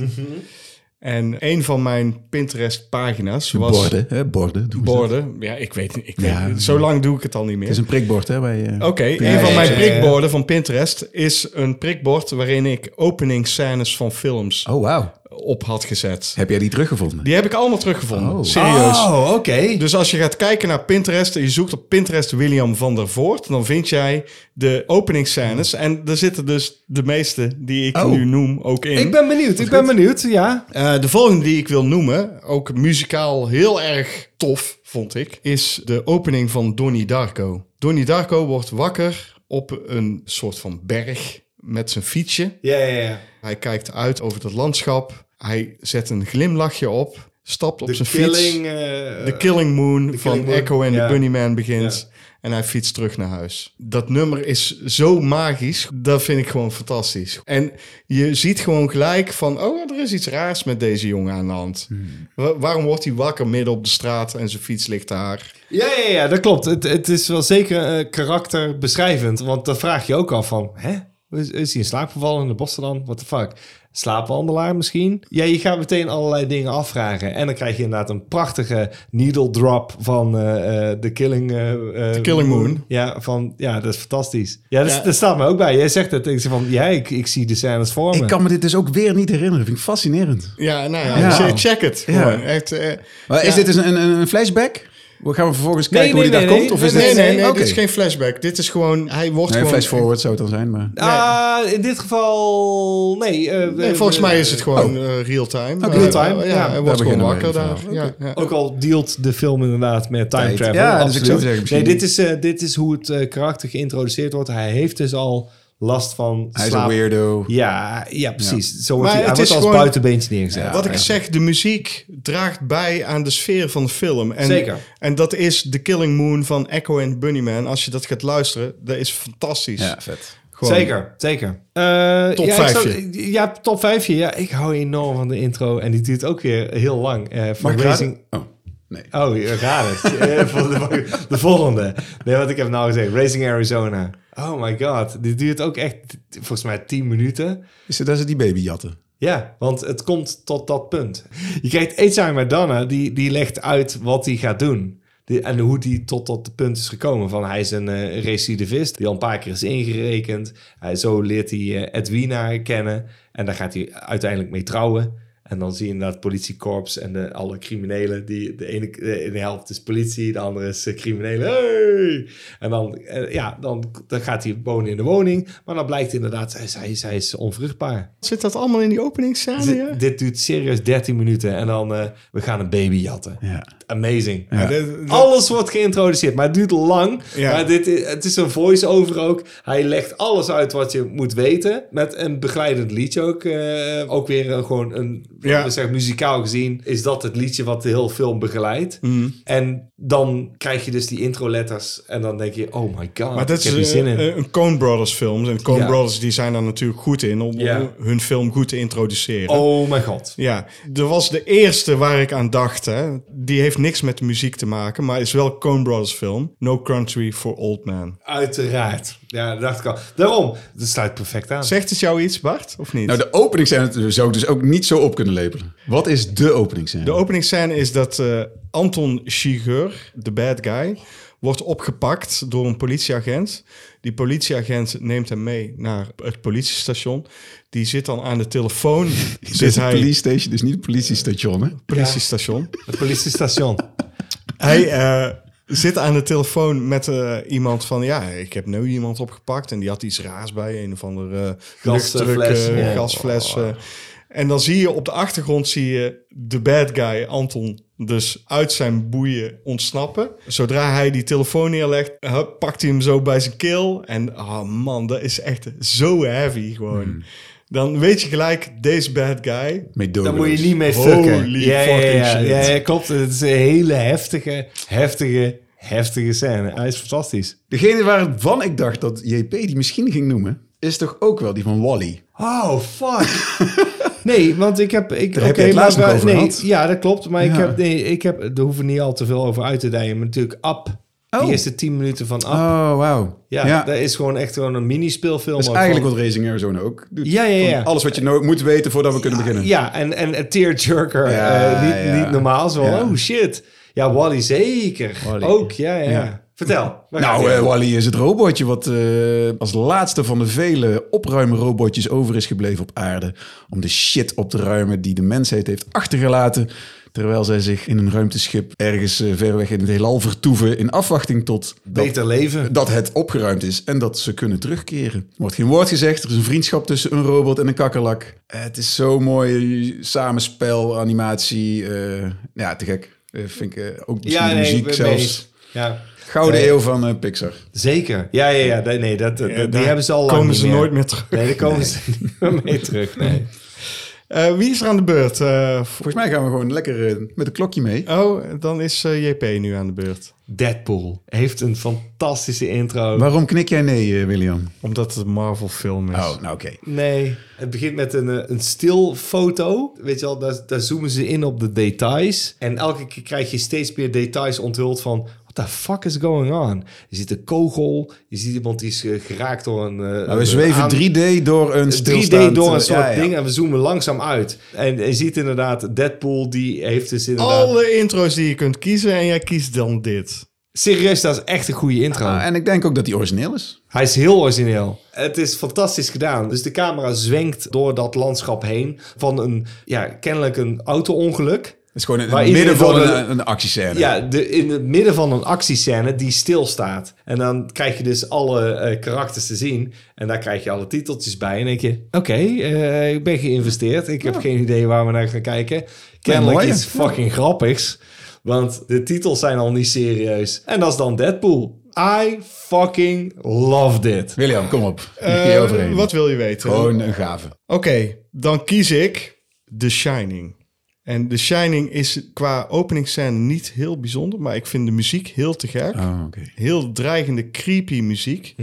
Speaker 3: En een van mijn Pinterest-pagina's was...
Speaker 4: Borden, hè? Borden. doen ze dat.
Speaker 3: Borden. Ja, ik weet niet. Ik weet,
Speaker 4: Ja.
Speaker 3: Zo lang doe ik het al niet meer.
Speaker 4: Het is een prikbord, hè? Bij, eh,
Speaker 3: Oké, een
Speaker 4: ja,
Speaker 3: van
Speaker 4: ja,
Speaker 3: mijn
Speaker 2: ja, ja.
Speaker 3: prikborden van Pinterest is een prikbord... waarin ik openingsscènes van films
Speaker 4: Oh, wauw.
Speaker 3: op had gezet.
Speaker 4: Heb jij die teruggevonden?
Speaker 3: Die heb ik allemaal teruggevonden.
Speaker 4: Oh.
Speaker 3: Serieus.
Speaker 2: Oh, oké.
Speaker 3: Dus als je gaat kijken naar Pinterest en je zoekt op Pinterest William van der Voort, dan vind jij de openingsscènes. En daar zitten dus de meeste die ik
Speaker 4: Oh.
Speaker 3: nu noem ook in.
Speaker 2: Ik ben benieuwd, ik ben benieuwd, ja.
Speaker 3: Eh, de volgende die ik wil noemen, ook muzikaal heel erg tof, vond ik, is de opening van Donnie Darko. Donnie Darko wordt wakker op een soort van berg met zijn fietsje.
Speaker 2: Ja, ja, ja.
Speaker 3: Hij kijkt uit over het landschap. Hij zet een glimlachje op, stapt op
Speaker 2: De
Speaker 3: zijn
Speaker 2: killing...
Speaker 3: fiets.
Speaker 2: eh,
Speaker 3: De Killing Moon van
Speaker 2: Killing Moon,
Speaker 3: Echo en
Speaker 2: ja.
Speaker 3: de Bunnyman begint.
Speaker 2: Ja.
Speaker 3: En hij fietst terug naar huis. Dat nummer is zo magisch. Dat vind ik gewoon fantastisch. En je ziet gewoon gelijk van... oh, er is iets raars met deze jongen aan de hand.
Speaker 4: Hmm.
Speaker 3: Wa- waarom wordt hij wakker midden op de straat... en zijn fiets ligt daar?
Speaker 2: Ja, ja, ja, dat klopt. Het, het is wel zeker eh, karakterbeschrijvend. Want dan vraag je ook al van... Hè? Is, is hij in slaap gevallen in de bossen dan? What the fuck? Slaapwandelaar misschien? Ja, je gaat meteen allerlei dingen afvragen. En dan krijg je inderdaad een prachtige needle drop van eh, eh, The Killing... eh, eh,
Speaker 3: Killing Moon.
Speaker 2: Ja, van, ja, dat is fantastisch. Ja, dat, is-
Speaker 3: Ja.
Speaker 2: dat staat me ook bij. Jij zegt het. Ik zeg van, ja, ik, ik zie de scènes voor me.
Speaker 4: Ik kan me dit dus ook weer niet herinneren. Vind ik fascinerend.
Speaker 3: Ja, nou ja,
Speaker 4: Ja.
Speaker 3: check- check het.
Speaker 4: Ja.
Speaker 3: Gewoon, Echt, eh,
Speaker 4: Maar is
Speaker 3: Ja.
Speaker 4: dit dus een, een, een flashback? We gaan we vervolgens
Speaker 2: Nee,
Speaker 4: kijken
Speaker 2: nee,
Speaker 4: hoe die
Speaker 2: nee,
Speaker 4: daar
Speaker 2: nee.
Speaker 4: komt? Of is
Speaker 3: nee,
Speaker 4: dit...
Speaker 3: nee, nee,
Speaker 4: Oké.
Speaker 3: dit is geen flashback. Dit is gewoon... Hij wordt
Speaker 4: Nee,
Speaker 3: gewoon...
Speaker 4: flash forward zou het dan zijn, maar...
Speaker 2: Ah, in dit geval... Nee. eh,
Speaker 3: Nee,
Speaker 2: eh,
Speaker 3: volgens
Speaker 2: eh,
Speaker 3: mij is
Speaker 4: Oh.
Speaker 3: het gewoon eh, real-time.
Speaker 4: Oké.
Speaker 3: Eh,
Speaker 2: Real-time, ja.
Speaker 3: ja. Hij
Speaker 2: Daar
Speaker 3: wordt gewoon
Speaker 4: beginnen we
Speaker 3: wakker daar.
Speaker 4: even
Speaker 3: Ja, ja.
Speaker 2: Ook al dealt de film inderdaad met time
Speaker 4: Tijd.
Speaker 2: travel.
Speaker 4: Ja, dat
Speaker 2: absoluut.
Speaker 4: is ook zo te zeggen, misschien.
Speaker 2: Nee, dit is, eh, dit is hoe het eh, karakter geïntroduceerd wordt. Hij heeft dus al last van
Speaker 4: Hij is
Speaker 2: slaap.
Speaker 4: een weirdo.
Speaker 2: Ja, ja, precies. Zo wordt
Speaker 3: Maar
Speaker 2: hij, hij
Speaker 3: het
Speaker 2: wordt
Speaker 3: is
Speaker 2: als
Speaker 3: gewoon-
Speaker 2: buitenbeentje neergezet.
Speaker 4: Ah, Ja.
Speaker 3: Wat ik zeg, de muziek draagt bij aan de sfeer van de film. En,
Speaker 2: Zeker.
Speaker 3: En dat is The Killing Moon van Echo and Bunnyman. Als je dat gaat luisteren, dat is fantastisch.
Speaker 4: Ja, vet.
Speaker 3: Gewoon.
Speaker 2: Zeker, zeker. Eh,
Speaker 3: Top
Speaker 2: ja, ik
Speaker 3: vijfje.
Speaker 2: zou- ja, top vijfje. Ja, ik hou enorm van de intro. En die duurt ook weer heel lang. eh
Speaker 4: Mag
Speaker 2: van
Speaker 4: ik
Speaker 2: Raising...
Speaker 4: raden? Oh, nee.
Speaker 2: Oh, je raadt het. Eh, voor de, de volgende. Nee, wat ik heb nou gezegd. Racing Arizona. Oh my god. Die duurt ook echt, volgens mij, 10 minuten.
Speaker 4: Is het, dat is die baby jatten?
Speaker 2: Ja, want het komt tot dat punt. Je kijkt Eetzaam Madonna, die, die legt uit wat hij gaat doen. Die, en hoe die tot dat punt is gekomen. Van hij is een eh, recidivist die al een paar keer is ingerekend. Hij, zo leert hij eh, Edwina kennen. En daar gaat hij uiteindelijk mee trouwen. En dan zie je inderdaad politiekorps en de, alle criminelen. Die, de, ene, de, de helft is politie, de andere is eh, criminelen. Hey! En dan, eh, ja, dan, dan gaat hij wonen in de woning. Maar dan blijkt inderdaad, zij, zij, zij is onvruchtbaar.
Speaker 3: Zit dat allemaal in die openingsscène?
Speaker 2: Dit-
Speaker 3: ja?
Speaker 2: Dit duurt serieus 13 minuten en dan eh, we gaan een baby jatten.
Speaker 4: Ja.
Speaker 2: Amazing. eh,
Speaker 4: Ja.
Speaker 3: Dat- dat-
Speaker 2: Alles wordt geïntroduceerd, maar het duurt lang.
Speaker 3: Ja.
Speaker 2: Maar dit, i- het is een voice-over ook. Hij legt alles uit wat je moet weten. Met een begeleidend liedje ook. eh, ook weer eh, gewoon een,
Speaker 3: Ja.
Speaker 2: we zeggen, muzikaal gezien, is dat het liedje wat de hele film begeleidt.
Speaker 3: Mhm.
Speaker 2: En dan krijg je dus die intro-letters. En dan denk je, oh my god,
Speaker 3: Maar dat
Speaker 2: ik
Speaker 3: is eh,
Speaker 2: heb hier
Speaker 3: een,
Speaker 2: zin in.
Speaker 3: een- een Coen Brothers film. En Coen
Speaker 2: Ja.
Speaker 3: Brothers die zijn daar natuurlijk goed in om
Speaker 2: Ja.
Speaker 3: hun film goed te introduceren.
Speaker 2: oh mijn god.
Speaker 3: Ja, er was de eerste waar ik aan dacht. Hè. Die heeft niks met muziek te maken, maar is wel Coen Brothers film. No Country for Old Man.
Speaker 2: Uiteraard. Ja, dat dacht ik al. Daarom, dat sluit perfect aan.
Speaker 3: Zegt het jou iets, Bart, of niet?
Speaker 4: Nou, de openingscène zou ik dus ook niet zo op kunnen lepelen. Wat is de openingscène?
Speaker 3: De openingsscène is dat eh, Anton Schigeur, de bad guy, wordt opgepakt door een politieagent. Die politieagent neemt hem mee naar het politiestation. Die zit dan aan de telefoon.
Speaker 4: Dit
Speaker 3: zit
Speaker 4: is een
Speaker 3: hij
Speaker 4: police station, dus niet het politiestation, hè?
Speaker 3: politiestation?
Speaker 2: Het politiestation.
Speaker 3: Hij eh, zit aan de telefoon met eh, iemand van... ja, ik heb nu iemand opgepakt... en die had iets raars bij, een of andere eh
Speaker 2: Gasfles,
Speaker 3: luchtdruk, eh,
Speaker 2: ja. Oh,
Speaker 3: gasfles. eh. En dan zie je op de achtergrond zie je de bad guy, Anton... dus uit zijn boeien ontsnappen. Zodra hij die telefoon neerlegt, hup, pakt hij hem zo bij zijn keel. En oh man, dat is echt zo heavy gewoon.
Speaker 2: Hmm.
Speaker 3: Dan weet je gelijk, deze bad guy...
Speaker 4: Meedogenloos.
Speaker 2: Daar moet je niet mee fucken.
Speaker 3: Holy
Speaker 2: ja, ja,
Speaker 3: fucking
Speaker 2: ja,
Speaker 3: shit.
Speaker 2: Ja, ja, klopt. Het is een hele heftige, heftige, heftige scène. Hij is fantastisch.
Speaker 4: Degene waarvan ik dacht dat JP die misschien ging noemen, is toch ook wel die van Wally.
Speaker 2: Oh, fuck. Nee, want ik heb... Ik,
Speaker 4: heb
Speaker 2: oké,
Speaker 4: je het
Speaker 2: maar
Speaker 4: laatst nog
Speaker 2: we-
Speaker 4: over
Speaker 2: nee,
Speaker 4: gehad.
Speaker 2: Ja, dat klopt. Maar ik
Speaker 4: Ja.
Speaker 2: heb... Nee, ik heb... Daar hoeven we niet al te veel over uit te dijen. Maar natuurlijk, Up.
Speaker 4: Oh.
Speaker 2: Die eerste 10 minuten van Up.
Speaker 4: Oh, wauw.
Speaker 2: ja,
Speaker 4: ja.
Speaker 2: dat is gewoon echt gewoon een mini-speelfilm.
Speaker 4: Dat is
Speaker 2: ook
Speaker 4: eigenlijk
Speaker 2: van-
Speaker 4: wat Racing Arizona ook doet.
Speaker 2: Ja, ja, ja.
Speaker 4: Van Alles wat je no- moet weten voordat we kunnen beginnen.
Speaker 2: Ja, en, en een tearjerker.
Speaker 4: Ja,
Speaker 2: eh, niet,
Speaker 4: ja.
Speaker 2: niet normaal. Zo,
Speaker 4: Ja.
Speaker 2: oh shit. Ja, Wally zeker.
Speaker 4: Wall-E.
Speaker 2: Ook, ja, ja.
Speaker 4: Ja.
Speaker 2: Vertel. waar gaat
Speaker 4: Nou,
Speaker 2: hij
Speaker 4: eh,
Speaker 2: over?
Speaker 4: Wally is het robotje wat eh, als laatste van de vele opruimrobotjes over is gebleven op aarde. Om de shit op te ruimen die de mensheid heeft achtergelaten. Terwijl zij zich in een ruimteschip ergens eh, ver weg in het heelal vertoeven. In afwachting tot dat
Speaker 2: Beter leven.
Speaker 4: dat het opgeruimd is en dat ze kunnen terugkeren. Er wordt geen woord gezegd. Er is een vriendschap tussen een robot en een kakkerlak. Eh, Het is zo'n mooi samenspel, animatie. eh, ja, te gek. Eh, vind ik eh, ook misschien
Speaker 2: Ja,
Speaker 4: de
Speaker 2: nee, ik
Speaker 4: muziek
Speaker 2: ben
Speaker 4: zelfs.
Speaker 2: mee eens. Ja,
Speaker 4: Gouden
Speaker 2: Nee.
Speaker 4: eeuw van eh, Pixar.
Speaker 2: zeker. Ja, ja, ja. Nee, nee, dat, dat-
Speaker 3: Ja,
Speaker 2: die
Speaker 3: eh, daar
Speaker 2: hebben ze al lang
Speaker 3: komen
Speaker 2: niet
Speaker 3: ze nooit meer terug.
Speaker 2: Nee, daar komen ze niet meer mee terug. Nee.
Speaker 3: Eh, wie is er aan de beurt? Eh, v-
Speaker 4: Volgens mij gaan we gewoon lekker eh, met een klokje mee.
Speaker 3: oh, dan is eh, JP nu aan de beurt.
Speaker 2: Deadpool heeft een fantastische intro.
Speaker 4: Waarom knik jij nee, eh, William?
Speaker 3: Omdat het een Marvel-film is.
Speaker 4: Oh, nou oké.
Speaker 2: Nee, het begint met een, eh, een stilfoto. Weet je wel, daar, daar zoomen ze in op de details. En elke keer krijg je steeds meer details onthuld van... What the fuck is going on? Je ziet een kogel. Je ziet iemand die is eh, geraakt door een... eh,
Speaker 4: Nou, we
Speaker 2: een
Speaker 4: zweven
Speaker 2: aan-
Speaker 4: 3D door een stilstaand...
Speaker 2: 3D door een
Speaker 4: eh,
Speaker 2: soort
Speaker 4: ja, ja.
Speaker 2: ding en we zoomen langzaam uit. En je ziet inderdaad, Deadpool die heeft dus inderdaad...
Speaker 3: Alle intro's die je kunt kiezen en jij kiest dan dit.
Speaker 2: Serieus, dat is echt een goede intro.
Speaker 4: Ah, en ik denk ook dat die origineel is.
Speaker 2: Hij is heel origineel. Het is fantastisch gedaan. Dus de camera zwenkt door dat landschap heen van een, ja, kennelijk een auto-ongeluk.
Speaker 4: Het is gewoon in
Speaker 2: Waar
Speaker 4: het midden van
Speaker 2: iedereen door
Speaker 4: een, een actiescène.
Speaker 2: Ja, de, in het midden van een actiescène die stilstaat. En dan krijg je dus alle eh, karakters te zien. En daar krijg je alle titeltjes bij. En denk je, oké, eh, ik ben geïnvesteerd. Ik heb geen idee waar we naar gaan kijken. Kennelijk
Speaker 4: mooi,
Speaker 2: iets
Speaker 4: ja.
Speaker 2: fucking grappigs. Want de titels zijn al niet serieus. En dat is dan Deadpool. I fucking love dit.
Speaker 4: William, kom op. Niet
Speaker 3: Eh,
Speaker 4: hier overheen.
Speaker 3: wat wil je weten?
Speaker 4: Gewoon een gave.
Speaker 3: Oké, dan kies ik The Shining. En The Shining is qua openingsscène niet heel bijzonder, maar ik vind de muziek heel te gek.
Speaker 4: Oh, oké.
Speaker 3: Heel dreigende, creepy muziek.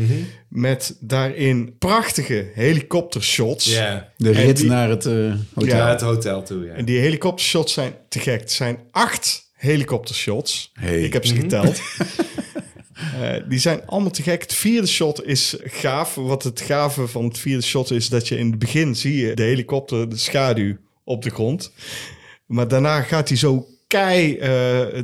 Speaker 3: Met daarin prachtige helikoptershots.
Speaker 2: Ja,
Speaker 4: De
Speaker 3: En
Speaker 4: rit
Speaker 3: die-
Speaker 4: naar het eh, hotel.
Speaker 2: naar het hotel toe. Ja.
Speaker 3: En die helikoptershots zijn te gek. Het zijn acht helikoptershots.
Speaker 4: Hey.
Speaker 3: Ik heb ze geteld. Eh, die zijn allemaal te gek. Het vierde shot is gaaf. Wat het gave van het vierde shot is dat je in het begin zie je de helikopter, de schaduw op de grond. Maar daarna gaat hij zo kei eh,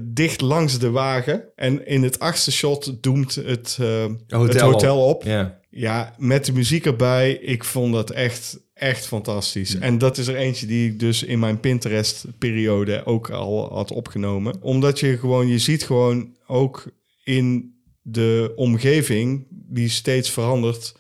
Speaker 3: dicht langs de wagen. En in het achtste shot doemt het, eh, het hotel op.
Speaker 2: Ja.
Speaker 3: Ja, met de muziek erbij. Ik vond dat echt, echt fantastisch. En dat is er eentje die ik dus in mijn Pinterest-periode ook al had opgenomen. Omdat je gewoon, je ziet gewoon ook in de omgeving die steeds verandert,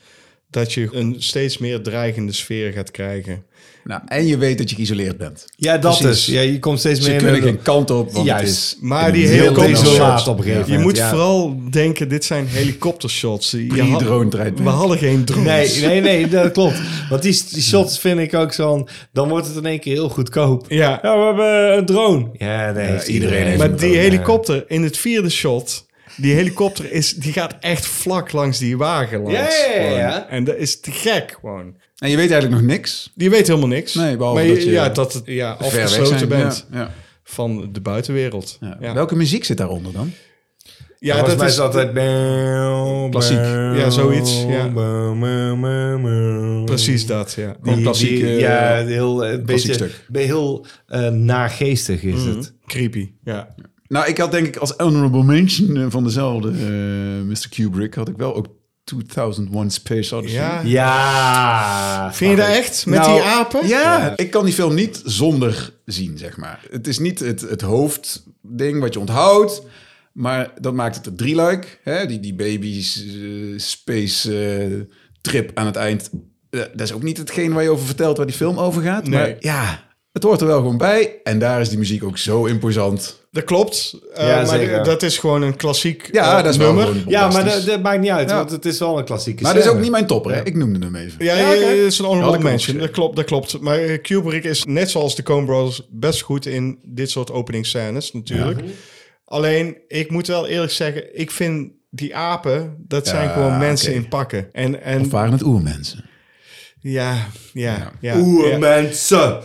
Speaker 3: dat je een steeds meer dreigende sfeer gaat krijgen.
Speaker 4: Nou, en je weet dat je geïsoleerd bent.
Speaker 2: ja, dat
Speaker 4: Precies.
Speaker 2: is. Ja, je komt steeds
Speaker 4: Ze
Speaker 2: meer
Speaker 4: kunnen
Speaker 2: in
Speaker 4: geen kant op, want
Speaker 2: Juist.
Speaker 4: het is...
Speaker 3: Maar die
Speaker 4: Heel
Speaker 3: helikoptershots,
Speaker 2: desolaat op een gegeven
Speaker 3: je
Speaker 2: moment,
Speaker 3: moet
Speaker 2: ja.
Speaker 3: vooral denken, dit zijn helikoptershots. Je
Speaker 4: Die
Speaker 3: had-
Speaker 4: drone draait
Speaker 3: We hadden geen drones.
Speaker 2: Nee, nee, nee, dat klopt. Want die, die shots vind ik ook zo'n... Dan wordt het in één keer heel goedkoop.
Speaker 3: Ja,
Speaker 2: Ja, we hebben een drone. Ja, nee. heeft
Speaker 4: iedereen heeft
Speaker 3: Maar
Speaker 4: Even
Speaker 3: die
Speaker 2: ja.
Speaker 3: helikopter in het vierde shot, die helikopter is, die gaat echt vlak langs die wagen langs.
Speaker 2: Ja, ja, ja, ja.
Speaker 3: gewoon. En dat is te gek gewoon.
Speaker 4: En je weet eigenlijk nog niks.
Speaker 3: Je weet helemaal niks.
Speaker 4: Nee, behalve
Speaker 3: maar je-
Speaker 4: dat je
Speaker 3: ja, dat het, ja,
Speaker 4: Ver weg zijn.
Speaker 3: afgesloten bent
Speaker 4: Ja, ja,
Speaker 3: van de buitenwereld. Ja,
Speaker 4: ja. Welke muziek zit daaronder dan?
Speaker 3: Ja,
Speaker 2: Volgens
Speaker 3: dat
Speaker 2: mij
Speaker 3: is
Speaker 2: is eh, altijd...
Speaker 4: Klassiek.
Speaker 3: Ja, zoiets, ja.
Speaker 2: Precies.
Speaker 3: precies dat. Ja.
Speaker 4: Die- Een klassiek, eh,
Speaker 2: ja, heel, een
Speaker 4: klassiek
Speaker 2: beetje,
Speaker 4: stuk.
Speaker 2: heel eh, nageestig is het.
Speaker 3: Creepy. Ja.
Speaker 4: Nou, ik had denk ik als honorable mention eh, van dezelfde eh, Mr. Kubrick... had ik wel ook 2001 Space Odyssey.
Speaker 3: Ja.
Speaker 2: Ja.
Speaker 3: Vind je dat echt? Met
Speaker 4: Nou,
Speaker 3: die apen?
Speaker 4: Ja, ik kan die film niet zonder zien, zeg maar. Het is niet het, het hoofdding wat je onthoudt. Maar dat maakt het een drieluik. Hè? Die, die baby's eh, space eh, trip aan het eind. Eh, dat is ook niet hetgeen waar je over vertelt waar die film over gaat.
Speaker 3: Nee.
Speaker 4: Maar ja, het hoort er wel gewoon bij. En daar is die muziek ook zo imposant.
Speaker 3: Dat klopt. Eh,
Speaker 2: Ja,
Speaker 3: maar
Speaker 2: zeker.
Speaker 3: de- dat is gewoon een klassiek
Speaker 4: Ja,
Speaker 3: eh,
Speaker 4: dat is wel
Speaker 3: nummer.
Speaker 4: gewoon
Speaker 2: Ja, maar dat,
Speaker 4: fantastisch.
Speaker 2: dat maakt niet uit,
Speaker 4: Ja.
Speaker 2: want het is wel een klassieke
Speaker 4: Maar dat is ook
Speaker 2: scène.
Speaker 4: niet mijn topper. Hè? Ik noemde hem even.
Speaker 3: Ja,
Speaker 2: Ja,
Speaker 3: ja,
Speaker 2: oké.
Speaker 3: ja, dat is een
Speaker 4: Ja,
Speaker 3: honorable
Speaker 4: dat kan
Speaker 3: mention.
Speaker 4: ook
Speaker 3: Dat klopt, dat klopt. Maar eh, Kubrick is net zoals de Coen Brothers best goed in dit soort openingsscènes natuurlijk. Alleen, ik moet wel eerlijk zeggen, ik vind die apen, dat zijn gewoon mensen
Speaker 4: oké.
Speaker 3: in pakken. En, en
Speaker 4: Of eh, waren het oermensen?
Speaker 3: ja, ja, ja. ja.
Speaker 2: Oermensen.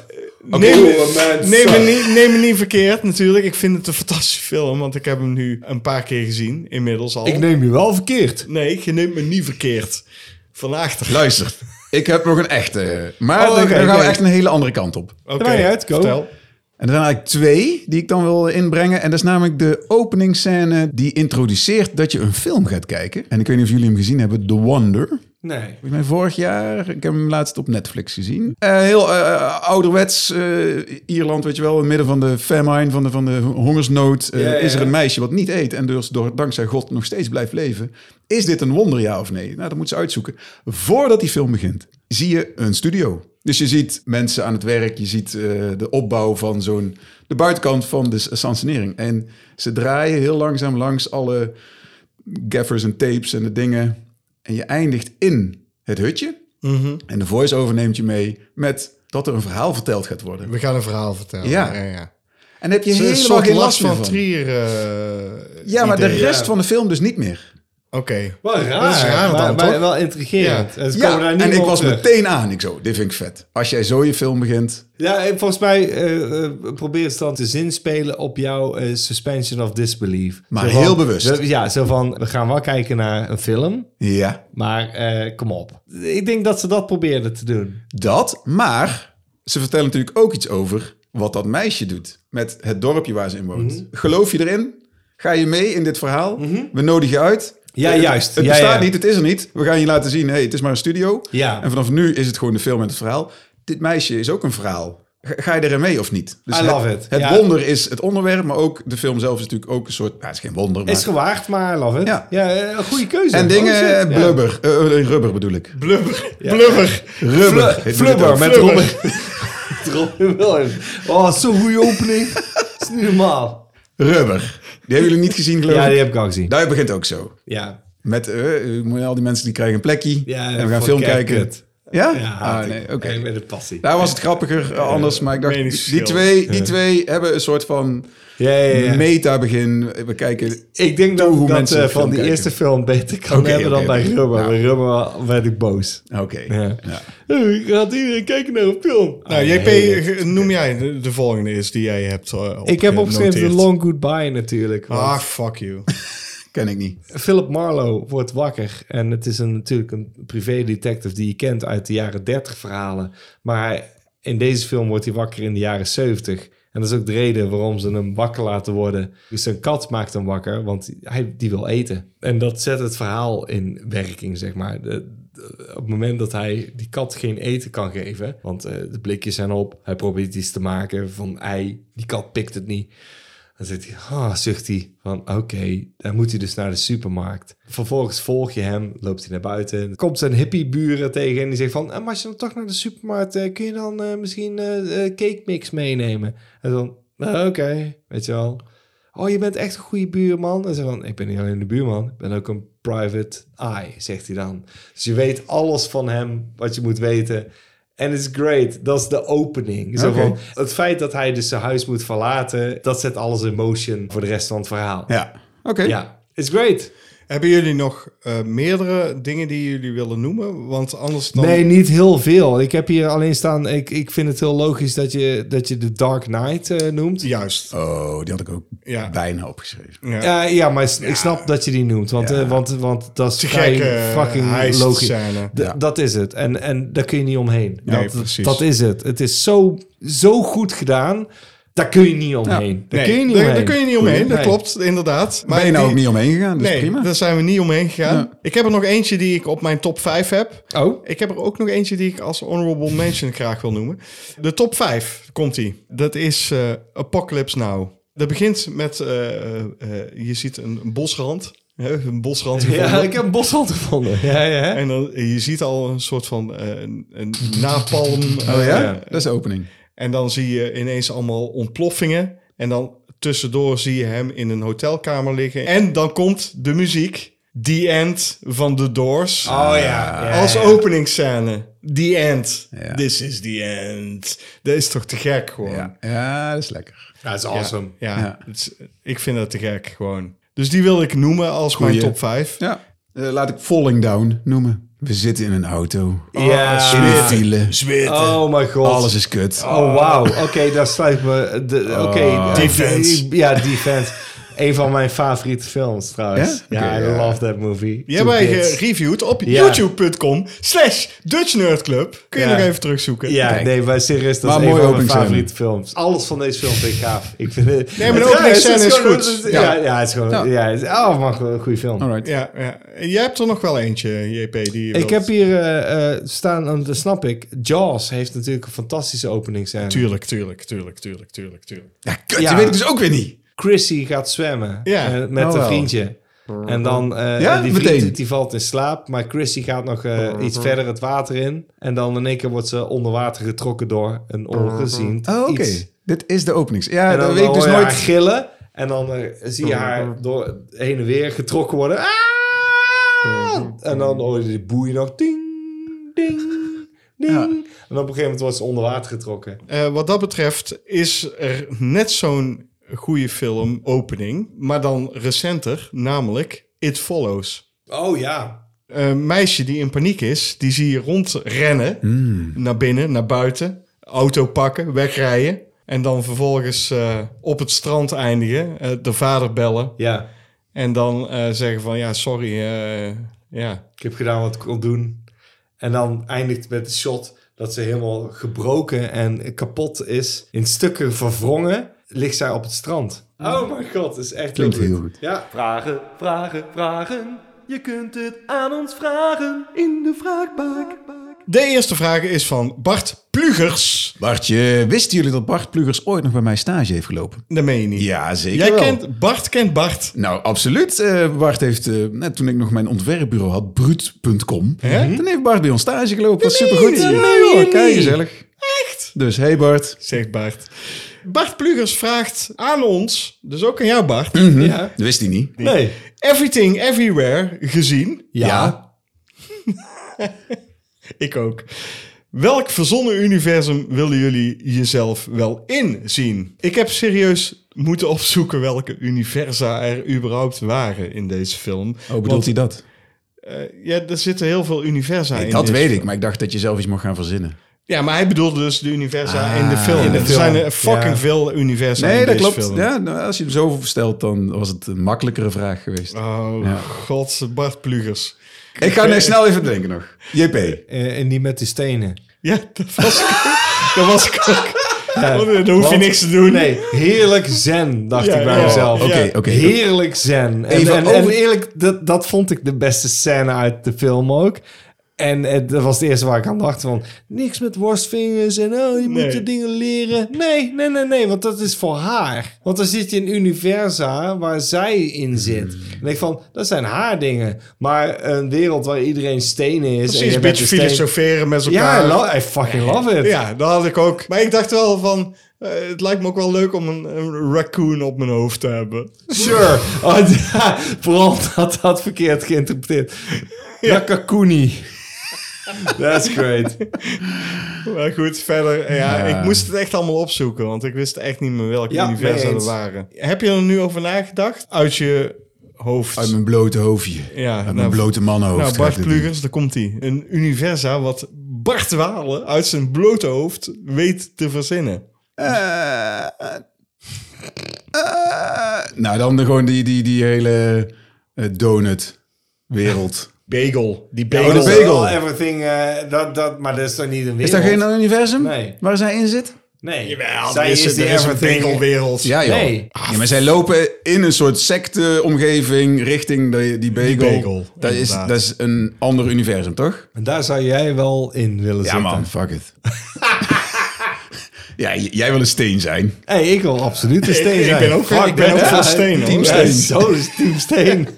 Speaker 3: Neem,
Speaker 2: Oermensen.
Speaker 3: neem, me niet, neem me niet verkeerd natuurlijk. Ik vind het een fantastische film, want ik heb hem nu een paar keer gezien inmiddels al.
Speaker 2: Ik neem je wel verkeerd.
Speaker 3: nee, je neemt me niet verkeerd. Vandaag toch.
Speaker 4: Luister, ik heb nog een echte. eh, Maar
Speaker 2: Oh,
Speaker 4: dan-
Speaker 2: oké,
Speaker 4: dan gaan we
Speaker 2: oké.
Speaker 4: echt een hele andere kant op.
Speaker 3: Oké,
Speaker 2: Maakt niet uit, go.
Speaker 3: vertel.
Speaker 4: En er zijn eigenlijk twee die ik dan wil inbrengen. En dat is namelijk de openingsscène die introduceert dat je een film gaat kijken. En ik weet niet of jullie hem gezien hebben, The Wonder. Volgens
Speaker 2: Nee.
Speaker 4: mij vorig jaar, ik heb hem laatst op Netflix gezien. Eh, heel eh, ouderwets, eh, Ierland weet je wel, in het midden van de famine, van de, van de hongersnood. eh,
Speaker 2: Ja, ja,
Speaker 4: Is er
Speaker 2: ja.
Speaker 4: een meisje wat niet eet en dus door, dankzij God nog steeds blijft leven. Is dit een wonder, ja of nee? Nou, dat moet ze uitzoeken. Voordat die film begint, zie je een studio. Dus je ziet mensen aan het werk, je ziet eh, de opbouw van zo'n... de buitenkant van de sansenering. En ze draaien heel langzaam langs alle gaffers en tapes en de dingen. En je eindigt in het hutje.
Speaker 2: Mhm.
Speaker 4: En de voice-over neemt je mee met dat er een verhaal verteld gaat worden.
Speaker 3: We gaan een verhaal vertellen.
Speaker 4: Ja.
Speaker 3: ja, ja.
Speaker 4: En heb je
Speaker 3: Het is een
Speaker 4: helemaal
Speaker 3: soort
Speaker 4: geen
Speaker 3: last
Speaker 4: last meer
Speaker 3: van
Speaker 4: van.
Speaker 3: Trier. eh,
Speaker 4: Ja, maar de
Speaker 3: idee.
Speaker 4: rest
Speaker 2: ja.
Speaker 4: van de film dus niet meer.
Speaker 3: Oké.
Speaker 2: Wel raar,
Speaker 3: Dat is raar
Speaker 2: maar,
Speaker 3: dan,
Speaker 2: maar
Speaker 3: toch?
Speaker 2: wel intrigerend.
Speaker 3: Ja.
Speaker 2: En ze komen
Speaker 4: Ja,
Speaker 2: daar niet
Speaker 4: en
Speaker 2: meer
Speaker 4: ik
Speaker 2: op
Speaker 4: was
Speaker 2: terug.
Speaker 4: meteen aan. Ik zo, dit vind ik vet. Als jij zo je film begint.
Speaker 2: Ja, en volgens mij eh, eh, probeert ze dan te zinspelen op jouw eh, suspension of disbelief.
Speaker 4: Maar
Speaker 2: Zo van-
Speaker 4: heel bewust.
Speaker 2: zo- ja, zo van, we gaan wel kijken naar een film,
Speaker 4: Ja,
Speaker 2: maar eh, kom op. Ik denk dat ze dat probeerden te doen.
Speaker 4: dat. Maar ze vertellen natuurlijk ook iets over wat dat meisje doet. Met het dorpje waar ze in woont.
Speaker 2: Mhm.
Speaker 4: Geloof je erin? Ga je mee in dit verhaal? We nodigen je uit.
Speaker 2: Ja,
Speaker 4: Het-
Speaker 2: juist.
Speaker 4: Het
Speaker 2: Ja,
Speaker 4: bestaat
Speaker 2: ja.
Speaker 4: niet, het is er niet. We gaan je laten zien, hey, het is maar een studio.
Speaker 2: Ja.
Speaker 4: En vanaf nu is het gewoon de film en het verhaal. Dit meisje is ook een verhaal. Ga ga je erin mee of niet? Dus
Speaker 2: I
Speaker 4: het,
Speaker 2: love it.
Speaker 4: Het
Speaker 2: Ja.
Speaker 4: wonder is het onderwerp, maar ook de film zelf is natuurlijk ook een soort... Nou, het is geen wonder, maar...
Speaker 2: Is gewaagd, maar I love it.
Speaker 4: Ja.
Speaker 2: Ja, eh, een goede keuze.
Speaker 4: En dingen,
Speaker 2: Oh, shit.
Speaker 4: eh, blubber. Eh, eh, rubber bedoel ik.
Speaker 3: Blubber. Blubber.
Speaker 4: Rubber.
Speaker 2: Ja.
Speaker 4: heet het
Speaker 2: Flubber
Speaker 4: ook.
Speaker 2: met
Speaker 3: Flubber.
Speaker 2: Robin. met Robin Williams. Oh, zo'n goede opening. Dat is niet normaal.
Speaker 4: Rubber. Die hebben jullie niet gezien, geloof ik.
Speaker 2: Ja, die heb ik al gezien.
Speaker 4: Daar begint ook zo.
Speaker 2: Ja.
Speaker 4: Met eh, eh, moet je al die mensen die krijgen een plekje.
Speaker 2: Ja,
Speaker 4: en we gaan
Speaker 2: vond
Speaker 4: film
Speaker 2: ik echt
Speaker 4: kijken.
Speaker 2: kut.
Speaker 4: Ja?
Speaker 2: ja
Speaker 4: ah, nee, oké.
Speaker 2: En Met een passie.
Speaker 4: Daar was het grappiger eh, anders, maar ik dacht, die
Speaker 3: meningsverschil.
Speaker 4: twee, die twee hebben een soort van
Speaker 2: Ja, ja, ja.
Speaker 4: meta-begin. We kijken...
Speaker 2: Ik denk dat,
Speaker 4: Toe hoe
Speaker 2: dat
Speaker 4: mensen
Speaker 2: eh,
Speaker 4: de
Speaker 2: van
Speaker 4: film
Speaker 2: die
Speaker 4: kijken.
Speaker 2: eerste film beter kan
Speaker 4: Oké,
Speaker 2: hebben
Speaker 4: oké,
Speaker 2: dan bij
Speaker 4: oké.
Speaker 2: Rubber.
Speaker 4: Ja.
Speaker 2: Bij Rubber werd ik boos.
Speaker 4: Oké.
Speaker 2: Ja.
Speaker 4: Ja.
Speaker 2: Eh, Gaat iedereen kijken naar een film?
Speaker 3: Nou,
Speaker 2: Ah,
Speaker 3: JP,
Speaker 2: nee.
Speaker 3: ge- noem jij de, de volgende is die jij hebt eh,
Speaker 2: Ik heb opgeschreven
Speaker 3: opgenoteerd.
Speaker 2: The Long Goodbye natuurlijk. want
Speaker 3: Ah, fuck you.
Speaker 4: Ken ik niet.
Speaker 2: Philip Marlowe wordt wakker. En het is een, natuurlijk een privédetective die je kent uit de jaren 30 verhalen. Maar hij- in deze film wordt hij wakker in de jaren 70. En dat is ook de reden waarom ze hem wakker laten worden. Dus zijn kat maakt hem wakker, want hij, die wil eten. En dat zet het verhaal in werking, zeg maar. De- de- op het moment dat hij die kat geen eten kan geven, want eh, de blikjes zijn op, hij probeert iets te maken van ei, die kat pikt het niet. Dan zit hij, ah, zucht hij van oké, dan moet hij dus naar de supermarkt. Vervolgens volg je hem, loopt hij naar buiten. Er komt zijn hippieburen tegen en die zegt van, eh, maar als je dan toch naar de supermarkt, eh, kun je dan eh, misschien eh, eh, cake mix meenemen? En dan, "Nou, oké, weet je wel. Oh, je bent echt een goede buurman. En ze van, ik ben niet alleen de buurman, ik ben ook een private eye, zegt hij dan. Dus je weet alles van hem, wat je moet weten. En it's great. Dat is de opening. Zo
Speaker 4: Oké.
Speaker 2: van, het feit dat hij dus zijn huis moet verlaten, dat zet alles in motion voor de rest van het verhaal.
Speaker 4: Ja. Oké.
Speaker 2: Ja, it's great.
Speaker 3: Hebben jullie nog eh, meerdere dingen die jullie willen noemen? Want anders dan...
Speaker 2: Nee, niet heel veel. Ik heb hier alleen staan, ik, ik vind het heel logisch dat je, dat je de Dark Knight eh, noemt. Ja.
Speaker 3: Juist.
Speaker 4: Oh, die had ik ook
Speaker 3: Ja.
Speaker 4: bijna opgeschreven.
Speaker 3: Ja.
Speaker 2: Eh, ja, maar s- ik snap dat je die noemt, want, eh, want, want dat is
Speaker 3: Te
Speaker 2: vrij
Speaker 3: gekke eh,
Speaker 2: fucking
Speaker 3: heist
Speaker 2: logisch.
Speaker 3: scène.
Speaker 2: D- Dat is het. En, en daar kun je niet omheen.
Speaker 3: Nee,
Speaker 2: dat,
Speaker 3: precies.
Speaker 2: dat is het. Het is zo, zo goed gedaan, daar kun je niet omheen. Daar
Speaker 3: Nee,
Speaker 2: kun je niet
Speaker 3: daar,
Speaker 2: omheen.
Speaker 3: daar kun je niet omheen, dat
Speaker 2: Nee.
Speaker 3: klopt, inderdaad.
Speaker 4: Maar ben je nou
Speaker 3: die-
Speaker 4: ook niet omheen gegaan, dus
Speaker 3: nee,
Speaker 4: prima.
Speaker 3: daar zijn we niet omheen gegaan.
Speaker 4: Ja.
Speaker 3: Ik heb er nog eentje die ik op mijn top 5 heb.
Speaker 2: Oh,
Speaker 3: Ik heb er ook nog eentje die ik als honorable mention graag wil noemen. De top 5 komt die. Dat is eh, Apocalypse Now. Dat begint met, eh, eh, eh, je ziet een, een bosrand. hè, Een bosrand.
Speaker 2: ja,
Speaker 3: gevonden.
Speaker 2: ik heb een boshand gevonden. Ja, ja.
Speaker 3: En dan, je ziet al een soort van eh, een, een napalm.
Speaker 4: Oh
Speaker 3: eh,
Speaker 4: ja?
Speaker 2: Ja.
Speaker 4: Dat is de opening.
Speaker 3: En dan zie je ineens allemaal ontploffingen. En dan tussendoor zie je hem in een hotelkamer liggen. En dan komt de muziek. The End van The Doors.
Speaker 2: Oh ja.
Speaker 3: als openingsscène. The End.
Speaker 4: Ja.
Speaker 3: This is the end. Dat is toch te gek gewoon.
Speaker 4: Ja. ja, dat is lekker.
Speaker 2: Dat is
Speaker 3: Ja,
Speaker 2: awesome.
Speaker 3: Ja,
Speaker 4: Ja.
Speaker 3: het is- ik vind dat te gek gewoon. Dus die wil ik noemen als mijn
Speaker 4: Goeie.
Speaker 3: top 5.
Speaker 4: Ja. Eh, laat ik Falling Down noemen. We zitten in een auto.
Speaker 3: Oh,
Speaker 2: Ja.
Speaker 4: In een file.
Speaker 2: Oh mijn god.
Speaker 4: Alles is kut.
Speaker 2: Oh wauw. Oké, daar sluit me. De, oké, eh,
Speaker 3: Defense.
Speaker 2: ik- Ja, Defense. Een van mijn favoriete films trouwens.
Speaker 4: Ja?
Speaker 2: Ja,
Speaker 4: Oké,
Speaker 2: I
Speaker 4: ja.
Speaker 2: love that movie.
Speaker 3: Die
Speaker 2: Two
Speaker 3: hebben wij
Speaker 2: Kids.
Speaker 3: gereviewd op
Speaker 2: Ja.
Speaker 3: youtube.com slash Dutch Nerd Club. Kun je
Speaker 2: Ja.
Speaker 3: nog even terugzoeken.
Speaker 2: Ja,
Speaker 4: Kijk.
Speaker 2: nee, maar serieus, dat
Speaker 4: Maar
Speaker 2: is een
Speaker 4: mooie
Speaker 2: van mijn
Speaker 4: openingscène.
Speaker 2: favoriete films. Alles van deze film vind ik gaaf. Ik vind het,
Speaker 3: Nee, maar de
Speaker 2: het- ja,
Speaker 3: openingscène
Speaker 2: het
Speaker 3: is
Speaker 2: gewoon-
Speaker 3: goed.
Speaker 2: het- Ja, ja, het is gewoon...
Speaker 4: Ja.
Speaker 2: Ja. het is, oh, man, gewoon een goede film.
Speaker 4: Alright.
Speaker 3: Ja, ja. En Jij hebt er nog wel eentje, JP. Die je
Speaker 2: Ik
Speaker 3: wilt.
Speaker 2: heb hier eh, eh, staan, en dat snap ik, Jaws heeft natuurlijk een fantastische openingscène.
Speaker 3: Tuurlijk, tuurlijk, tuurlijk, tuurlijk, tuurlijk, tuurlijk.
Speaker 4: Ja, kut.
Speaker 2: Ja.
Speaker 4: Die weet ik dus ook weer niet.
Speaker 2: Chrissy gaat zwemmen
Speaker 3: Ja,
Speaker 2: eh, met
Speaker 4: nou
Speaker 2: een
Speaker 4: wel.
Speaker 2: vriendje. En dan, eh,
Speaker 4: Ja,
Speaker 2: die
Speaker 4: meteen.
Speaker 2: vriend die valt in slaap, maar Chrissy gaat nog eh, iets verder het water in. En dan in één keer wordt ze onder water getrokken door een ongezien
Speaker 4: Oh, oké.
Speaker 2: iets.
Speaker 4: Dit is de openings. Ja,
Speaker 2: En
Speaker 4: dat
Speaker 2: dan
Speaker 4: weet ik dus
Speaker 2: hoor je haar
Speaker 4: nooit.
Speaker 2: gillen. En dan eh, zie je haar door heen en weer getrokken worden. Ah! En dan hoor je die boei nog. Ding, ding, ding. En op een gegeven moment wordt ze onder water getrokken.
Speaker 3: Eh, wat dat betreft is er net zo'n goede film opening, maar dan recenter, namelijk It Follows.
Speaker 2: Oh ja.
Speaker 3: Een meisje die in paniek is, die zie je rondrennen.
Speaker 4: Hmm.
Speaker 3: Naar binnen, naar buiten. Auto pakken, wegrijden. En dan vervolgens eh, op het strand eindigen. eh, de vader bellen.
Speaker 2: Ja.
Speaker 3: En dan eh, zeggen van, ja, sorry. eh, ja.
Speaker 2: Ik heb gedaan wat ik kon doen. En dan eindigt het met de shot dat ze helemaal gebroken en kapot is. In stukken verwrongen ligt zij op het strand. Oh mijn god, dat is echt
Speaker 4: Klinkt heel goed.
Speaker 2: Ja.
Speaker 6: Vragen, vragen, vragen. Je kunt het aan ons vragen in de vraagbaak.
Speaker 3: De eerste vraag is van Bart Plugers.
Speaker 4: Bartje, wisten jullie dat Bart Plugers ooit nog bij mij stage heeft gelopen?
Speaker 3: Dat meen je niet.
Speaker 4: Ja, zeker
Speaker 3: Jij
Speaker 4: wel.
Speaker 3: kent, Bart kent Bart.
Speaker 4: Nou, absoluut. Eh, Bart heeft, eh, net toen ik nog mijn ontwerpbureau had, bruut.com.
Speaker 3: Hè?
Speaker 4: Dan Mhm. heeft Bart bij ons stage gelopen. Dat is supergoed. Ja, hoor, kijk, gezellig. Echt? Dus, hey Bart.
Speaker 3: Zegt Bart. Bart Plugers vraagt aan ons, dus ook aan jou Bart.
Speaker 4: Mhm.
Speaker 2: ja.
Speaker 4: Dat wist hij niet.
Speaker 2: Nee.
Speaker 3: Everything Everywhere gezien.
Speaker 2: Ja.
Speaker 3: Ik ook. Welk verzonnen universum willen jullie jezelf wel inzien? Ik heb serieus moeten opzoeken welke universa er überhaupt waren in deze film.
Speaker 4: Oh, bedoelt
Speaker 3: Want,
Speaker 4: hij dat?
Speaker 3: eh, ja, er zitten heel veel universa in.
Speaker 4: dat
Speaker 3: deze
Speaker 4: weet
Speaker 3: film.
Speaker 4: ik, maar ik dacht dat je zelf iets mocht gaan verzinnen.
Speaker 3: Ja, maar hij bedoelde dus de universa in de film.
Speaker 4: Ah, in de
Speaker 3: er
Speaker 4: film.
Speaker 3: zijn er fucking
Speaker 2: Ja.
Speaker 3: veel universa in
Speaker 4: Nee, dat
Speaker 3: deze
Speaker 4: klopt.
Speaker 3: film.
Speaker 4: Ja, nou, als je hem zo verstelt, dan was het een makkelijkere vraag geweest.
Speaker 3: Oh,
Speaker 4: Ja.
Speaker 3: god, Bart Plugers.
Speaker 4: Ik ga nu snel even denken nog. JP.
Speaker 2: Eh, en die met die stenen.
Speaker 3: Ja, dat was ik ook. Dat was ik ook. Want dan hoef je
Speaker 2: Want-
Speaker 3: niks te doen.
Speaker 2: Nee, heerlijk zen, dacht
Speaker 3: Ja,
Speaker 2: ik bij
Speaker 3: ja,
Speaker 2: mezelf.
Speaker 3: ja.
Speaker 4: Oké, oké.
Speaker 2: Heerlijk zen. En,
Speaker 4: Even
Speaker 2: en,
Speaker 4: over-
Speaker 2: en eerlijk, dat, dat vond ik de beste scène uit de film ook. En eh, dat was de eerste waar ik aan dacht van... niks met worstvingers en oh, je
Speaker 3: Nee.
Speaker 2: moet je dingen leren. Nee, nee, nee, nee, want dat is voor haar. Want dan zit je in universa waar zij in zit. En ik van, dat zijn haar dingen. Maar een wereld waar iedereen stenen is... en
Speaker 3: Precies,
Speaker 2: je
Speaker 3: een
Speaker 2: bent
Speaker 3: beetje
Speaker 2: een steen-
Speaker 3: filosoferen met elkaar.
Speaker 2: Ja, I, lo- I fucking love it.
Speaker 3: Ja, dat had ik ook. Maar ik dacht wel van... eh, het lijkt me ook wel leuk om een, een raccoon op mijn hoofd te hebben.
Speaker 2: Sure. Oh, ja, vooral dat had verkeerd geïnterpreteerd. Nakakuni. That's great.
Speaker 3: Maar goed, verder. eh, Ja,
Speaker 4: Ja.
Speaker 3: Ik moest het echt allemaal opzoeken, want ik wist echt niet meer welke
Speaker 2: Ja,
Speaker 3: universa
Speaker 2: mee
Speaker 3: er
Speaker 2: eens.
Speaker 3: waren. Heb je er nu over nagedacht? Uit je hoofd.
Speaker 4: Uit mijn blote hoofdje.
Speaker 3: ja,
Speaker 4: Uit mijn blote mannenhoofd.
Speaker 3: Nou,
Speaker 4: gaat
Speaker 3: Bart
Speaker 4: dit
Speaker 3: Plugers, daar komt hij. Een universa wat Bart Walen uit zijn blote hoofd weet te verzinnen.
Speaker 4: doen. Eh, eh, eh, nou, dan de- gewoon die, die, die hele eh, donut-wereld.
Speaker 3: Bagel. Die
Speaker 2: Ja,
Speaker 3: bagel.
Speaker 2: dat is
Speaker 4: bagel.
Speaker 2: wel everything, eh, dat, dat, maar dat is toch niet een wereld?
Speaker 4: Is daar geen universum
Speaker 2: Nee.
Speaker 4: waar zij in zit?
Speaker 2: Nee.
Speaker 3: Jawel,
Speaker 2: Zij
Speaker 3: er is,
Speaker 2: is
Speaker 3: is,
Speaker 2: de
Speaker 3: er is een
Speaker 2: everything.
Speaker 3: bagelwereld.
Speaker 4: Ja, joh.
Speaker 2: Nee.
Speaker 4: Ja, maar zij lopen in een soort secte-omgeving richting de- die bagel.
Speaker 3: bagel,
Speaker 4: dat, is,
Speaker 3: inderdaad.
Speaker 4: dat is een ander universum, toch?
Speaker 2: En daar zou jij wel in willen
Speaker 4: Ja,
Speaker 2: zitten.
Speaker 4: man, fuck it. ja, j- jij wil een steen zijn.
Speaker 2: hey, ik wil absoluut een steen
Speaker 3: ik
Speaker 2: zijn.
Speaker 3: ben ook-
Speaker 2: Fuck
Speaker 3: ik ben
Speaker 2: that.
Speaker 3: ook van
Speaker 2: Ja,
Speaker 3: steen, hoor.
Speaker 2: Team
Speaker 3: Ja,
Speaker 2: steen. Zo is team steen.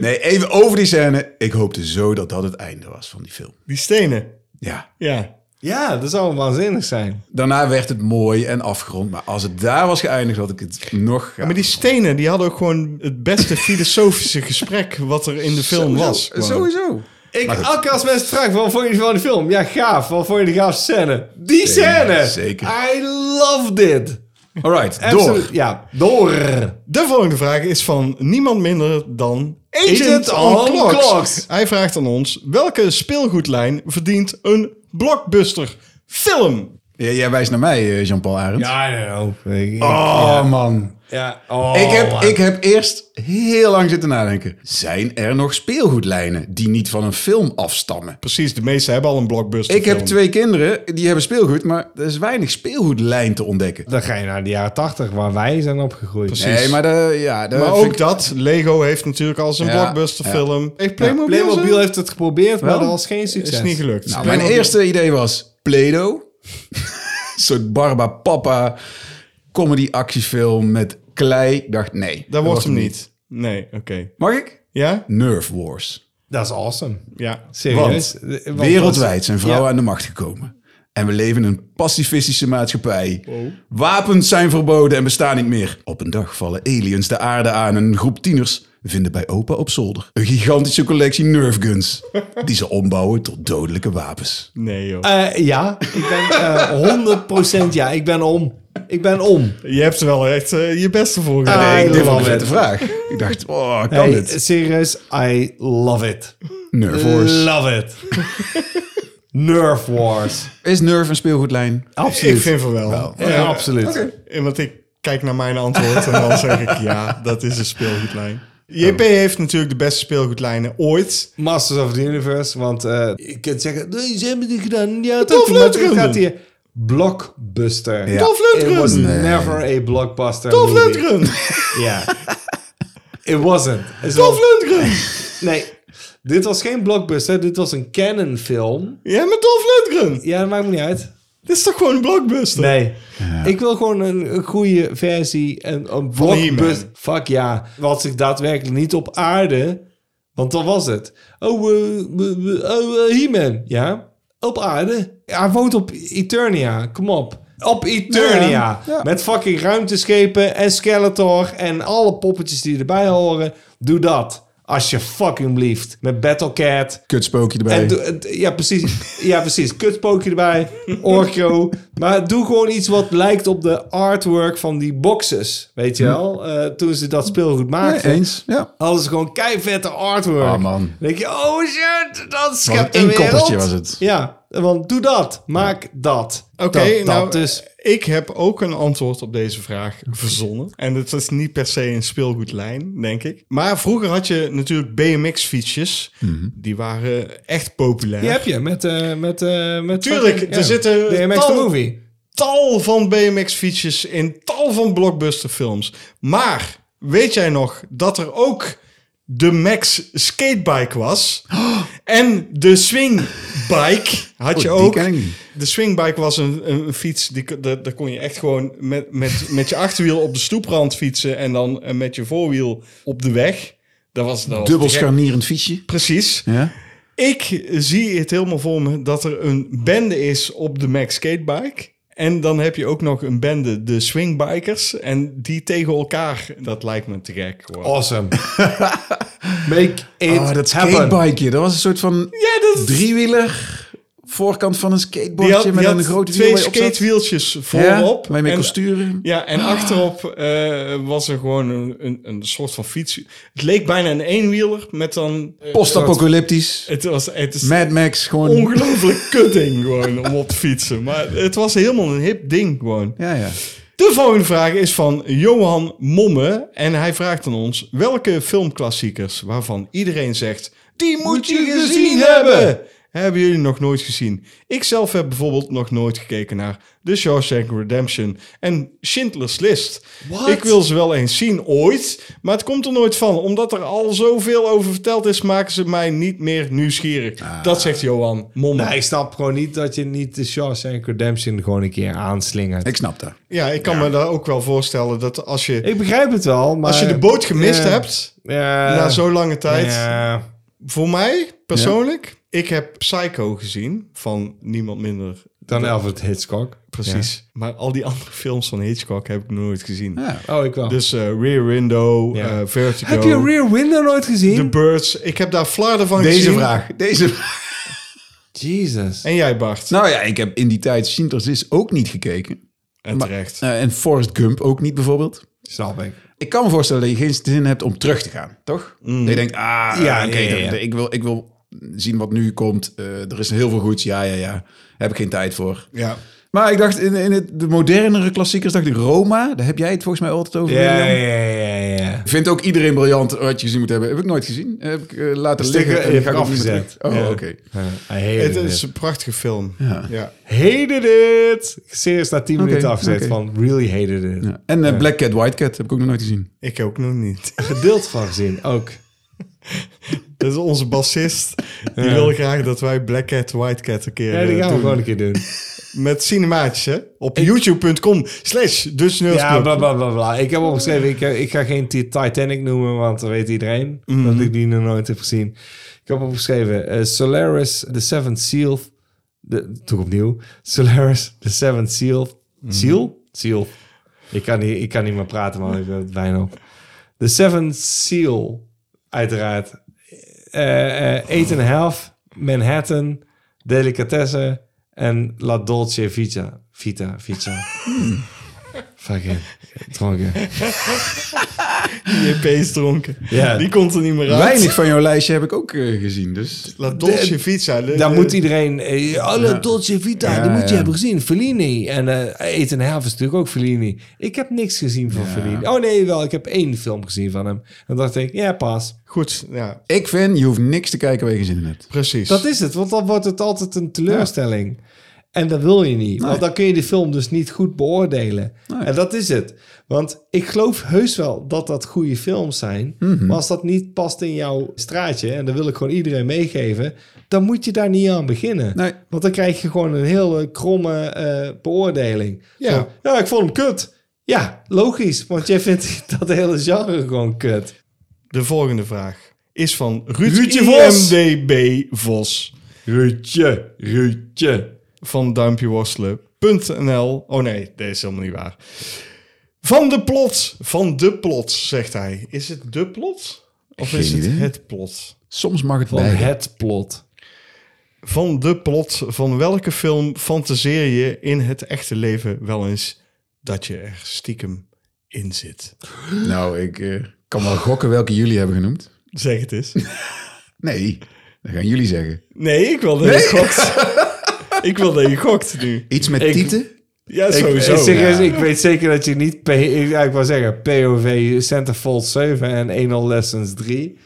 Speaker 4: Nee, even over die scène. Ik hoopte zo dat dat het einde was van die film.
Speaker 3: Die stenen.
Speaker 4: Ja.
Speaker 3: Ja.
Speaker 2: Ja, dat zou waanzinnig zijn.
Speaker 4: Daarna werd het mooi en afgerond. Maar als het daar was geëindigd, had ik het nog...
Speaker 3: Maar die stenen, die hadden ook gewoon het beste filosofische gesprek wat er in de film was. gewoon.
Speaker 4: Sowieso.
Speaker 2: Ik, elke keer als mensen vragen, wat vond je van de film? Ja, gaaf. Wat vond je de gaaf scène? Die scène!
Speaker 4: zeker.
Speaker 2: I loved it.
Speaker 4: All right,
Speaker 2: Absoluut,
Speaker 4: door.
Speaker 2: Ja, door.
Speaker 3: De volgende vraag is van niemand minder dan
Speaker 2: Agent on
Speaker 3: Clocks.
Speaker 2: Clocks.
Speaker 3: Hij vraagt aan ons, welke speelgoedlijn verdient een blockbuster film?
Speaker 4: Ja, jij wijst naar mij, eh, Jean-Paul Arendt.
Speaker 2: Ja, I don't know.
Speaker 4: Oh, man.
Speaker 2: Ja. Oh,
Speaker 4: ik, heb,
Speaker 2: man.
Speaker 4: ik heb eerst heel lang zitten nadenken. Zijn er nog speelgoedlijnen die niet van een film afstammen?
Speaker 3: Precies, de meeste hebben al een blockbuster
Speaker 4: Ik heb
Speaker 3: film.
Speaker 4: twee kinderen, die hebben speelgoed, maar er is weinig speelgoedlijn te ontdekken.
Speaker 2: Dan ga je naar de jaren tachtig, waar wij zijn opgegroeid.
Speaker 3: Precies.
Speaker 4: Nee, maar de, ja, de,
Speaker 3: Maar
Speaker 4: vind
Speaker 3: ook
Speaker 4: ik-
Speaker 3: dat, Lego heeft natuurlijk al zijn
Speaker 4: Ja,
Speaker 3: blockbuster film. Heeft Playmobil,
Speaker 2: Playmobil
Speaker 3: zo?
Speaker 2: heeft het geprobeerd, maar
Speaker 4: Wel?
Speaker 2: dat was geen succes.
Speaker 3: Is niet gelukt.
Speaker 4: Nou, mijn eerste idee was Play-Doh. Een soort Barba Papa comedy actiefilm met klei. Ik dacht, nee.
Speaker 3: Dat wordt hem niet. Nee, oké.
Speaker 4: Mag ik?
Speaker 3: Ja?
Speaker 4: Nerve Wars.
Speaker 2: Dat is awesome.
Speaker 3: Ja.
Speaker 2: Serieus.
Speaker 4: Want
Speaker 2: Eh, want
Speaker 4: Wereldwijd zijn vrouwen aan de macht gekomen. En we leven in een pacifistische maatschappij.
Speaker 2: Oh.
Speaker 4: Wapens zijn verboden en bestaan niet meer. Op een dag vallen aliens de aarde aan en een groep tieners vinden bij opa op zolder een gigantische collectie Nerf guns. Die ze ombouwen tot dodelijke wapens.
Speaker 3: Nee, joh.
Speaker 2: dat- eh, ja, ik ben eh 100% ja. Ik ben om. Ik ben om.
Speaker 3: Je hebt er wel echt eh, je beste voor gedaan.
Speaker 2: Ah,
Speaker 4: Nee, ik dit vond
Speaker 2: love
Speaker 4: een vette
Speaker 2: it.
Speaker 4: vraag. Ik dacht, oh, kan
Speaker 2: Hey,
Speaker 4: dit?
Speaker 2: serieus, I love it.
Speaker 4: Nerf Wars.
Speaker 2: Love it. Nerf Wars.
Speaker 4: Is Nerf een speelgoedlijn?
Speaker 2: Absoluut.
Speaker 3: ik vind van wel.
Speaker 2: Ja, absoluut.
Speaker 3: Eh, Want ik kijk naar mijn antwoord en dan zeg ik ja, dat is een speelgoedlijn. JP heeft natuurlijk de beste speelgoedlijnen ooit.
Speaker 2: Masters of the Universe, want eh je kunt zeggen, nee, ze hebben het gedaan. Ja,
Speaker 3: Dolph
Speaker 2: dat maar het
Speaker 3: Lundgren.
Speaker 2: gaat hier. Blockbuster.
Speaker 4: Ja.
Speaker 3: Dolph Lundgren.
Speaker 2: It was
Speaker 4: Nee.
Speaker 2: never a blockbuster
Speaker 3: Dolph
Speaker 2: movie.
Speaker 3: Lundgren!
Speaker 2: Ja. It wasn't. Is
Speaker 3: Dolph
Speaker 2: wel-
Speaker 3: Lundgren!
Speaker 2: Nee, dit was geen blockbuster, dit was een canon film.
Speaker 3: Ja, met Dolph Lundgren!
Speaker 2: Ja, dat maakt me niet uit.
Speaker 3: Dit is toch gewoon een blockbuster?
Speaker 2: Nee. Ik wil gewoon een, een goede versie. Een,
Speaker 3: Van
Speaker 2: een blockbuster. Fuck ja. Wat zich daadwerkelijk niet op aarde. Want dan was het. Oh, eh, eh, eh, oh eh, He-Man. Ja. Op aarde. Hij woont op Eternia. Kom op. Op Eternia.
Speaker 4: Ja, ja.
Speaker 2: Met fucking ruimteschepen en Skeletor en alle poppetjes die erbij horen. Doe dat. Als je fucking blieft. Met Battle Cat.
Speaker 4: Kut spookje erbij.
Speaker 2: En doe- en- ja, precies. Ja, precies. Kutpookje erbij. Orco. Maar doe gewoon iets wat lijkt op de artwork van die boxes. Weet je wel? Eh, toen ze dat speelgoed maakten.
Speaker 4: Nee, Hm. eens. Ja.
Speaker 2: Hadden ze gewoon keivette artwork.
Speaker 4: Ah, man.
Speaker 2: Dan denk je, oh shit, dat
Speaker 4: Wat
Speaker 2: schept
Speaker 4: een
Speaker 2: de wereld.
Speaker 4: inkoppertje was het.
Speaker 2: Ja, want doe dat. Maak dat.
Speaker 3: Oké,
Speaker 2: Dat- dat,
Speaker 3: nou,
Speaker 4: eh,
Speaker 2: dus.
Speaker 3: ik heb ook een antwoord op deze vraag verzonnen. En het is niet per se een speelgoedlijn, denk ik. Maar vroeger had je natuurlijk BMX-fietsjes.
Speaker 2: Mhm.
Speaker 3: Die waren echt populair.
Speaker 2: Die heb je met... eh met, eh met
Speaker 3: Tuurlijk,
Speaker 2: fucking-
Speaker 3: er
Speaker 2: ja.
Speaker 3: zitten
Speaker 2: DMX The
Speaker 3: tal-
Speaker 2: Movie.
Speaker 3: tal van BMX-fietsjes in tal van blockbusterfilms. Maar weet jij nog dat er ook de Max skatebike was? En de swingbike had je
Speaker 4: Oh, die
Speaker 3: ook.
Speaker 4: ken ik niet.
Speaker 3: De swingbike was een, een, een fiets, die, k- daar, daar kon je echt gewoon met, met, met je achterwiel op de stoeprand fietsen en dan eh, met je voorwiel op de weg. Dat was, dat was
Speaker 4: Dubbel
Speaker 3: te gek.
Speaker 4: scharnierend fietsje.
Speaker 3: Precies.
Speaker 4: Ja.
Speaker 3: Ik zie het helemaal voor me dat er een bende is op de Max Skatebike. En dan heb je ook nog een bende, de swingbikers. En die tegen elkaar, dat lijkt me te gek. hoor.
Speaker 2: Awesome. Make it
Speaker 4: Oh, dat
Speaker 2: happen.
Speaker 4: skatebikeje. Dat was een soort van
Speaker 3: Ja, dat
Speaker 4: driewieler. Voorkant van een
Speaker 3: die had,
Speaker 4: skateboardje
Speaker 3: die
Speaker 4: met
Speaker 3: had
Speaker 4: een grote wiel
Speaker 3: twee
Speaker 4: waar je op zat.
Speaker 3: skatewieltjes
Speaker 4: Ja,
Speaker 3: voorop.
Speaker 4: waar je mee
Speaker 3: en,
Speaker 4: kon sturen. Ah.
Speaker 3: ja, en achterop eh, was er gewoon een, een, een soort van fiets. Het leek bijna een eenwieler met dan... eh,
Speaker 4: Post-apocalyptisch.
Speaker 3: het was, het is
Speaker 4: Mad Max. Gewoon...
Speaker 3: ongelooflijk kutting gewoon om op te fietsen. Maar het was helemaal een hip ding gewoon.
Speaker 4: Ja, ja.
Speaker 3: De volgende vraag is van Johan Momme. En hij vraagt aan ons: welke filmklassiekers waarvan iedereen zegt: die moet je gezien hebben? Hebben jullie nog nooit gezien? Ik zelf heb bijvoorbeeld nog nooit gekeken naar The Shawshank Redemption en Schindler's List. Ik wil ze wel eens zien ooit, maar het komt er nooit van. Omdat er al zoveel over verteld is, maken ze mij niet meer nieuwsgierig. Dat zegt Johan Momme.
Speaker 2: Nou, ik snap gewoon niet dat je niet de Shawshank Redemption gewoon een keer aanslingert.
Speaker 4: Ik snap dat.
Speaker 3: Ja, ik kan me daar ook wel voorstellen dat als je,
Speaker 2: Ik begrijp het wel, maar...
Speaker 3: als je de boot gemist
Speaker 2: Ja.
Speaker 3: hebt.
Speaker 2: Ja.
Speaker 3: na zo'n lange tijd.
Speaker 2: Eh, Ja.
Speaker 3: Voor mij persoonlijk, ik heb Psycho gezien van niemand minder.
Speaker 2: Dan Alfred Hitchcock.
Speaker 3: Precies. Maar al die andere films van Hitchcock heb ik nog nooit gezien.
Speaker 4: Ja.
Speaker 2: Oh, ik wel.
Speaker 3: Dus eh, Rear Window,
Speaker 2: Ja.
Speaker 3: eh, Vertigo,
Speaker 2: Heb je Rear Window nooit gezien?
Speaker 3: The Birds. Ik heb daar flarden van gezien.
Speaker 4: Deze vraag. Deze vraag.
Speaker 2: Jesus.
Speaker 3: En jij Bart.
Speaker 4: Nou ja, ik heb in die tijd Schindler's List ook niet gekeken.
Speaker 3: en
Speaker 4: maar-
Speaker 3: terecht.
Speaker 4: Eh, en Forrest Gump ook niet bijvoorbeeld.
Speaker 2: Snap ik.
Speaker 4: Ik kan me voorstellen dat je geen zin hebt om terug te gaan, toch? Dat je denkt, ah, ja,
Speaker 2: Mm. ja, ja, ja.
Speaker 4: Ik, wil, ik wil zien wat nu komt. Eh, er is heel veel goeds. Ja, ja, ja. Heb ik geen tijd voor.
Speaker 3: ja.
Speaker 4: Maar ik dacht, in, in het, de modernere klassiekers dacht ik Roma. Daar heb jij het volgens mij altijd over.
Speaker 2: Ja,
Speaker 4: William.
Speaker 2: ja, ja, ja.
Speaker 4: Ik vind ook iedereen briljant wat je gezien moet hebben. Heb ik nooit gezien. Heb ik eh, laten
Speaker 2: Sticker
Speaker 4: liggen. en
Speaker 2: heb
Speaker 4: ga
Speaker 2: ik
Speaker 4: ook niet meer
Speaker 2: afgezet.
Speaker 4: terug. Oh,
Speaker 2: Ja.
Speaker 4: oké.
Speaker 2: ja. I hated
Speaker 3: Het
Speaker 2: it.
Speaker 3: is een prachtige film. Ja.
Speaker 2: Hated it. Serieus, na 10
Speaker 4: Oké,
Speaker 2: minuten afgezet
Speaker 4: oké.
Speaker 2: van really hated it.
Speaker 4: Ja. En eh, Black Cat, White Cat heb ik ook nog nooit gezien.
Speaker 3: Ik ook nog niet.
Speaker 2: Gedeeld van gezien, ook.
Speaker 3: Dat is onze bassist. Die wil graag dat wij Black Cat, White Cat een keer...
Speaker 2: Ja, die
Speaker 3: eh,
Speaker 2: gaan we
Speaker 3: doen.
Speaker 2: gewoon een keer doen.
Speaker 3: Met cinemaatjes, hè? Op youtube.com slash dus de
Speaker 2: Ja,
Speaker 3: Sneeuwsclub.
Speaker 2: bla bla bla bla. Ik heb opgeschreven, ik, eh, ik ga geen Ti- Titanic noemen, want dat weet iedereen. Dat ik die nog nooit heb gezien. Ik heb opgeschreven eh, Solaris, The Seventh Seal. De, toch opnieuw. Solaris, The Seventh Seal. Seal? Seal. Ik kan niet, ik kan niet meer praten, maar ik ben het bijna op. The Seventh Seal, uiteraard. Eh, eh, Eight and a Half, Manhattan, Delicatessen en La Dolce Vita. Vita, Vita. Fucking dronken.
Speaker 3: JP is dronken.
Speaker 2: Ja.
Speaker 3: Die komt er niet meer uit.
Speaker 4: Weinig van jouw lijstje heb ik ook eh, gezien, dus...
Speaker 3: La Dolce Vita. de-
Speaker 2: Daar
Speaker 3: de-
Speaker 2: moet iedereen... eh, Oh, La Dolce Vita,
Speaker 4: Ja,
Speaker 2: die moet je
Speaker 4: ja.
Speaker 2: hebben gezien. Fellini. En eh Eight and a Half is natuurlijk ook Fellini. Ik heb niks gezien van Fellini. Oh nee, wel. Ik heb één film gezien van hem. En dacht ik, ja, pas.
Speaker 3: Goed, ja,
Speaker 4: Ik vind, je hoeft niks te kijken waar je geen zin in hebt.
Speaker 3: precies.
Speaker 2: Dat is het, want dan wordt het altijd een teleurstelling. En dat wil je niet, want dan kun je de film dus niet goed beoordelen. En dat is het. Want ik geloof heus wel dat dat goede films zijn.
Speaker 4: Mhm.
Speaker 2: Maar als dat niet past in jouw straatje, en dat wil ik gewoon iedereen meegeven, dan moet je daar niet aan beginnen.
Speaker 4: Nee.
Speaker 2: Want dan krijg je gewoon een hele kromme eh, beoordeling.
Speaker 3: Ja.
Speaker 2: Van, ja, ik vond hem kut. Ja, logisch, want jij vindt dat hele genre gewoon kut.
Speaker 3: De volgende vraag is van Ruud
Speaker 2: Ruudje Vos.
Speaker 3: IMDB Vos.
Speaker 2: Ruutje, Ruutje.
Speaker 3: Van duimpjeworstelen.nl. Oh nee, dat is helemaal niet waar. Van de plot. Van de plot, zegt hij. Is het de plot? Of
Speaker 4: Geen
Speaker 3: is het
Speaker 4: idee.
Speaker 3: het plot?
Speaker 4: Soms mag het
Speaker 2: Van
Speaker 4: beide.
Speaker 2: het plot.
Speaker 3: Van de plot van welke film fantaseer je in het echte leven wel eens dat je er stiekem in zit?
Speaker 4: Nou, ik eh, kan wel gokken welke jullie hebben genoemd.
Speaker 3: Zeg het eens.
Speaker 4: Nee, dat gaan jullie zeggen.
Speaker 3: Nee, ik wil dat je gokt. ik wil dat je gokt nu.
Speaker 4: Iets met
Speaker 2: Ik-
Speaker 4: tieten?
Speaker 3: Ja,
Speaker 2: Ik,
Speaker 3: sowieso.
Speaker 2: ik, serieus,
Speaker 3: Ja.
Speaker 2: ik weet zeker dat je niet... P, ik, ja, ik wou zeggen, POV Centerfold 7 en 1 Lessons 3.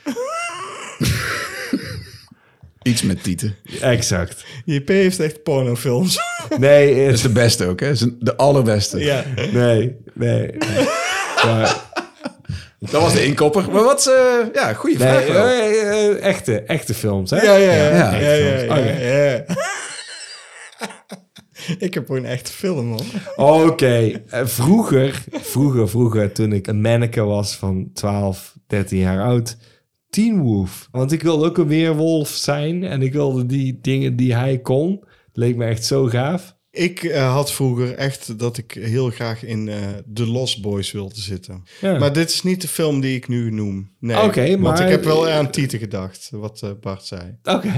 Speaker 4: Iets met tieten.
Speaker 2: Exact.
Speaker 3: JP heeft echt pornofilms.
Speaker 2: Nee,
Speaker 4: Dat
Speaker 2: het-
Speaker 4: is de beste ook, hè? Dat is De allerbeste.
Speaker 3: ja.
Speaker 2: nee, nee. nee. Maar,
Speaker 4: Dat was de inkopper. Maar wat, eh, ja, goede
Speaker 2: nee,
Speaker 4: vraag wel.
Speaker 2: eh, eh, eh, echte, echte films, hè?
Speaker 3: Ja, ja, ja. ja,
Speaker 4: Ja,
Speaker 3: ja, ja,
Speaker 2: echt films. Oké.
Speaker 3: ja. ik heb gewoon echt film, man.
Speaker 2: Oké, eh, vroeger, vroeger, vroeger, toen ik een manneke was van 12, 13 jaar oud, Teen Wolf. Want ik wilde ook een weerwolf zijn en ik wilde die dingen die hij kon. Leek me echt zo gaaf.
Speaker 3: Ik eh, had vroeger echt dat ik heel graag in eh The Lost Boys wilde zitten.
Speaker 2: Ja.
Speaker 3: Maar dit is niet de film die ik nu noem. Nee,
Speaker 2: Oké,
Speaker 3: want
Speaker 2: maar-
Speaker 3: ik heb wel aan Tieten gedacht, wat eh, Bart zei.
Speaker 2: Oké.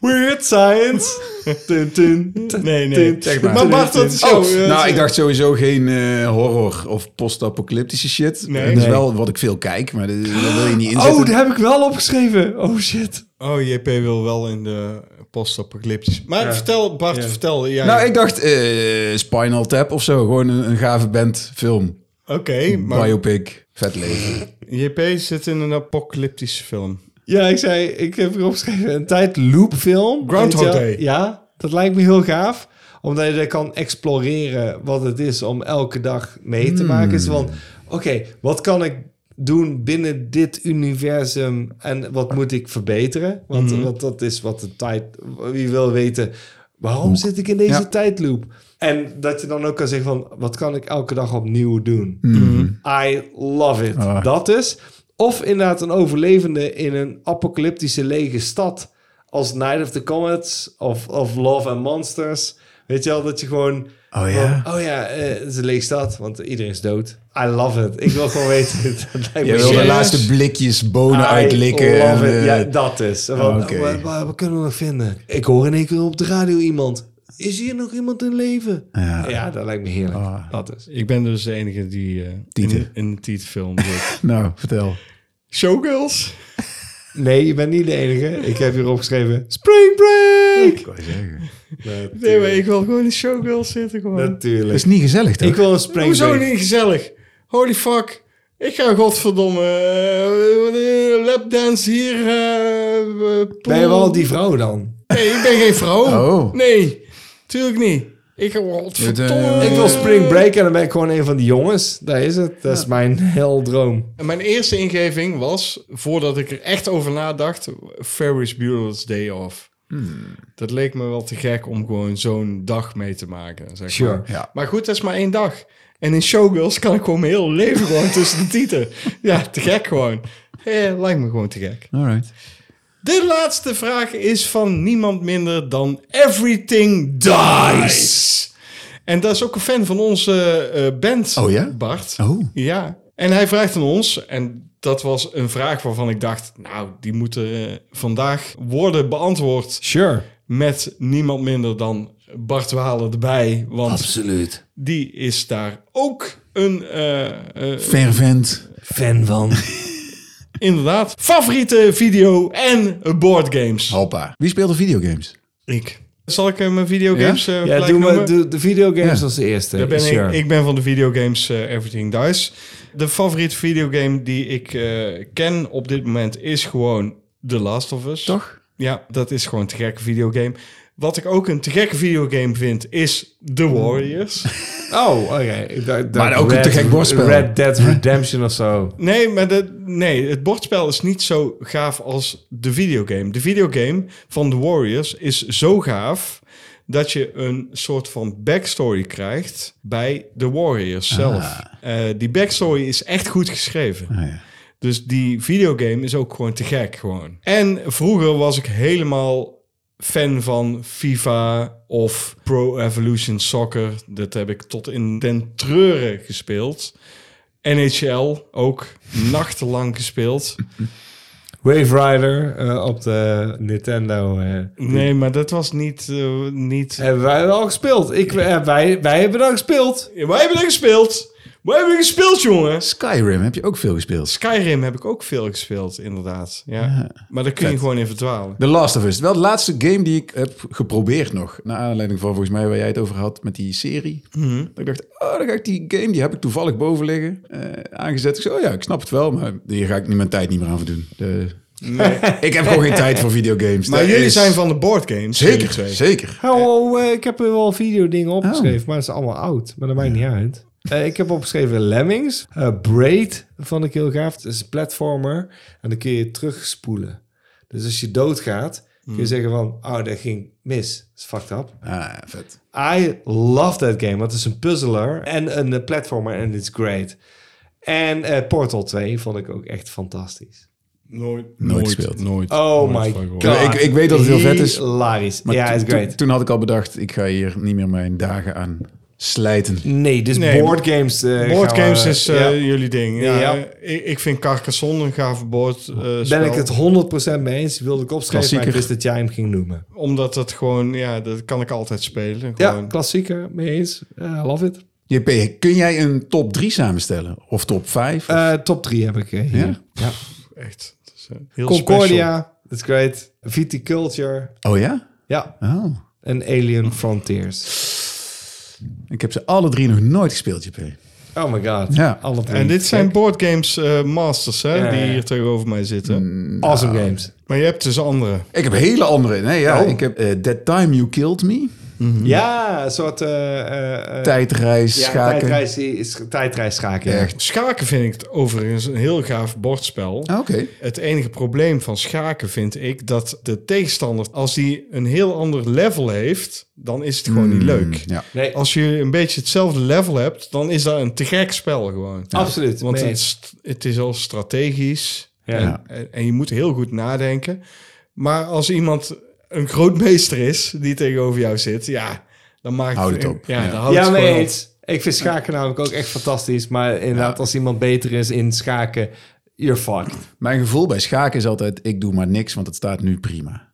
Speaker 2: Weird science. Tun, tun, tun,
Speaker 3: Nee, nee.
Speaker 2: tun, tun,
Speaker 3: Maar
Speaker 2: tun,
Speaker 3: Bart,
Speaker 2: tun,
Speaker 3: dat is
Speaker 2: tun.
Speaker 3: jouw...
Speaker 4: Oh,
Speaker 3: eh,
Speaker 4: nou, ik dacht sowieso geen eh, horror of post-apocalyptische shit.
Speaker 3: Nee.
Speaker 4: Dat is
Speaker 2: Nee.
Speaker 4: wel wat ik veel kijk, maar dat, dat wil je niet in
Speaker 2: Oh,
Speaker 4: zitten.
Speaker 2: daar heb ik wel opgeschreven. Oh shit.
Speaker 3: Oh, JP wil wel in de post-apocalyptisch. Maar vertel, Bart, vertel. Ja,
Speaker 4: nou, ik dacht eh, Spinal Tap of zo. Gewoon een, een gave band film.
Speaker 3: Oké, maar
Speaker 4: Biopic. Vet leven.
Speaker 3: JP zit in een apocalyptische film.
Speaker 2: Ja, ik zei, ik heb erop geschreven een tijdloopfilm.
Speaker 3: Groundhog
Speaker 2: Weet je wel?
Speaker 3: Day.
Speaker 2: Ja, dat lijkt me heel gaaf. Omdat je dan kan exploreren wat het is om elke dag mee
Speaker 3: Hmm.
Speaker 2: te maken. Is van, oké, wat kan ik doen binnen dit universum en wat moet ik verbeteren? Want,
Speaker 3: Hmm.
Speaker 2: want dat is wat de tijd... Wie wil weten, waarom zit ik in deze
Speaker 4: Ja.
Speaker 2: tijdloop? En dat je dan ook kan zeggen van, wat kan ik elke dag opnieuw doen?
Speaker 3: Hmm.
Speaker 2: I love it.
Speaker 3: Ah.
Speaker 2: Dat is. Of inderdaad een overlevende in een apocalyptische lege stad. Als Night of the Comets of, of Love and Monsters. Weet je wel, dat je gewoon...
Speaker 4: Oh ja?
Speaker 2: Van, oh ja, eh, het is een lege stad, want iedereen is dood. I love it. Ik wil gewoon weten... dat lijkt
Speaker 4: Je
Speaker 2: me
Speaker 4: wil de
Speaker 2: shit.
Speaker 4: laatste blikjes bonen
Speaker 2: I
Speaker 4: uitlikken. en,
Speaker 2: love it.
Speaker 4: eh, Oh,
Speaker 2: Ja, dat is. Want,
Speaker 4: oké.
Speaker 2: wat, wat- wat kunnen we nog vinden? Ik hoor in één keer op de radio iemand. Is hier nog iemand in leven? Ja, dat lijkt me heerlijk.
Speaker 4: Oh.
Speaker 2: Dat is.
Speaker 3: Ik ben dus de enige die eh, in,
Speaker 4: Tieten.
Speaker 3: in de Tieten-film zit.
Speaker 4: Nou, vertel.
Speaker 3: Showgirls?
Speaker 2: Nee, je bent niet de enige. Ik heb hierop geschreven... Spring Break!
Speaker 3: Nee, maar ik wil gewoon in Showgirls zitten gewoon.
Speaker 4: Dat
Speaker 2: Natuurlijk.
Speaker 4: is niet gezellig, toch?
Speaker 2: Ik wil een spring
Speaker 3: Hoezo
Speaker 2: break.
Speaker 3: niet gezellig? Holy fuck. Ik ga godverdomme eh, eh, lapdance hier. eh, eh,
Speaker 2: Ben je
Speaker 3: pool.
Speaker 2: wel die vrouw dan?
Speaker 3: Nee, ik ben geen vrouw.
Speaker 4: Oh.
Speaker 3: Nee, tuurlijk niet. Ik ga
Speaker 4: Je
Speaker 3: godverdomme.
Speaker 4: bent, eh,
Speaker 2: Ik wil spring break en dan ben ik gewoon een van die jongens. Daar is het. Dat is mijn hel droom.
Speaker 3: En Mijn eerste ingeving was, voordat ik er echt over nadacht, Ferris Bueller's Day Off.
Speaker 4: Hmm.
Speaker 3: Dat leek me wel te gek om gewoon zo'n dag mee te maken. Zeg
Speaker 2: Sure.
Speaker 3: maar.
Speaker 4: Ja.
Speaker 3: maar goed, dat is maar één dag. En in Showgirls kan ik gewoon mijn hele leven gewoon tussen de tieten. Ja, te gek gewoon. Eh, lijkt me gewoon te gek.
Speaker 4: Alright.
Speaker 3: De laatste vraag is van niemand minder dan Everything Dies. En dat is ook een fan van onze eh, band,
Speaker 4: Oh ja?
Speaker 3: Bart.
Speaker 4: Oh.
Speaker 3: Ja. En hij vraagt aan ons, en dat was een vraag waarvan ik dacht... nou, die moeten eh, vandaag worden beantwoord
Speaker 2: Sure.
Speaker 3: met niemand minder dan Bart Walen erbij. Want
Speaker 1: Absoluut.
Speaker 3: die is daar ook een, eh, eh,
Speaker 4: Fervent.
Speaker 2: Fan van.
Speaker 3: inderdaad, favoriete video en boardgames.
Speaker 4: Hoppa. Wie speelde videogames?
Speaker 3: Ik. Zal ik eh, mijn videogames eh,
Speaker 2: Ja,
Speaker 3: gelijk
Speaker 2: doe maar
Speaker 3: noemen?
Speaker 2: doe de videogames
Speaker 4: Ja.
Speaker 2: als de eerste.
Speaker 3: Daar ben
Speaker 2: sure.
Speaker 3: ik, ik ben van de videogames eh, Everything Dies. De favoriete videogame die ik eh, ken op dit moment is gewoon The Last of Us.
Speaker 4: Toch?
Speaker 3: Ja, dat is gewoon een te gekke videogame. Wat ik ook een te gekke videogame vind, is The Warriors.
Speaker 2: Oh, oké. Da- da-
Speaker 4: Maar ook een te
Speaker 2: Red-
Speaker 4: gek borstspel.
Speaker 2: Red Dead Redemption of zo.
Speaker 3: Nee, maar dat nee, het bordspel is niet zo gaaf als de videogame. De videogame van The Warriors is zo gaaf dat je een soort van backstory krijgt bij The Warriors zelf. Eh, die backstory is echt goed geschreven.
Speaker 4: Ah, ja.
Speaker 3: Dus die videogame is ook gewoon te gek gewoon. En vroeger was ik helemaal fan van FIFA of Pro Evolution Soccer. Dat heb ik tot in den treuren gespeeld. NHL ook nachtenlang gespeeld.
Speaker 2: Wave Rider eh, op de Nintendo. eh.
Speaker 3: Nee, maar dat was niet... eh, niet...
Speaker 2: Hebben wij wel gespeeld. Ik, eh, wij, wij hebben dat gespeeld.
Speaker 3: Wij hebben dat gespeeld. Wij hebben dat gespeeld, jongen.
Speaker 4: Skyrim heb je ook veel gespeeld.
Speaker 3: Skyrim heb ik ook veel gespeeld, inderdaad. Ja. Maar daar kun je gewoon in verdwalen.
Speaker 4: The Last of Us. Wel de laatste game die ik heb geprobeerd nog. Naar aanleiding van volgens mij waar jij het over had met die serie.
Speaker 3: Mhm.
Speaker 4: Dat ik dacht, oh, dan ga ik die game, die heb ik toevallig boven liggen. eh, aangezet. Ik zei, oh ja, ik snap het wel, maar hier ga ik niet mijn tijd niet meer aan verdoen. De... ik heb gewoon geen tijd voor videogames.
Speaker 3: Maar
Speaker 4: Dat
Speaker 3: jullie
Speaker 4: is-
Speaker 3: zijn van de boardgames. jullie
Speaker 4: Zeker,
Speaker 3: twee.
Speaker 4: zeker.
Speaker 2: Oh, eh, ik heb er wel videodingen
Speaker 4: Oh.
Speaker 2: opgeschreven, maar dat is allemaal oud. Maar dat maakt niet uit. Eh, ik heb opgeschreven Lemmings. eh, Braid vond ik heel gaaf. Het is een platformer. En dan kun je terugspoelen. Dus als je doodgaat, kun
Speaker 4: Hmm.
Speaker 2: je zeggen van... Oh, dat ging mis. Dat is fucked up.
Speaker 4: Ah, vet.
Speaker 2: I love that game. Want het is een puzzler en een eh, platformer en it's great. En eh, Portal 2 vond ik ook echt fantastisch.
Speaker 3: Nooit,
Speaker 4: gespeeld.
Speaker 3: Nooit.
Speaker 2: Oh
Speaker 3: nooit
Speaker 2: my
Speaker 3: van gehoord.
Speaker 2: god.
Speaker 4: Ik- ik weet dat het heel vet is.
Speaker 2: Hilarisch.
Speaker 4: Maar
Speaker 2: ja,
Speaker 4: toen-
Speaker 2: it's
Speaker 4: toen-
Speaker 2: great.
Speaker 4: Toen had ik al bedacht, ik ga hier niet meer mijn dagen aan slijten.
Speaker 2: Nee, dus
Speaker 3: Nee,
Speaker 2: boardgames... eh,
Speaker 3: Boardgames
Speaker 2: gaan we-
Speaker 3: is eh,
Speaker 2: ja.
Speaker 3: jullie ding. Ja,
Speaker 2: Ja.
Speaker 3: eh, Ik, ik vind Carcassonne een eh, gaaf boord.
Speaker 2: Ben ik het 100% mee eens? Wilde ik opschrijven, maar ik
Speaker 4: Klassieker.
Speaker 2: wist dat jij hem ging noemen.
Speaker 3: Omdat dat gewoon, ja, dat kan ik altijd spelen.
Speaker 2: Ja,
Speaker 3: Gewoon.
Speaker 2: klassieker, mee eens. Eh, love it.
Speaker 4: JP, kun jij een top 3 samenstellen? Of top 5?
Speaker 2: Eh, top 3 heb ik eh, hier.
Speaker 4: Ja?
Speaker 2: Ja.
Speaker 3: Echt. Dat is, eh, heel special.
Speaker 2: Concordia, that's great. Viticulture,
Speaker 4: oh ja?
Speaker 2: ja.
Speaker 4: Oh.
Speaker 2: En Alien Frontiers.
Speaker 4: Ik heb ze alle drie nog nooit gespeeld, JP.
Speaker 2: Oh my god.
Speaker 4: Ja.
Speaker 2: Alle drie.
Speaker 3: En dit zijn
Speaker 2: Kijk,
Speaker 3: boardgames eh, masters, hè, die
Speaker 2: Ja, ja, ja. Mm.
Speaker 3: hier tegenover mij zitten.
Speaker 2: awesome
Speaker 4: Ah.
Speaker 2: games.
Speaker 3: Maar je hebt dus andere.
Speaker 4: Ik heb hele andere. Nee, ja.
Speaker 2: Oh.
Speaker 4: Ik heb eh, That Time You Killed Me. Mhm.
Speaker 2: Ja, een soort... eh, eh, eh,
Speaker 4: Tijdreis,
Speaker 2: ja,
Speaker 4: schaken.
Speaker 2: Tijdreis, is, tijdreis schaken, ja.
Speaker 4: Echt.
Speaker 3: Schaken vind ik het overigens een heel gaaf bordspel.
Speaker 2: Oh.
Speaker 4: Ah, Oké.
Speaker 3: Het enige probleem van schaken vind ik dat de tegenstander, als die een heel ander level heeft, dan is het gewoon niet
Speaker 2: Mm,
Speaker 3: leuk.
Speaker 4: Hmm, Ja.
Speaker 2: Nee,
Speaker 3: Als je een beetje hetzelfde level hebt, dan is dat een te gek spel gewoon.
Speaker 2: absoluut.
Speaker 3: Want
Speaker 2: mee
Speaker 3: het,
Speaker 2: eens.
Speaker 3: st- het is al strategisch
Speaker 2: Ja.
Speaker 4: Ja.
Speaker 3: en, en je moet heel goed nadenken. Maar als iemand een groot meester is die tegenover jou zit, ja, dan maakt
Speaker 4: Houd het op.
Speaker 3: Ja,
Speaker 4: Ja.
Speaker 3: dan houdt
Speaker 2: ja,
Speaker 3: het
Speaker 2: mee
Speaker 3: gewoon op.
Speaker 2: eens. Ik vind schaken namelijk ook echt fantastisch. Maar inderdaad, als iemand beter is in schaken, you're fucked.
Speaker 4: Mijn gevoel bij schaken is altijd, ik doe maar niks, want het staat nu prima.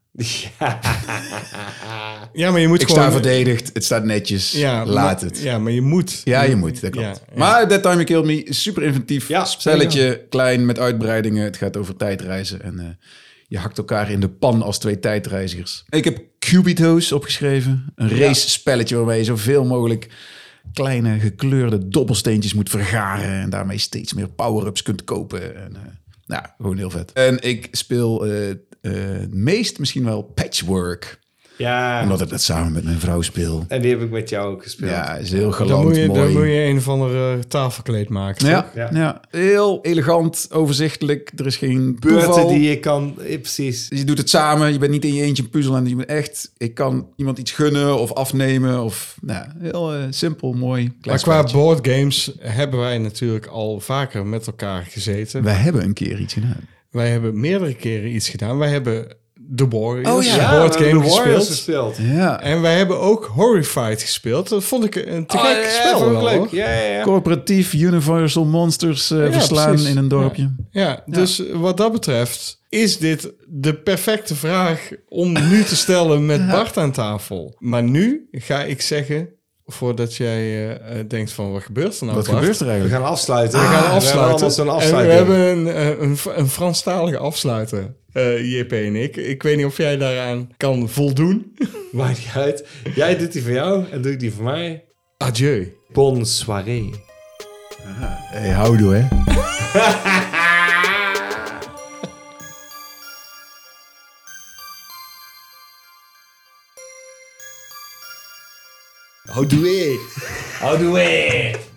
Speaker 3: Ja, maar je moet
Speaker 4: Ik
Speaker 3: gewoon.
Speaker 4: sta verdedigd, het staat netjes,
Speaker 3: ja,
Speaker 4: laat
Speaker 3: maar-
Speaker 4: het.
Speaker 3: Ja, maar je moet.
Speaker 4: Ja, je moet, dat klopt.
Speaker 3: Ja, ja.
Speaker 4: Maar That Time You Killed Me is super inventief.
Speaker 2: Ja,
Speaker 4: Spelletje, klein, met uitbreidingen. Het gaat over tijdreizen en eh, je hakt elkaar in de pan als twee tijdreizigers. Ik heb Cubito's opgeschreven. Een race spelletje waarbij je zoveel mogelijk kleine gekleurde dobbelsteentjes moet vergaren. En daarmee steeds meer power-ups kunt kopen. En, eh, nou, gewoon heel vet. En ik speel eh, eh, het meest misschien wel Patchwork.
Speaker 2: Ja,
Speaker 4: Omdat ik dat samen met mijn vrouw speel.
Speaker 2: en die heb ik met jou ook gespeeld.
Speaker 4: Ja, is heel
Speaker 3: Dan
Speaker 4: galant,
Speaker 3: moet, je,
Speaker 4: mooi.
Speaker 3: dan moet je een of ander tafelkleed maken.
Speaker 4: Ja,
Speaker 2: Ja.
Speaker 4: ja. heel elegant, overzichtelijk. Er is geen
Speaker 2: Beurten
Speaker 4: toeval.
Speaker 2: die je kan... eh, precies.
Speaker 4: Je doet het samen. Je bent niet in je eentje een puzzel. En je bent echt... Ik kan iemand iets gunnen of afnemen. Of, nou, heel eh, simpel, mooi.
Speaker 3: Maar
Speaker 4: klein
Speaker 3: qua
Speaker 4: spelletje.
Speaker 3: boardgames hebben wij natuurlijk al vaker met elkaar gezeten.
Speaker 4: Wij hebben een keer iets gedaan.
Speaker 3: Wij hebben meerdere keren iets gedaan. Wij hebben The Warriors,
Speaker 4: Oh ja.
Speaker 3: een
Speaker 2: Ja, we hebben
Speaker 3: boardgame
Speaker 2: The Warriors
Speaker 3: gespeeld.
Speaker 2: gespeeld.
Speaker 4: Ja.
Speaker 3: En wij hebben ook Horrified gespeeld. Dat vond ik een te gek spel.
Speaker 2: Oh, vond ik
Speaker 3: wel,
Speaker 2: leuk.
Speaker 3: hoor.
Speaker 2: Ja, ja, ja.
Speaker 4: Corporatief Universal Monsters eh,
Speaker 3: Ja,
Speaker 4: verslaan
Speaker 3: precies.
Speaker 4: in een dorpje.
Speaker 3: Ja, dus wat dat betreft is dit de perfecte vraag om nu te stellen met Bart aan tafel. Maar nu ga ik zeggen, voordat jij eh, eh, denkt van wat gebeurt er nou
Speaker 4: Wat
Speaker 3: Bart?
Speaker 4: gebeurt er
Speaker 2: We
Speaker 4: eigenlijk?
Speaker 2: gaan afsluiten.
Speaker 3: We gaan
Speaker 2: We hebben allemaal zo'n
Speaker 3: afsluiten. en we
Speaker 2: afsluiting.
Speaker 3: hebben een, eh, een, F- een Franstalige afsluiter, eh, JP en ik. Ik weet niet of jij daaraan kan voldoen.
Speaker 2: Maakt niet uit. Jij doet die voor jou en doe ik die voor mij.
Speaker 3: Adieu.
Speaker 2: Bon soirée.
Speaker 4: Hey, houdoe, hè?
Speaker 2: How do it? How do it?